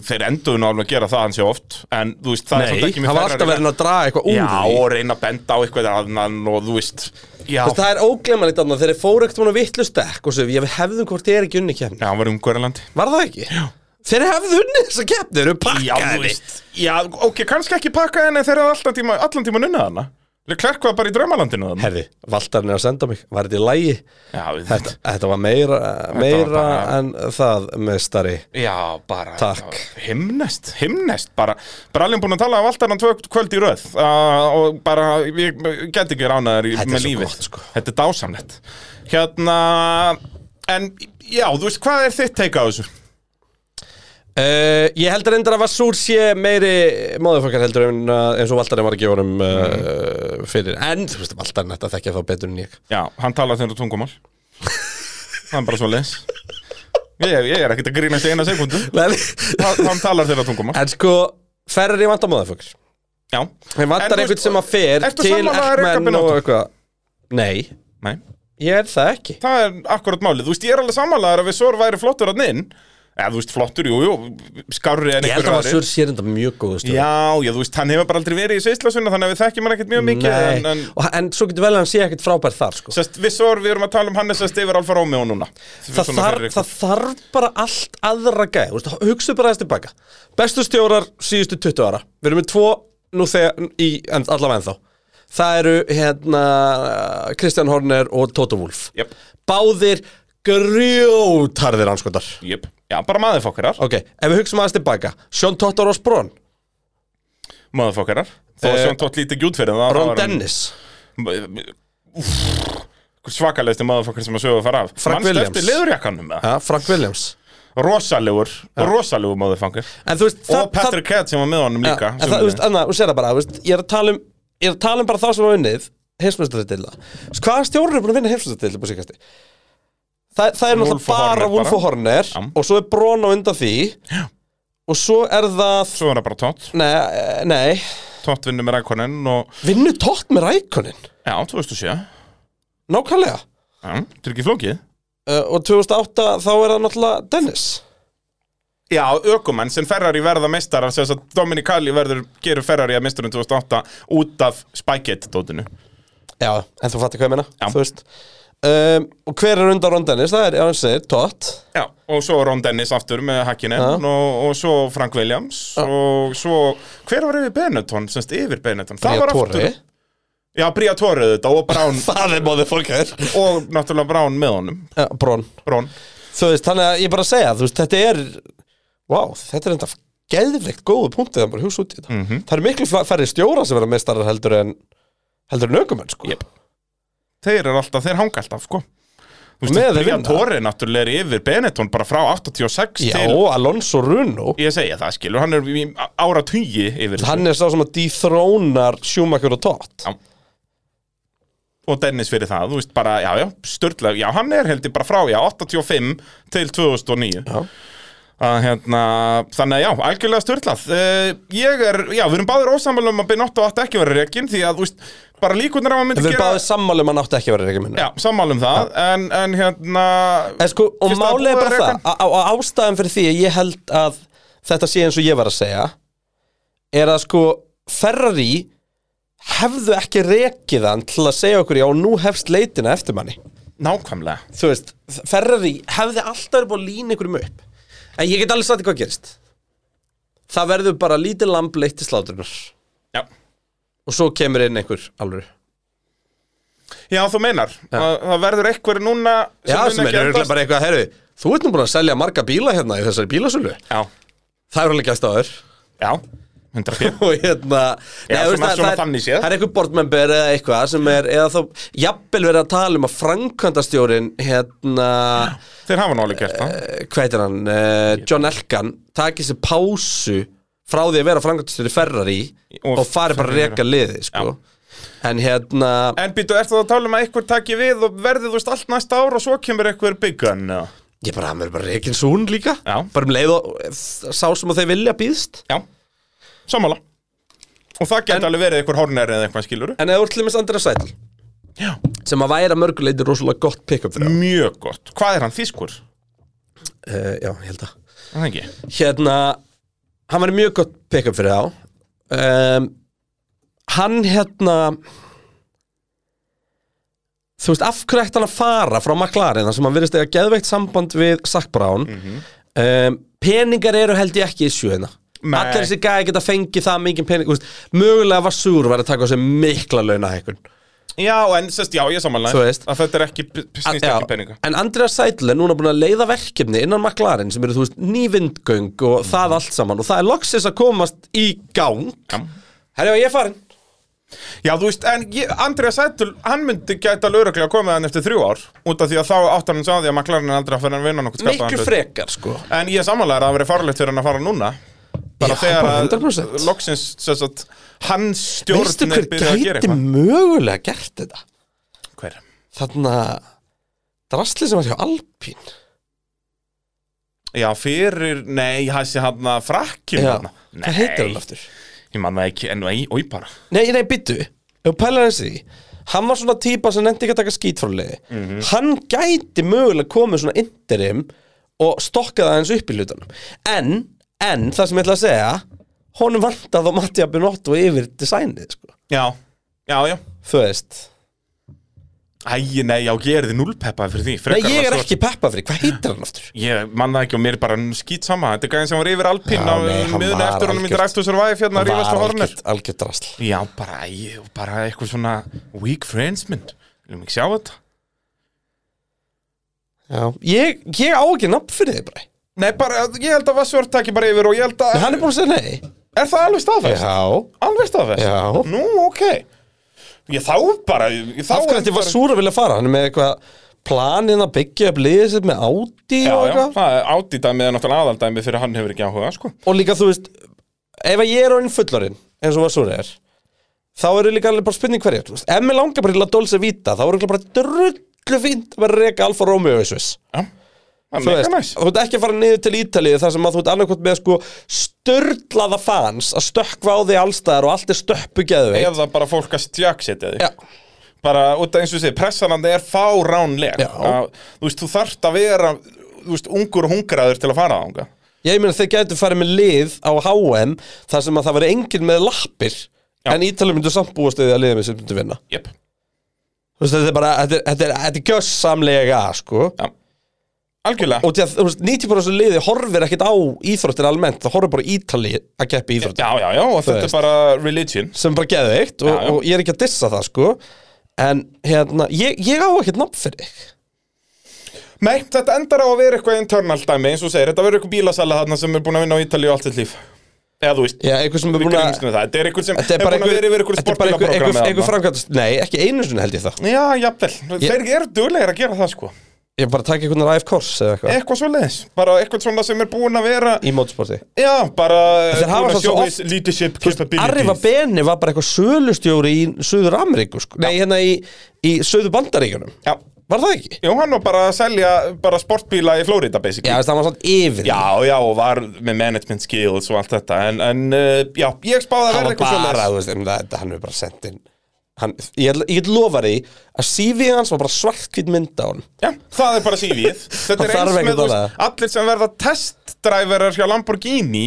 [SPEAKER 3] þeir enduðu nú alveg að gera það hans ég oft en þú veist, það er
[SPEAKER 2] Nei,
[SPEAKER 3] svolítið ekki
[SPEAKER 2] það var alltaf verið að draga eitthvað úr
[SPEAKER 3] Já,
[SPEAKER 2] því.
[SPEAKER 3] og reyna að benda á eitthvað annan og þú veist Já,
[SPEAKER 2] Þú veist, það er óglemanlegt annað þegar þeir fóru ekkert svona vittlust dekk og svo við hefðum hvort þeir ekki unni kemni
[SPEAKER 3] já hann var umhverjalandi
[SPEAKER 2] Var það ekki? Já. Þeir hefðu unni þessa kemni, þeir eru
[SPEAKER 3] Já, þú
[SPEAKER 2] pakkaði
[SPEAKER 3] veist Já, ok, kannski ekki pakka henni þegar allan tíma, allan tíma nunnað hana Leclerc var bara í draumalandinu þarna
[SPEAKER 2] Herði, Valdarinn er að senda mig, var þetta í lægi?
[SPEAKER 3] Já, við
[SPEAKER 2] Þetta, þetta var meira, meira
[SPEAKER 3] bara-
[SPEAKER 2] en það, meistari
[SPEAKER 3] Já, bara
[SPEAKER 2] Takk.
[SPEAKER 3] Himnest, himnest bara Bara alveg búin að tala af allt hann tvö kvöld í röð uh, Og bara, ég get ekki ránaður í-
[SPEAKER 2] Þetta er
[SPEAKER 3] með
[SPEAKER 2] svo
[SPEAKER 3] lífið
[SPEAKER 2] gott, sko.
[SPEAKER 3] Þetta er dásamlegt Hérna, en já, þú veist, hvað er þitt teika á þessu?
[SPEAKER 2] Uh, ég held reyndar að Vassúr sé meiri móðurfokkar heldur en uh, eins og Valdarinn var að gefa honum uh,
[SPEAKER 3] Mm.
[SPEAKER 2] fyrir En, þú veist, Valdarinn þetta þekkja þá betur en ég
[SPEAKER 3] Já, hann talaði þeirra tungumál Hann bara svo les Ég, ég er ekkert að grínast í eina sekundu
[SPEAKER 2] En
[SPEAKER 3] Hann talar þeirra tungumál
[SPEAKER 2] sko, ferri vantar móðurfokkar
[SPEAKER 3] Já
[SPEAKER 2] Þeir
[SPEAKER 3] En
[SPEAKER 2] vantar
[SPEAKER 3] þú
[SPEAKER 2] einhvern
[SPEAKER 3] veist,
[SPEAKER 2] sem að fer
[SPEAKER 3] ertu
[SPEAKER 2] til
[SPEAKER 3] sammála að Reka
[SPEAKER 2] Erkmenn og
[SPEAKER 3] Binotto?
[SPEAKER 2] eitthvað Nei,
[SPEAKER 3] Nei,
[SPEAKER 2] ég er það ekki
[SPEAKER 3] það er akkurat málið Þú veist, ég er alveg sammálaður að við Sor væri flottur að inn Eða þú veist, flottur, jú, jú, skárri en
[SPEAKER 2] Ég held
[SPEAKER 3] einhver
[SPEAKER 2] að
[SPEAKER 3] aðrir.
[SPEAKER 2] Vassúr sé reyndar mjög góðu stjóri
[SPEAKER 3] Já, já, þú veist, hann hefur bara aldrei verið í sviðslasunna Þannig að við þekkjum hann ekkert mjög mikið
[SPEAKER 2] Nei,
[SPEAKER 3] En, en
[SPEAKER 2] og, en svo getur vel að hann sé ekkert frábær þar sko.
[SPEAKER 3] sest, við Sor, við erum að tala um hann Sest yfir Alfa Romeo núna
[SPEAKER 2] það,
[SPEAKER 3] Svona
[SPEAKER 2] þarf,
[SPEAKER 3] fyrir-
[SPEAKER 2] það þarf bara allt aðra gæð Þú veist, Hugsaðu bara aðeins tilbaka Bestu stjórar síðustu 20 ára Við erum með tvo nú þegar í, en, allavega ennþá Það eru hérna Kristján Horner og Toto Wolf
[SPEAKER 3] Jöp,
[SPEAKER 2] Báðir grjótarðir anskotar
[SPEAKER 3] jöp Já, bara maðurfokkarar,
[SPEAKER 2] Ok, ef við hugsaum aðeins tilbaka Sjón Tóttar og Sprón,
[SPEAKER 3] maðurfokkarar Þó að
[SPEAKER 2] Eh,
[SPEAKER 3] sjón tótt lítið gjút fyrir það, það
[SPEAKER 2] Ron
[SPEAKER 3] var hann-
[SPEAKER 2] Dennis
[SPEAKER 3] svakalegsti maðurfokkar sem að sögðu að fara af
[SPEAKER 2] Frank
[SPEAKER 3] Manstu
[SPEAKER 2] Williams.
[SPEAKER 3] eftir leðurjakkanum ja.
[SPEAKER 2] ja, Frank Williams
[SPEAKER 3] rosalegur, rosalegur maðurfokkar
[SPEAKER 2] En þú veist,
[SPEAKER 3] og Patrick Head sem var með honum
[SPEAKER 2] Ja,
[SPEAKER 3] líka
[SPEAKER 2] en það, þú veist, annað, þú sér það bara, þú veist, ég er að tala um ég er að tala um bara þá sem hafa unnið heimsmyndstöðutilla, hvaða stjórnur er búin að vinna heimsmyndstöðutilla búin síkasti Þa, það er
[SPEAKER 3] Wolf og
[SPEAKER 2] náttúrulega bara
[SPEAKER 3] Horner
[SPEAKER 2] Wolf
[SPEAKER 3] bara.
[SPEAKER 2] og Horner
[SPEAKER 3] Já.
[SPEAKER 2] og svo er Brón á undan því Já. og svo er það
[SPEAKER 3] svo er það bara Tótt,
[SPEAKER 2] nei, eh, nei
[SPEAKER 3] Tótt vinnur með rækonin og
[SPEAKER 2] vinnu tótt með rækunin,
[SPEAKER 3] já, 2007 já,
[SPEAKER 2] nákvæmlega
[SPEAKER 3] þetta er ekki flókið
[SPEAKER 2] uh, og 2008 þá er það náttúrulega Dennis
[SPEAKER 3] já, ökumenn sem Ferrari verða meistarar sem þess að Dominic Kalli verður, gerur Ferrari að meistarum 2008 út af Spygate-dótinu
[SPEAKER 2] Já, en þú fattir hvað ég meina,
[SPEAKER 3] Já.
[SPEAKER 2] þú veist um, og hver er undan Ron Dennis, það er, já, hann segir, tótt
[SPEAKER 3] Já, og svo Ron Dennis aftur með hakkinin
[SPEAKER 2] Já.
[SPEAKER 3] og, og svo Frank Williams og svo, hver var yfir Benetton, semst yfir Benetton Það var aftur- Já, Bría Tórið þetta og Brown
[SPEAKER 2] það er móðið fólkar
[SPEAKER 3] og náttúrulega Brown með honum
[SPEAKER 2] Brón
[SPEAKER 3] Brown
[SPEAKER 2] þú veist, þannig að ég bara segja, þú veist, þetta er wow, þetta er enda geðvikt góðu punktið að bara hugsa út í þetta það eru miklu fa- færri stjóra sem verða meistarar heldur en heldur en aukumenn, sko
[SPEAKER 3] Jep. Þeir eru alltaf, þeir hanga alltaf sko Þú
[SPEAKER 2] Með
[SPEAKER 3] veist,
[SPEAKER 2] þeir
[SPEAKER 3] Bría
[SPEAKER 2] vinna.
[SPEAKER 3] Tórið náttúrulega er yfir Benetton bara frá 86
[SPEAKER 2] já,
[SPEAKER 3] til
[SPEAKER 2] Alonso Runo
[SPEAKER 3] Ég segja það skilur, hann er í ára tugi yfir þessu.
[SPEAKER 2] hann er sá sem að dethrónar Schumacher og Tott
[SPEAKER 3] Já. og Dennis fyrir það, þú veist bara, já, já, störtlega Já, hann er heldur bara frá, já, 85 til 2009
[SPEAKER 2] Já.
[SPEAKER 3] Að, hérna, þannig að já, algjörlega störtlað uh, Ég er, já, við erum báðir ósamlega um að Benotto átti ekki að vera rekin Því að, þú veist, bara líkunar að hann myndi
[SPEAKER 2] við erum báðið sammáli um að hann átti ekki að vera reykja minna
[SPEAKER 3] Já, sammála um það, en, en hérna
[SPEAKER 2] En sko, og
[SPEAKER 3] Fyrst að
[SPEAKER 2] málið er
[SPEAKER 3] búið
[SPEAKER 2] bara
[SPEAKER 3] að
[SPEAKER 2] það
[SPEAKER 3] reka
[SPEAKER 2] að- að ástæðan fyrir því að ég held að þetta sé eins og ég var að segja er að sko Ferrari hefðu ekki rekið hann til að segja okkur já, nú hefst leitina eftir manni
[SPEAKER 3] Nákvæmlega
[SPEAKER 2] þú veist, Ferrari hefði alltaf verið búin að lína ykkur um upp en ég get alveg sagt hvað gerist það verður bara lítið lamb leitt til slátrunar
[SPEAKER 3] Já,
[SPEAKER 2] og svo kemur inn einhver alveg
[SPEAKER 3] Já, þú meinar, það, það verður eitthvað núna
[SPEAKER 2] Já, sem er
[SPEAKER 3] örugglega
[SPEAKER 2] örugglega bara eitthvað, herru Þú ert nú búin að selja marga bíla hérna í þessari bílasölu
[SPEAKER 3] Já,
[SPEAKER 2] Það er alveg gæst á þér
[SPEAKER 3] já, 100
[SPEAKER 2] og hérna þú
[SPEAKER 3] Já,
[SPEAKER 2] veist
[SPEAKER 3] svona-
[SPEAKER 2] að
[SPEAKER 3] svona
[SPEAKER 2] það er-
[SPEAKER 3] þannig séð.
[SPEAKER 2] það er einhver boardmember eða eitthvað sem er eða þá jafnvel verið að tala um að frankvændastjórin hérna
[SPEAKER 3] Þeir hafa nú alveg gert það
[SPEAKER 2] eh, hvað heitir hann uh, John Elkan taki sér pásu frá því að vera frankvændastjóri Ferrari og
[SPEAKER 3] Og
[SPEAKER 2] fari bara að
[SPEAKER 3] Ferrari.
[SPEAKER 2] reka liði sko. en hérna
[SPEAKER 3] En býtu, ertu það að tala um að eitthvað taki við og verður þú veist allt næsta ár og svo kemur eitthvað byggun Já,
[SPEAKER 2] ég bara, hann verður bara rekin svo hún líka
[SPEAKER 3] Já.
[SPEAKER 2] bara um leið og sá sem að þeir vilja býðst
[SPEAKER 3] já, sammála Og það
[SPEAKER 2] En-
[SPEAKER 3] geti alveg verið eitthvað hórnæri eða eitthvað skilur
[SPEAKER 2] en eða úrtlumist Andra Sætl
[SPEAKER 3] Já.
[SPEAKER 2] sem að væri að mörguleiti rosalega gott pick-up fyrir hann
[SPEAKER 3] Mjög gott, hvað er hann þýskur?
[SPEAKER 2] uh, já, ég held að
[SPEAKER 3] Það ekki
[SPEAKER 2] hérna hann var mjög gott pick-up fyrir þá um, hann hérna þú veist, af hverju ætti hann að fara frá McLaren þar sem hann virðist eiga geðveikt samband við Sack Brown um, peningar eru held ég ekki í sjöina
[SPEAKER 3] Nei.
[SPEAKER 2] allir þessi gæði geta fengið það mikið pening þú veist, mögulega var Súr var að taka á sig mikla launahækun
[SPEAKER 3] Já, en sérst, já, ég sammála
[SPEAKER 2] Þú veist.
[SPEAKER 3] Að þetta er ekki, snýst
[SPEAKER 2] Já,
[SPEAKER 3] ekki um peninga
[SPEAKER 2] En Andreas Seidl er núna búin að leiða verkefni innan McLaren sem eru, þú veist, nývindgöng og það allt saman og það er loksins að komast í gang
[SPEAKER 3] Já.
[SPEAKER 2] Herjá, ég er farin
[SPEAKER 3] Já, þú veist, en ég, Andrea Sættul, hann myndi gæta lögreglega að koma hann eftir þrjú ár út af því að þá átt hann sá því að McLaren er aldrei að fyrir að vinna nokkuð skapaðan
[SPEAKER 2] Miklu
[SPEAKER 3] hlut.
[SPEAKER 2] frekar, sko
[SPEAKER 3] En ég er samanlega að það verið farlegt fyrir hann að fara núna bara
[SPEAKER 2] Já,
[SPEAKER 3] þegar
[SPEAKER 2] bara
[SPEAKER 3] að
[SPEAKER 2] 100%.
[SPEAKER 3] loksins sess að hans
[SPEAKER 2] Veistu
[SPEAKER 3] stjórn er
[SPEAKER 2] hver
[SPEAKER 3] byrjað að gera
[SPEAKER 2] gæti
[SPEAKER 3] eitthvað
[SPEAKER 2] mögulega gert þetta?
[SPEAKER 3] Hver?
[SPEAKER 2] Þarna drastli sem var hjá Alpín
[SPEAKER 3] Já, fyrir, nei, hæssi hann að frakkin
[SPEAKER 2] Já,
[SPEAKER 3] hann
[SPEAKER 2] hvað heitir hann aftur?
[SPEAKER 3] Ég man það ekki, en nei, oi bara
[SPEAKER 2] Nei, nei, byttu, ef pælar hans í því, Hann var svona típa sem nefndi ekki að taka skít frá leiði
[SPEAKER 3] Mhm.
[SPEAKER 2] Hann gæti mögulega komið svona interim og stokkað aðeins upp í hlutunum En, en, það sem ég ætla að segja Honum vantaði á Mattia Binotto yfir designið, sko
[SPEAKER 3] Já, já, já
[SPEAKER 2] Þú veist
[SPEAKER 3] Æ, nei, já, ég er því núlpeppaði fyrir því
[SPEAKER 2] Nei,
[SPEAKER 3] frekar en
[SPEAKER 2] ég
[SPEAKER 3] að
[SPEAKER 2] er
[SPEAKER 3] svo-
[SPEAKER 2] ekki peppa fyrir, hvað heitir hann aftur?
[SPEAKER 3] Ég man það ekki og mér er bara skýt sama Þetta er gæðin sem var yfir
[SPEAKER 2] Já,
[SPEAKER 3] Alpín á
[SPEAKER 2] nei, hann
[SPEAKER 3] miðun
[SPEAKER 2] var
[SPEAKER 3] eftir honum í
[SPEAKER 2] algjört-
[SPEAKER 3] Drive to Survive hérna að rífast á hornir
[SPEAKER 2] algjört, algjört drasl
[SPEAKER 3] Já, bara, ég, bara eitthvað svona weak friends mynd Viljum ekki sjá þetta
[SPEAKER 2] Já, ég, ég á ekki nafn fyrir þið, bara
[SPEAKER 3] Nei, bara, ég held að Vassvörð taki bara yfir og ég held að
[SPEAKER 2] Hann er búin að segja nei
[SPEAKER 3] Er það alveg staðfest?
[SPEAKER 2] Já
[SPEAKER 3] Alveg staðfest?
[SPEAKER 2] Já.
[SPEAKER 3] Nú, ok Ég þá bara ég, þá
[SPEAKER 2] Af hverju ætti var súr að vilja fara? Hann er með eitthvað planin að byggja upp liðið sitt með Audi
[SPEAKER 3] Já,
[SPEAKER 2] og
[SPEAKER 3] já,
[SPEAKER 2] eitthvað
[SPEAKER 3] það er ádýdæmið er náttúrulega aðaldæmið fyrir hann hefur ekki áhuga, sko
[SPEAKER 2] Og líka þú veist, ef að ég er orðin fullarinn eins og var súr er þá eru líka alveg bara spurning hverjir þú veist. Ef mér langar bara til að dólse vita þá eru líka bara drullu fínt að vera að reka Alfa Romeo í Sviss
[SPEAKER 3] Já, það er
[SPEAKER 2] Þú
[SPEAKER 3] mega
[SPEAKER 2] veist,
[SPEAKER 3] næs
[SPEAKER 2] þú ert ekki að fara niður til Ítalíu þar sem að þú ert annarkvæmt með sko störlaða fans að stökkva á því allstæðar og allt er stöppu geðveik
[SPEAKER 3] Eða bara fólk að stjaksetja þig
[SPEAKER 2] Já,
[SPEAKER 3] bara út af eins og sé, pressanandi er fáránleg
[SPEAKER 2] Já.
[SPEAKER 3] Að, þú veist, þú þarft að vera þú veist, ungur og hungraður til að fara ánga
[SPEAKER 2] Ég meina þeir gætu farið með lið á HM þar sem að það veri enginn með lappir
[SPEAKER 3] Já.
[SPEAKER 2] en Ítalið myndu samt búast við að liðið með sem myndu vinna
[SPEAKER 3] yep.
[SPEAKER 2] Þú veist, þetta er bara, þetta er, þetta er, þetta er gjössamlega sko
[SPEAKER 3] ja. algjörlega
[SPEAKER 2] og því að þú veist, 90% liði horfir ekkit á íþróttir almennt það horfir bara á Ítalið að keppi íþróttir
[SPEAKER 3] já, já, já, og þetta
[SPEAKER 2] veist.
[SPEAKER 3] er bara religion
[SPEAKER 2] sem er bara geðveikt og,
[SPEAKER 3] Já, já.
[SPEAKER 2] og ég er ekki að dissa það sko en hérna, ég, ég á ekkit nafn fyrir þig
[SPEAKER 3] nei, þetta endar á að vera eitthvað internal dæmi eins og þú segir, þetta verður eitthvað bílasala þarna sem er búin að vinna á Ítalíu allt sitt líf eða þú veist,
[SPEAKER 2] Já, einhver sem er
[SPEAKER 3] við
[SPEAKER 2] búin
[SPEAKER 3] grýmst
[SPEAKER 2] að
[SPEAKER 3] með það þetta er eitthvað sem
[SPEAKER 2] Þetta er bara
[SPEAKER 3] búin að vera yfir eitthvað
[SPEAKER 2] þetta er bara einhver, einhver, einhver
[SPEAKER 3] sportbílaprogrammi
[SPEAKER 2] framkvæmst Nei, ekki einu sinni held ég það
[SPEAKER 3] já, jafnvel, þeir eru duglegir að gera það sko
[SPEAKER 2] Ég bara taka einhvern ræf kors eða eitthvað
[SPEAKER 3] eitthvað svo bara eitthvað svona sem er búin að vera
[SPEAKER 2] Í mótsporti
[SPEAKER 3] Já, bara eh,
[SPEAKER 2] Þeir hafa
[SPEAKER 3] búin að
[SPEAKER 2] svo- svo
[SPEAKER 3] show
[SPEAKER 2] oft-
[SPEAKER 3] his leadership
[SPEAKER 2] Arriva
[SPEAKER 3] capabilities
[SPEAKER 2] Beni var bara eitthvað sölustjóri í Suður Ameríku sko. Nei, hérna í, í Suður Bandaríkjunum
[SPEAKER 3] Já,
[SPEAKER 2] Var það ekki?
[SPEAKER 3] Jú, hann var bara að selja bara sportbíla í Florida basically
[SPEAKER 2] Já, veist, það var svona yfir
[SPEAKER 3] já, já, og var með management skills og allt þetta En, en uh, já, ég spáði
[SPEAKER 2] Það
[SPEAKER 3] að verða
[SPEAKER 2] var
[SPEAKER 3] eitthvað svo
[SPEAKER 2] bara, þú veist, en það, hann er bara sent inn hann, Ég, ætla- ég get lofa því að CV hans var bara svartkvít mynd á hann
[SPEAKER 3] Já, það er bara CV-ið Þetta er
[SPEAKER 2] Það þarf
[SPEAKER 3] eins
[SPEAKER 2] ekkert
[SPEAKER 3] með þú
[SPEAKER 2] annað.
[SPEAKER 3] veist, allir sem verða testdræverar hjá Lamborghini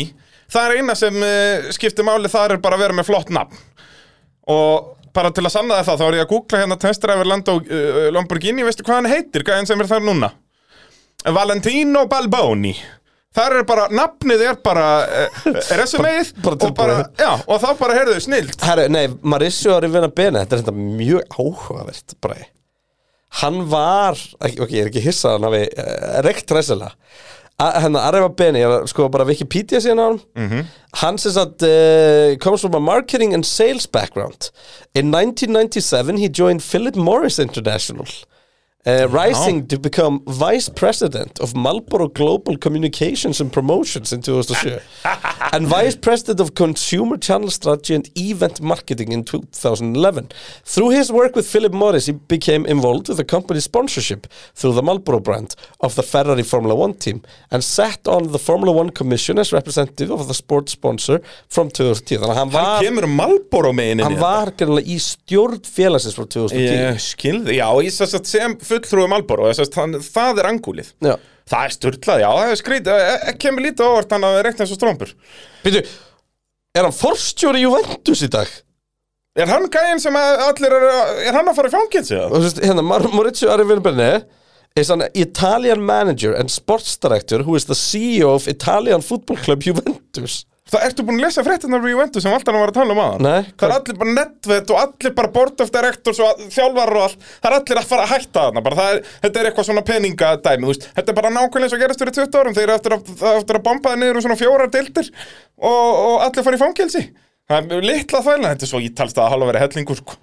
[SPEAKER 3] Það er eina sem uh, skiptir máli þar er bara að vera með flott nafn Og bara til að sanna þér það, þá er ég að googla hérna testdræver Lando, uh, Lamborghini Veistu hvað hann heitir, gæðin sem er þar núna? Valentino Balboni þar er bara, nafnið er bara uh, resumeið
[SPEAKER 2] Bara- bara
[SPEAKER 3] og, bara,
[SPEAKER 2] tilbúið.
[SPEAKER 3] já, og þá bara heyrðu snilt
[SPEAKER 2] Herru, nei, Mauricio Rivera Bene, þetta er þetta mjög áhugavert bræði. Hann var, ekki, ok, ég er ekki hissað hann hafi uh, reykt ræsilega. Hennar Areva Bene, ég er að sko bara Wikipedia síðan á hann. Hann sem sagt, uh, comes from a marketing and sales background. In 1997 he joined Philip Morris International. Uh, rising to become vice president of Marlboro Global Communications and Promotions in 2007 and vice president of consumer channel strategy and event marketing in 2011. Through his work with Philip Morris, he became involved with the company's sponsorship through the Marlboro brand of the Ferrari Formula One team and sat on the Formula One commission as representative of the sports sponsor from 2010. Þannig að hann
[SPEAKER 3] Hann
[SPEAKER 2] var,
[SPEAKER 3] kemur um hérna. Malboro meinin
[SPEAKER 2] Ah. hann var greinlega í stjórn félagsins frá 2010.
[SPEAKER 3] Ég skilði, já, ég sess að sem fulltrúi um Malboro, þess að hann- það er angúlið
[SPEAKER 2] Já.
[SPEAKER 3] Það er sturlað, já, það er skrýt kemur lítið á óvart hann að reynt eins og strómpur
[SPEAKER 2] Býtu, er hann forstjóri Juventus í dag?
[SPEAKER 3] Er hann gæinn sem að allir er, er hann að fara í fangelsi? eða?
[SPEAKER 2] og þú veist, hérna, Mar- Maurizio Arrivinbene is an Italian manager and sports director who is the CEO of Italian football club Juventus
[SPEAKER 3] Það ertu búin að lesa fréttina frá Juventus sem Valdan var að tala um aðan
[SPEAKER 2] Nei,
[SPEAKER 3] Það er allir bara netvett og allir bara board of directors og all- þjálfarar og allt Það er allir að fara að hætta þarna bara, það er, Þetta er eitthvað svona peningadæmi þú veist. Þetta er bara nákvæmlega eins og gerist fyrir 20 árum Þeir eru eftir að, eftir að bomba það niður um svona fjórar dildir og, og allir fara í fangelsi Það er litla þvæla, þetta er svo ítalst að halva verið hellingur sko.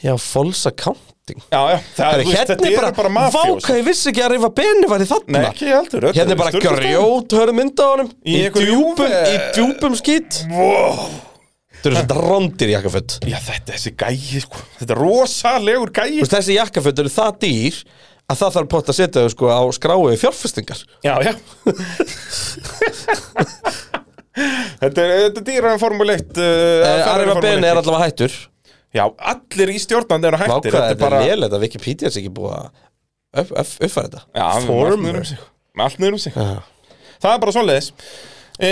[SPEAKER 2] Já, false accounting
[SPEAKER 3] Já, já, það,
[SPEAKER 2] Herri,
[SPEAKER 3] þú veist,
[SPEAKER 2] Hérna
[SPEAKER 3] þetta
[SPEAKER 2] er
[SPEAKER 3] eru bara
[SPEAKER 2] bara,
[SPEAKER 3] mafjós
[SPEAKER 2] váka, ég vissi ekki að Arriva Bene var í
[SPEAKER 3] Nei,
[SPEAKER 2] þarna
[SPEAKER 3] ekki heldur
[SPEAKER 2] Hérna er bara grjót, hörðu mynda á honum Í,
[SPEAKER 3] einhverju
[SPEAKER 2] djúpum,
[SPEAKER 3] Juve-
[SPEAKER 2] í djúpum skýt
[SPEAKER 3] wow.
[SPEAKER 2] Þetta eru svona rándir jakkaföt
[SPEAKER 3] Já, þetta er þessi gæi, sko Þetta er rosalegur gæi
[SPEAKER 2] Þú veist, Þessi jakkaföt eru það dýr að það þarf pott að setja þau sko á skráið fjárfestingar
[SPEAKER 3] Já, já Þetta er, þetta er dýrar en Formule 1
[SPEAKER 2] Eh,
[SPEAKER 3] uh, Ferrari
[SPEAKER 2] Arriva
[SPEAKER 3] Formule
[SPEAKER 2] Bene
[SPEAKER 3] 1.
[SPEAKER 2] er allavega hættur
[SPEAKER 3] Já, allir í stjórnandi eru
[SPEAKER 2] Váka,
[SPEAKER 3] hættir
[SPEAKER 2] þetta er bara...
[SPEAKER 3] Já,
[SPEAKER 2] lélega, þetta Wikipedia er ekki búið að upp- upp- uppfæra þetta
[SPEAKER 3] með allt niður um sig Með allt niður um sig Það er bara svoleiðis e,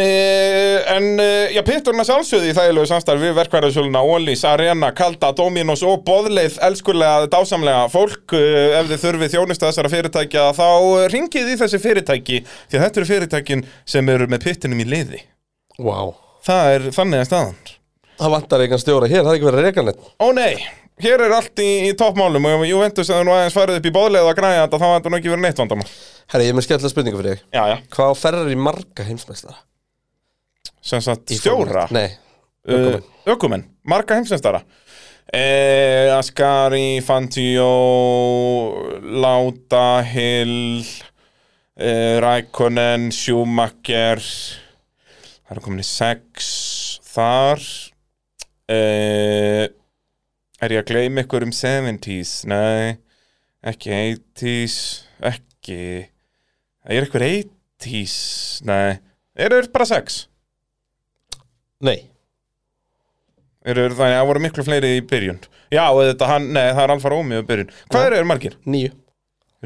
[SPEAKER 3] En, e, já, pitturinn að sjálfsögði í þægilegu samstarf við verkvæðarsöluna Ólís, Arena, Kalda, Dominos og Boðleið, elskulega, dásamlega fólk, e, ef þið þurfið þjónustu þessara fyrirtækja, þá ringið í þessi fyrirtæki, því að þetta eru fyrirtækin sem eru með pittinum í liði
[SPEAKER 2] Vá wow.
[SPEAKER 3] Það er þannig að staðan
[SPEAKER 2] Það vantar eitthvað stjóra hér, það er ekki verið að reka neitt
[SPEAKER 3] Ó nei, hér er allt í, í toppmálum og ef Juventus hefur nú aðeins farið upp í bóðleið og græja þetta þá hefði nú ekki verið neitt vandamál
[SPEAKER 2] Herri, ég er með skemmtilega spurningu fyrir þig
[SPEAKER 3] Já, já,
[SPEAKER 2] Hvað á ferrar í marga heimsmeistara?
[SPEAKER 3] sem sagt
[SPEAKER 2] Í
[SPEAKER 3] stjóra
[SPEAKER 2] Formule 1? Nei,
[SPEAKER 3] uh, Ökumenn, marga heimsumstara eh, Ascari, Fantio Láta, Hill eh, Rækonen Schumacher Það eru komin í sex Þar eh, Er ég að gleyma ykkur um 70s? Nei Ekki 80s Ekki Er ykkur 80s? Nei Eru þeir bara sex?
[SPEAKER 2] nei
[SPEAKER 3] Eru, þannig að það voru miklu fleiri í byrjun Já, og þetta hann, nei, það er Alfa Romeo í byrjun Hvað
[SPEAKER 2] Já.
[SPEAKER 3] eru eru margir?
[SPEAKER 2] Nýju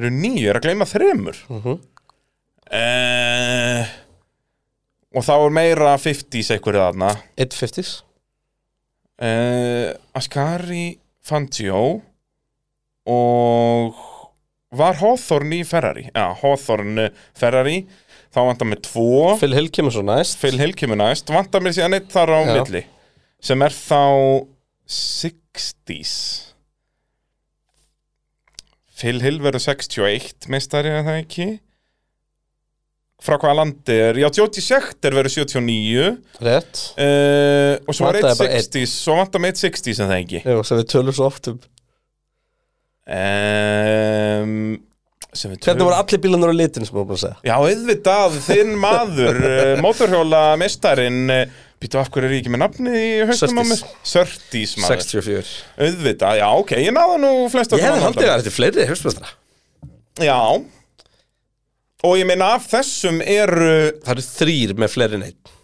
[SPEAKER 3] Eru nýju, eru að gleyma þremur
[SPEAKER 2] mm -hmm.
[SPEAKER 3] eh, Og þá er meira 50s einhverju þarna
[SPEAKER 2] 150s
[SPEAKER 3] eh, Ascari Fantio Og Var Hawthorne í Ferrari? Já, Hawthorne eh, Ferrari Þá vantar með tvo
[SPEAKER 2] Phil Hill kemur svo næst
[SPEAKER 3] Phil Hill kemur næst Vantar mér síðan eitt þar á
[SPEAKER 2] Já.
[SPEAKER 3] milli Sem er þá 60s Phil Hill verður 61 meistari er það ekki Frá hvaða landi er Já, Jóti Sjekter verður 79 uh,
[SPEAKER 2] Rétt
[SPEAKER 3] eh, Og svo er
[SPEAKER 2] Vantaði bara einn.
[SPEAKER 3] 160s Svo vantar með 160s en það ekki
[SPEAKER 2] Jú, sem við tölum svo oft um
[SPEAKER 3] um, sem við
[SPEAKER 2] Hvernig
[SPEAKER 3] tölum-
[SPEAKER 2] voru allir bílanar á litin sem við vorum búin að segja?
[SPEAKER 3] Já, auðvitað, þinn maður, eh, mótorhjóla mestarinn, býtu af hverju er ég ekki með nafnið í haustum á
[SPEAKER 2] Surtees.
[SPEAKER 3] mér? Sörtís maður.
[SPEAKER 2] 64
[SPEAKER 3] Auðvitað, já, ok, ég náða nú flest
[SPEAKER 2] Ég hefði haldið að þetta er fleiri heimsmeistara
[SPEAKER 3] Já, og ég meina af þessum eru,
[SPEAKER 2] Það eru þrýr með fleiri neitt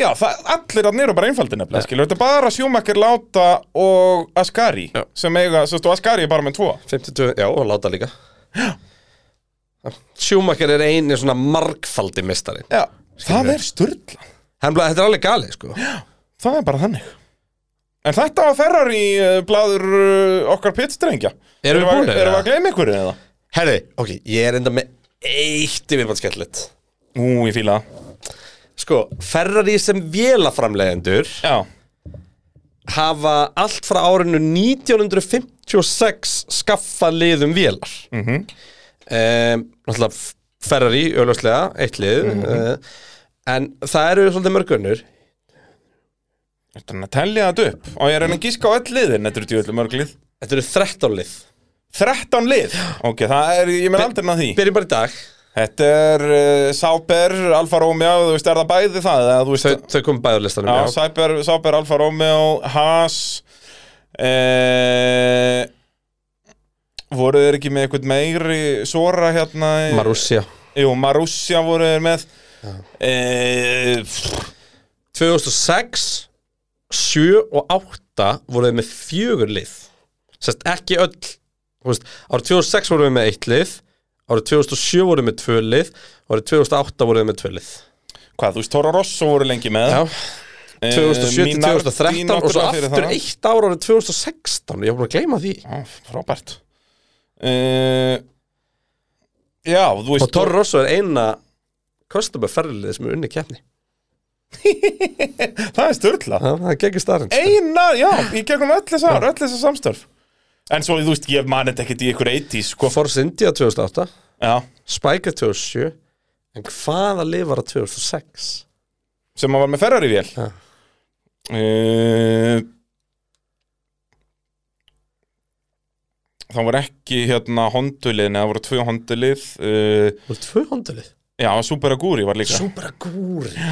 [SPEAKER 3] já, það, allir að eru bara einfaldir nefnilega,
[SPEAKER 2] Já.
[SPEAKER 3] skilur, þetta er bara sjúmakkar láta og Ascari,
[SPEAKER 2] Já.
[SPEAKER 3] sem eiga, svo stu, Ascari er bara með tvo.
[SPEAKER 2] 52, já, og láta líka Schumacher er eini svona margfaldi meistari
[SPEAKER 3] Já, það er sturla.
[SPEAKER 2] Hann blæði, þetta er alveg galið, sko
[SPEAKER 3] Það er bara þannig En þetta var Ferrari eh, blaður eh, okkar pittstrengja
[SPEAKER 2] Erum við búnir,
[SPEAKER 3] Erum við
[SPEAKER 2] eða?
[SPEAKER 3] að gleyma ykkur eða?
[SPEAKER 2] Herri, ok, ég er enda með eitt yfirbátt skemmtilegt
[SPEAKER 3] Ú, ég fíla það.
[SPEAKER 2] Sko, Ferrari sem vélaframlegendur
[SPEAKER 3] Já,
[SPEAKER 2] hafa allt frá árinu 1956 skaffað liðum vélar mm
[SPEAKER 3] Mhm.
[SPEAKER 2] -hmm. Ferrari, auðvitað, eitt lið
[SPEAKER 3] Mhm.
[SPEAKER 2] eh, En það eru svolítið mörgunnur
[SPEAKER 3] þetta er að tellja þetta upp Og ég er að reyna að gíska á öll liðin, þetta eru djúvöldum mörg lið
[SPEAKER 2] Þetta eru 13 lið
[SPEAKER 3] 13 lið, ok, það er, ég með aldrei að því
[SPEAKER 2] Byrjum bara í dag
[SPEAKER 3] Þetta er uh, Sáber, Alfa Romeo, þú veist, er það bæði það? Eða, þú veist,
[SPEAKER 2] Þau, þau komum bæður listanum
[SPEAKER 3] já,
[SPEAKER 2] já.
[SPEAKER 3] Sáber, Sáber, Alfa Romeo, Haas eh, Voru þeir ekki með eitthvað meiri Sora hérna? í-
[SPEAKER 2] Marussia
[SPEAKER 3] Jú, Marussia voru þeir með eh, pff,
[SPEAKER 2] 2006 7 og 8 voru þau með fjögur lið Sest ekki öll þú veist, Árið 2006 voru þau með eitt lið Árið 2007 voru þau með tvö lið Árið 2008 voru þau með tvö lið
[SPEAKER 3] Hvað, þú veist, Toro Rosso voru lengi með
[SPEAKER 2] Já,
[SPEAKER 3] Eh,
[SPEAKER 2] 2007 til
[SPEAKER 3] Minardi
[SPEAKER 2] 2013 og svo
[SPEAKER 3] náttúrulega fyrir
[SPEAKER 2] aftur
[SPEAKER 3] það.
[SPEAKER 2] eitt ára árið 2016 Ég var búin að gleyma því
[SPEAKER 3] Já, frábært uh, Já, þú veist
[SPEAKER 2] Og Torro Rosso er eina customer ferlið sem er unni keppni
[SPEAKER 3] Það er störla
[SPEAKER 2] Það það er geggjur starrend
[SPEAKER 3] Eina, já, í gegnum öll þess ár, öll þess að samstörf En svo, þú veist, ég mani þetta ekkert í ykkur 80s, sko
[SPEAKER 2] Force India 2008
[SPEAKER 3] Já,
[SPEAKER 2] Spike 2007 En hvaða lið var að 2006?
[SPEAKER 3] sem að var með Ferrari vél
[SPEAKER 2] Já.
[SPEAKER 3] uh, Það var ekki, hérna, hondulið Nei, það voru tvö hondulið uh,
[SPEAKER 2] Það voru 200 lið
[SPEAKER 3] Já, Super Aguri var líka
[SPEAKER 2] Súpera gúri
[SPEAKER 3] uh,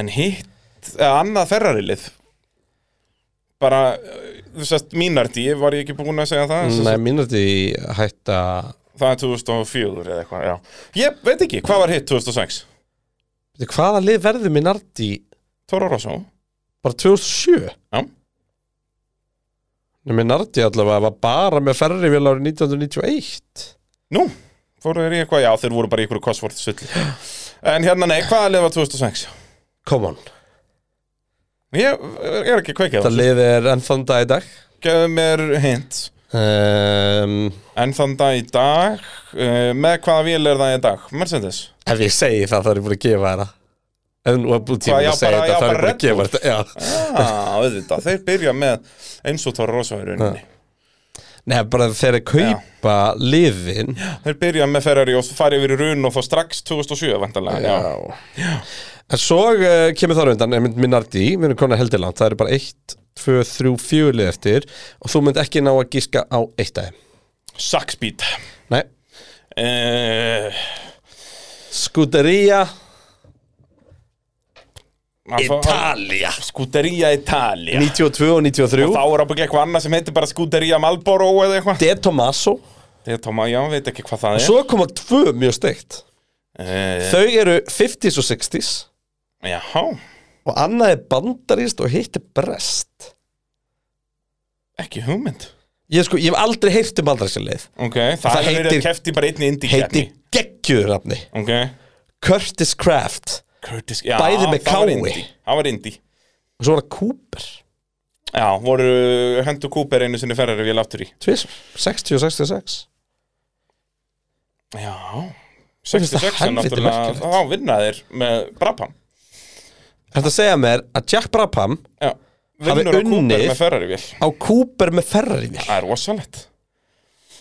[SPEAKER 3] En hitt eða annað ferrarilið bara eh, þú sést mínardi, var ég ekki búinn að segja það Sem
[SPEAKER 2] Nei,
[SPEAKER 3] sagt,
[SPEAKER 2] mínur þetta hætta
[SPEAKER 3] það er 2004 eða eitthvað, já ég veit ekki, hvað var hitt 2006?
[SPEAKER 2] Veitu, Hvaða lið verður Minardi
[SPEAKER 3] Toro Rosso,
[SPEAKER 2] bara 2007?
[SPEAKER 3] já,
[SPEAKER 2] Nei, Minardi allavega var bara með ferri vel árið 1991
[SPEAKER 3] nú fóru þeir í eitthvað, já þeir voru bara í ykkur kosvort sulli en hérna nei, hvaða lið var 2006?
[SPEAKER 2] Come on
[SPEAKER 3] ég er ekki kveikið
[SPEAKER 2] Þetta lið er enn þann dag í dag
[SPEAKER 3] gefðu mér hint
[SPEAKER 2] um,
[SPEAKER 3] en þann dag í dag uh, með hvaða vél er það í dag? Mercedes?
[SPEAKER 2] Ef ég segi það þá er ég búin að gefa þeirra Ef nú er búin
[SPEAKER 3] Hvað,
[SPEAKER 2] tíma
[SPEAKER 3] já,
[SPEAKER 2] að segja
[SPEAKER 3] bara- já,
[SPEAKER 2] þetta þá er ég búin
[SPEAKER 3] bara
[SPEAKER 2] að gefa
[SPEAKER 3] Red
[SPEAKER 2] þetta Já
[SPEAKER 3] ah, auðvitað, þeir byrja með eins og Toro Rosso í rauninni
[SPEAKER 2] Nei, bara þegar þeir kaupa liðin
[SPEAKER 3] Þeir byrja með Ferrari og fara yfir í run og fá strax 2007 vantanlega já.
[SPEAKER 2] En svo uh, kemur það raundan, einmitt Minardi, við erum konar heldur langt, það eru bara 1, 2, 3, 4 lið eftir og þú mynd ekki ná að gíska á eitt aðeim.
[SPEAKER 3] Saksbít
[SPEAKER 2] Nei,
[SPEAKER 3] uh,
[SPEAKER 2] Scuderia
[SPEAKER 3] Italia
[SPEAKER 2] Italia,
[SPEAKER 3] Skuderia Italia
[SPEAKER 2] 92 og
[SPEAKER 3] Og
[SPEAKER 2] 93,
[SPEAKER 3] þá er ábyggjað eitthvað annað sem heitir bara Skuderia Malboro eða eitthvað
[SPEAKER 2] De Tomaso,
[SPEAKER 3] Þetta tóma, já, veit ekki hvað það er
[SPEAKER 2] svo koma tvö mjög steikt.
[SPEAKER 3] uh,
[SPEAKER 2] Þau eru 50s og 60s
[SPEAKER 3] Jáhá,
[SPEAKER 2] og annað er bandarist og hitt er brest.
[SPEAKER 3] ekki hugmynd
[SPEAKER 2] Ég, sko, ég hef aldrei heyrt um bandarisleið.
[SPEAKER 3] Ok, það, það
[SPEAKER 2] Það
[SPEAKER 3] heitir, verið
[SPEAKER 2] heitir-
[SPEAKER 3] að kefti bara einni indíkjarni
[SPEAKER 2] Heitir geggjur rafni,
[SPEAKER 3] Ok
[SPEAKER 2] Curtis Craft,
[SPEAKER 3] Curtis, já,
[SPEAKER 2] Bæði með E.
[SPEAKER 3] það var
[SPEAKER 2] kái.
[SPEAKER 3] indie. Það var indi
[SPEAKER 2] og svo var það Cooper,
[SPEAKER 3] Já, voru hendur Cooper einu sinni Ferrari við láttur í
[SPEAKER 2] tvisvar, 60 og 66.
[SPEAKER 3] Já
[SPEAKER 2] finnst það
[SPEAKER 3] 66 er
[SPEAKER 2] helviti
[SPEAKER 3] náttúrulega
[SPEAKER 2] merkilegt.
[SPEAKER 3] þá vinna þeir með Brabham
[SPEAKER 2] Þetta segja mér að Jack Brabham
[SPEAKER 3] Já
[SPEAKER 2] Hafi
[SPEAKER 3] Vinnur og Cooper
[SPEAKER 2] unnið.
[SPEAKER 3] með Ferrari vél
[SPEAKER 2] á Cooper með Ferrari vél
[SPEAKER 3] Það er rosalegt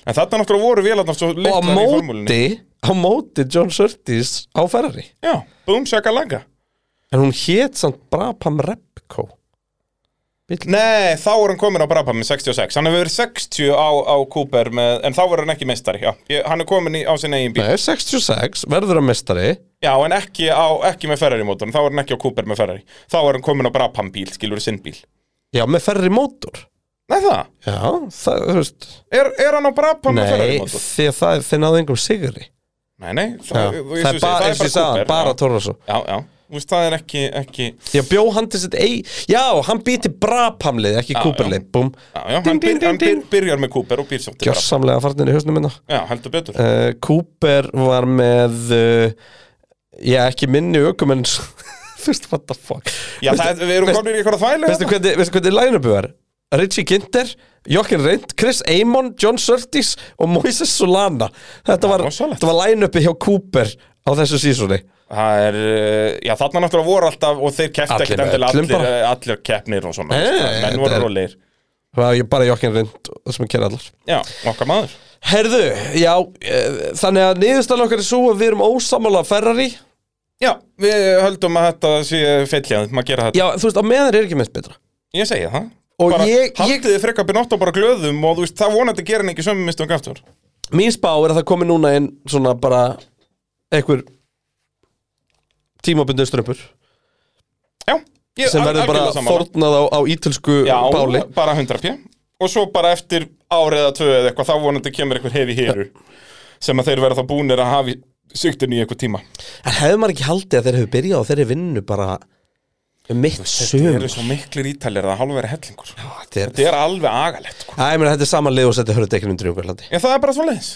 [SPEAKER 3] En þetta náttúrulega voru vélarnar svo
[SPEAKER 2] og á
[SPEAKER 3] litlar í formúlinni
[SPEAKER 2] móti á móti John Surtees á Ferrari
[SPEAKER 3] Já, Boom Shakalaka
[SPEAKER 2] en hún hét samt Brabham Repco
[SPEAKER 3] Nei, þá er hann komin á Brabham með 66 Hann hefur verið 60 á, á Cooper með, En þá verður hann ekki meistari Já, ég, hann er komin í, á sinna eigin bíl
[SPEAKER 2] Nei, 66, verður að mestari
[SPEAKER 3] Já, en ekki, á, ekki með Ferrari mótorn Þá er hann ekki á Cooper með Ferrari Þá er hann komin á Brabham bíl, skilur sinn bíl
[SPEAKER 2] já, með Ferrari mótor
[SPEAKER 3] Nei það,
[SPEAKER 2] já, það, þú veist
[SPEAKER 3] er, er hann á Brabham með Ferrari
[SPEAKER 2] nei,
[SPEAKER 3] mótorn?
[SPEAKER 2] því að það þeir náðu engum sigri
[SPEAKER 3] Nei, nei,
[SPEAKER 2] já,
[SPEAKER 3] það,
[SPEAKER 2] það,
[SPEAKER 3] þú- ég- þú
[SPEAKER 2] er
[SPEAKER 3] segir,
[SPEAKER 2] bara, eins og ég sagði,
[SPEAKER 3] Cooper,
[SPEAKER 2] bara
[SPEAKER 3] já.
[SPEAKER 2] Torroso
[SPEAKER 3] Já, já, þú veist, það er ekki, ekki Já,
[SPEAKER 2] já, bjó hann til sitt ei, já, hann býti Brabham lið, ekki
[SPEAKER 3] Já,
[SPEAKER 2] Cooper
[SPEAKER 3] já.
[SPEAKER 2] lið, búm
[SPEAKER 3] já, hann,
[SPEAKER 2] Ding, ding,
[SPEAKER 3] byr, hann
[SPEAKER 2] ding,
[SPEAKER 3] byr,
[SPEAKER 2] ding.
[SPEAKER 3] byrjar með Cooper og býr svo til Brabham
[SPEAKER 2] gjörsamlega farnin í hausnum hérna. minna
[SPEAKER 3] Já, heldur betur
[SPEAKER 2] uh, Cooper var með uh, já, ekki minni ökum en þú veist, what the fuck
[SPEAKER 3] Já, það, við erum
[SPEAKER 2] veist-
[SPEAKER 3] komin í hérna. eitthvað þvæli
[SPEAKER 2] veistu hvernig, veistu hvernig line-upu var? Richie Ginter, Jochen Rindt, Chris Amon, John Surtees og Moises Solana Þetta var,
[SPEAKER 3] rosalegt.
[SPEAKER 2] þetta var line-upi hjá Cooper á þessu sísunni
[SPEAKER 3] Það er, eh, já þarna náttúrulega voru alltaf og þeir keppti
[SPEAKER 2] Allir
[SPEAKER 3] ekkert
[SPEAKER 2] með
[SPEAKER 3] endilega
[SPEAKER 2] öllum
[SPEAKER 3] allir,
[SPEAKER 2] bara.
[SPEAKER 3] eh, allir keppnir og svona
[SPEAKER 2] Nei,
[SPEAKER 3] veist,
[SPEAKER 2] nei,
[SPEAKER 3] menn
[SPEAKER 2] þetta
[SPEAKER 3] voru
[SPEAKER 2] er-
[SPEAKER 3] rólegir
[SPEAKER 2] Það var ég bara Jochen Rindt sem er kæra allar
[SPEAKER 3] Já, okkar maður
[SPEAKER 2] Herðu, já, eh, þannig að niðurstaðan okkar er svo að við erum ósamála Ferrari
[SPEAKER 3] Já, við höldum að þetta sé feillið maður gera þetta
[SPEAKER 2] Já, þú veist, á meðan er ekki mitt betra
[SPEAKER 3] Ég segi það
[SPEAKER 2] Og
[SPEAKER 3] bara,
[SPEAKER 2] ég- ég-
[SPEAKER 3] Haldið þið frekar Binotto bara glöðum og þú veist, það vonandi gerir hann ekki sömu mistum gaftur
[SPEAKER 2] Mín spá er að það komi núna inn svona bara einhver tímabundu strömpur
[SPEAKER 3] Já, ég
[SPEAKER 2] sem
[SPEAKER 3] al-
[SPEAKER 2] verður bara
[SPEAKER 3] algjörlega sammála.
[SPEAKER 2] fornað á, á ítölsku
[SPEAKER 3] Já,
[SPEAKER 2] báli
[SPEAKER 3] bara 100 pjö Og svo bara eftir árið eða tvö eða eitthvað þá vonandi kemur eitthvað hefi héru sem að þeir verða þá búnir að hafi sýktin í eitthvað tíma
[SPEAKER 2] En hefur maður ekki haldið að þeir hefur byrjað á þeirri vinnu bara um mitt
[SPEAKER 3] Þeir
[SPEAKER 2] sögum
[SPEAKER 3] eru svo miklir ítalir að hálfveri hellingur
[SPEAKER 2] Þetta er,
[SPEAKER 3] Þetta er alveg agalegt sko.
[SPEAKER 2] Æ, ég meina, þetta er saman lið og þetta hörðu dekkinu undir Júkarlandi
[SPEAKER 3] En það er bara svo leiðis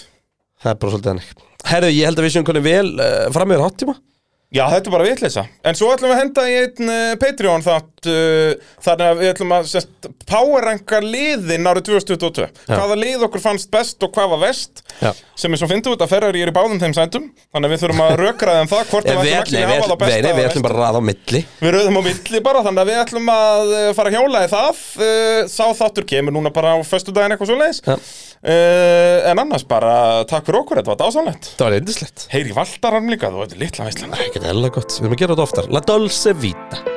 [SPEAKER 2] Það er bara svolítið hannig Herðu, ég held að við séum konum vel uh, fram yfir háttíma
[SPEAKER 3] Já, þetta er bara vitleysa En svo ætlum við að henda í einn uh, Patreon þátt uh, Þannig að við ætlum að sest, powerranka liðin árið 2022 Hvaða lið okkur fannst best og hvað var vest
[SPEAKER 2] Já.
[SPEAKER 3] Sem er svo fyndið út að ferrari er í báðum þeim sætum Þannig að við þurfum að rökraða um það Hvort
[SPEAKER 2] Eh, Við,
[SPEAKER 3] við
[SPEAKER 2] ætlum-
[SPEAKER 3] ætlum ekki að
[SPEAKER 2] við,
[SPEAKER 3] hafa
[SPEAKER 2] ætlum-
[SPEAKER 3] það besta
[SPEAKER 2] nei, nei,
[SPEAKER 3] eða
[SPEAKER 2] við
[SPEAKER 3] versta.
[SPEAKER 2] ætlum bara að ræða á milli
[SPEAKER 3] Við rauðum á milli bara, þannig að við ætlum að eh, fara að hjála í það Eh, Sá þáttur kemur núna bara á föstudaginn eitthvað svo leiðis
[SPEAKER 2] Ja.
[SPEAKER 3] En annars bara, takk fyrir okkur, þetta var dásamlegt
[SPEAKER 2] Það var eindislegt
[SPEAKER 3] Heyri Valdarann líka, þú veit, litla veistlan
[SPEAKER 2] Ekkert eðla gott, við erum að gera þetta oftar La Dolce Vita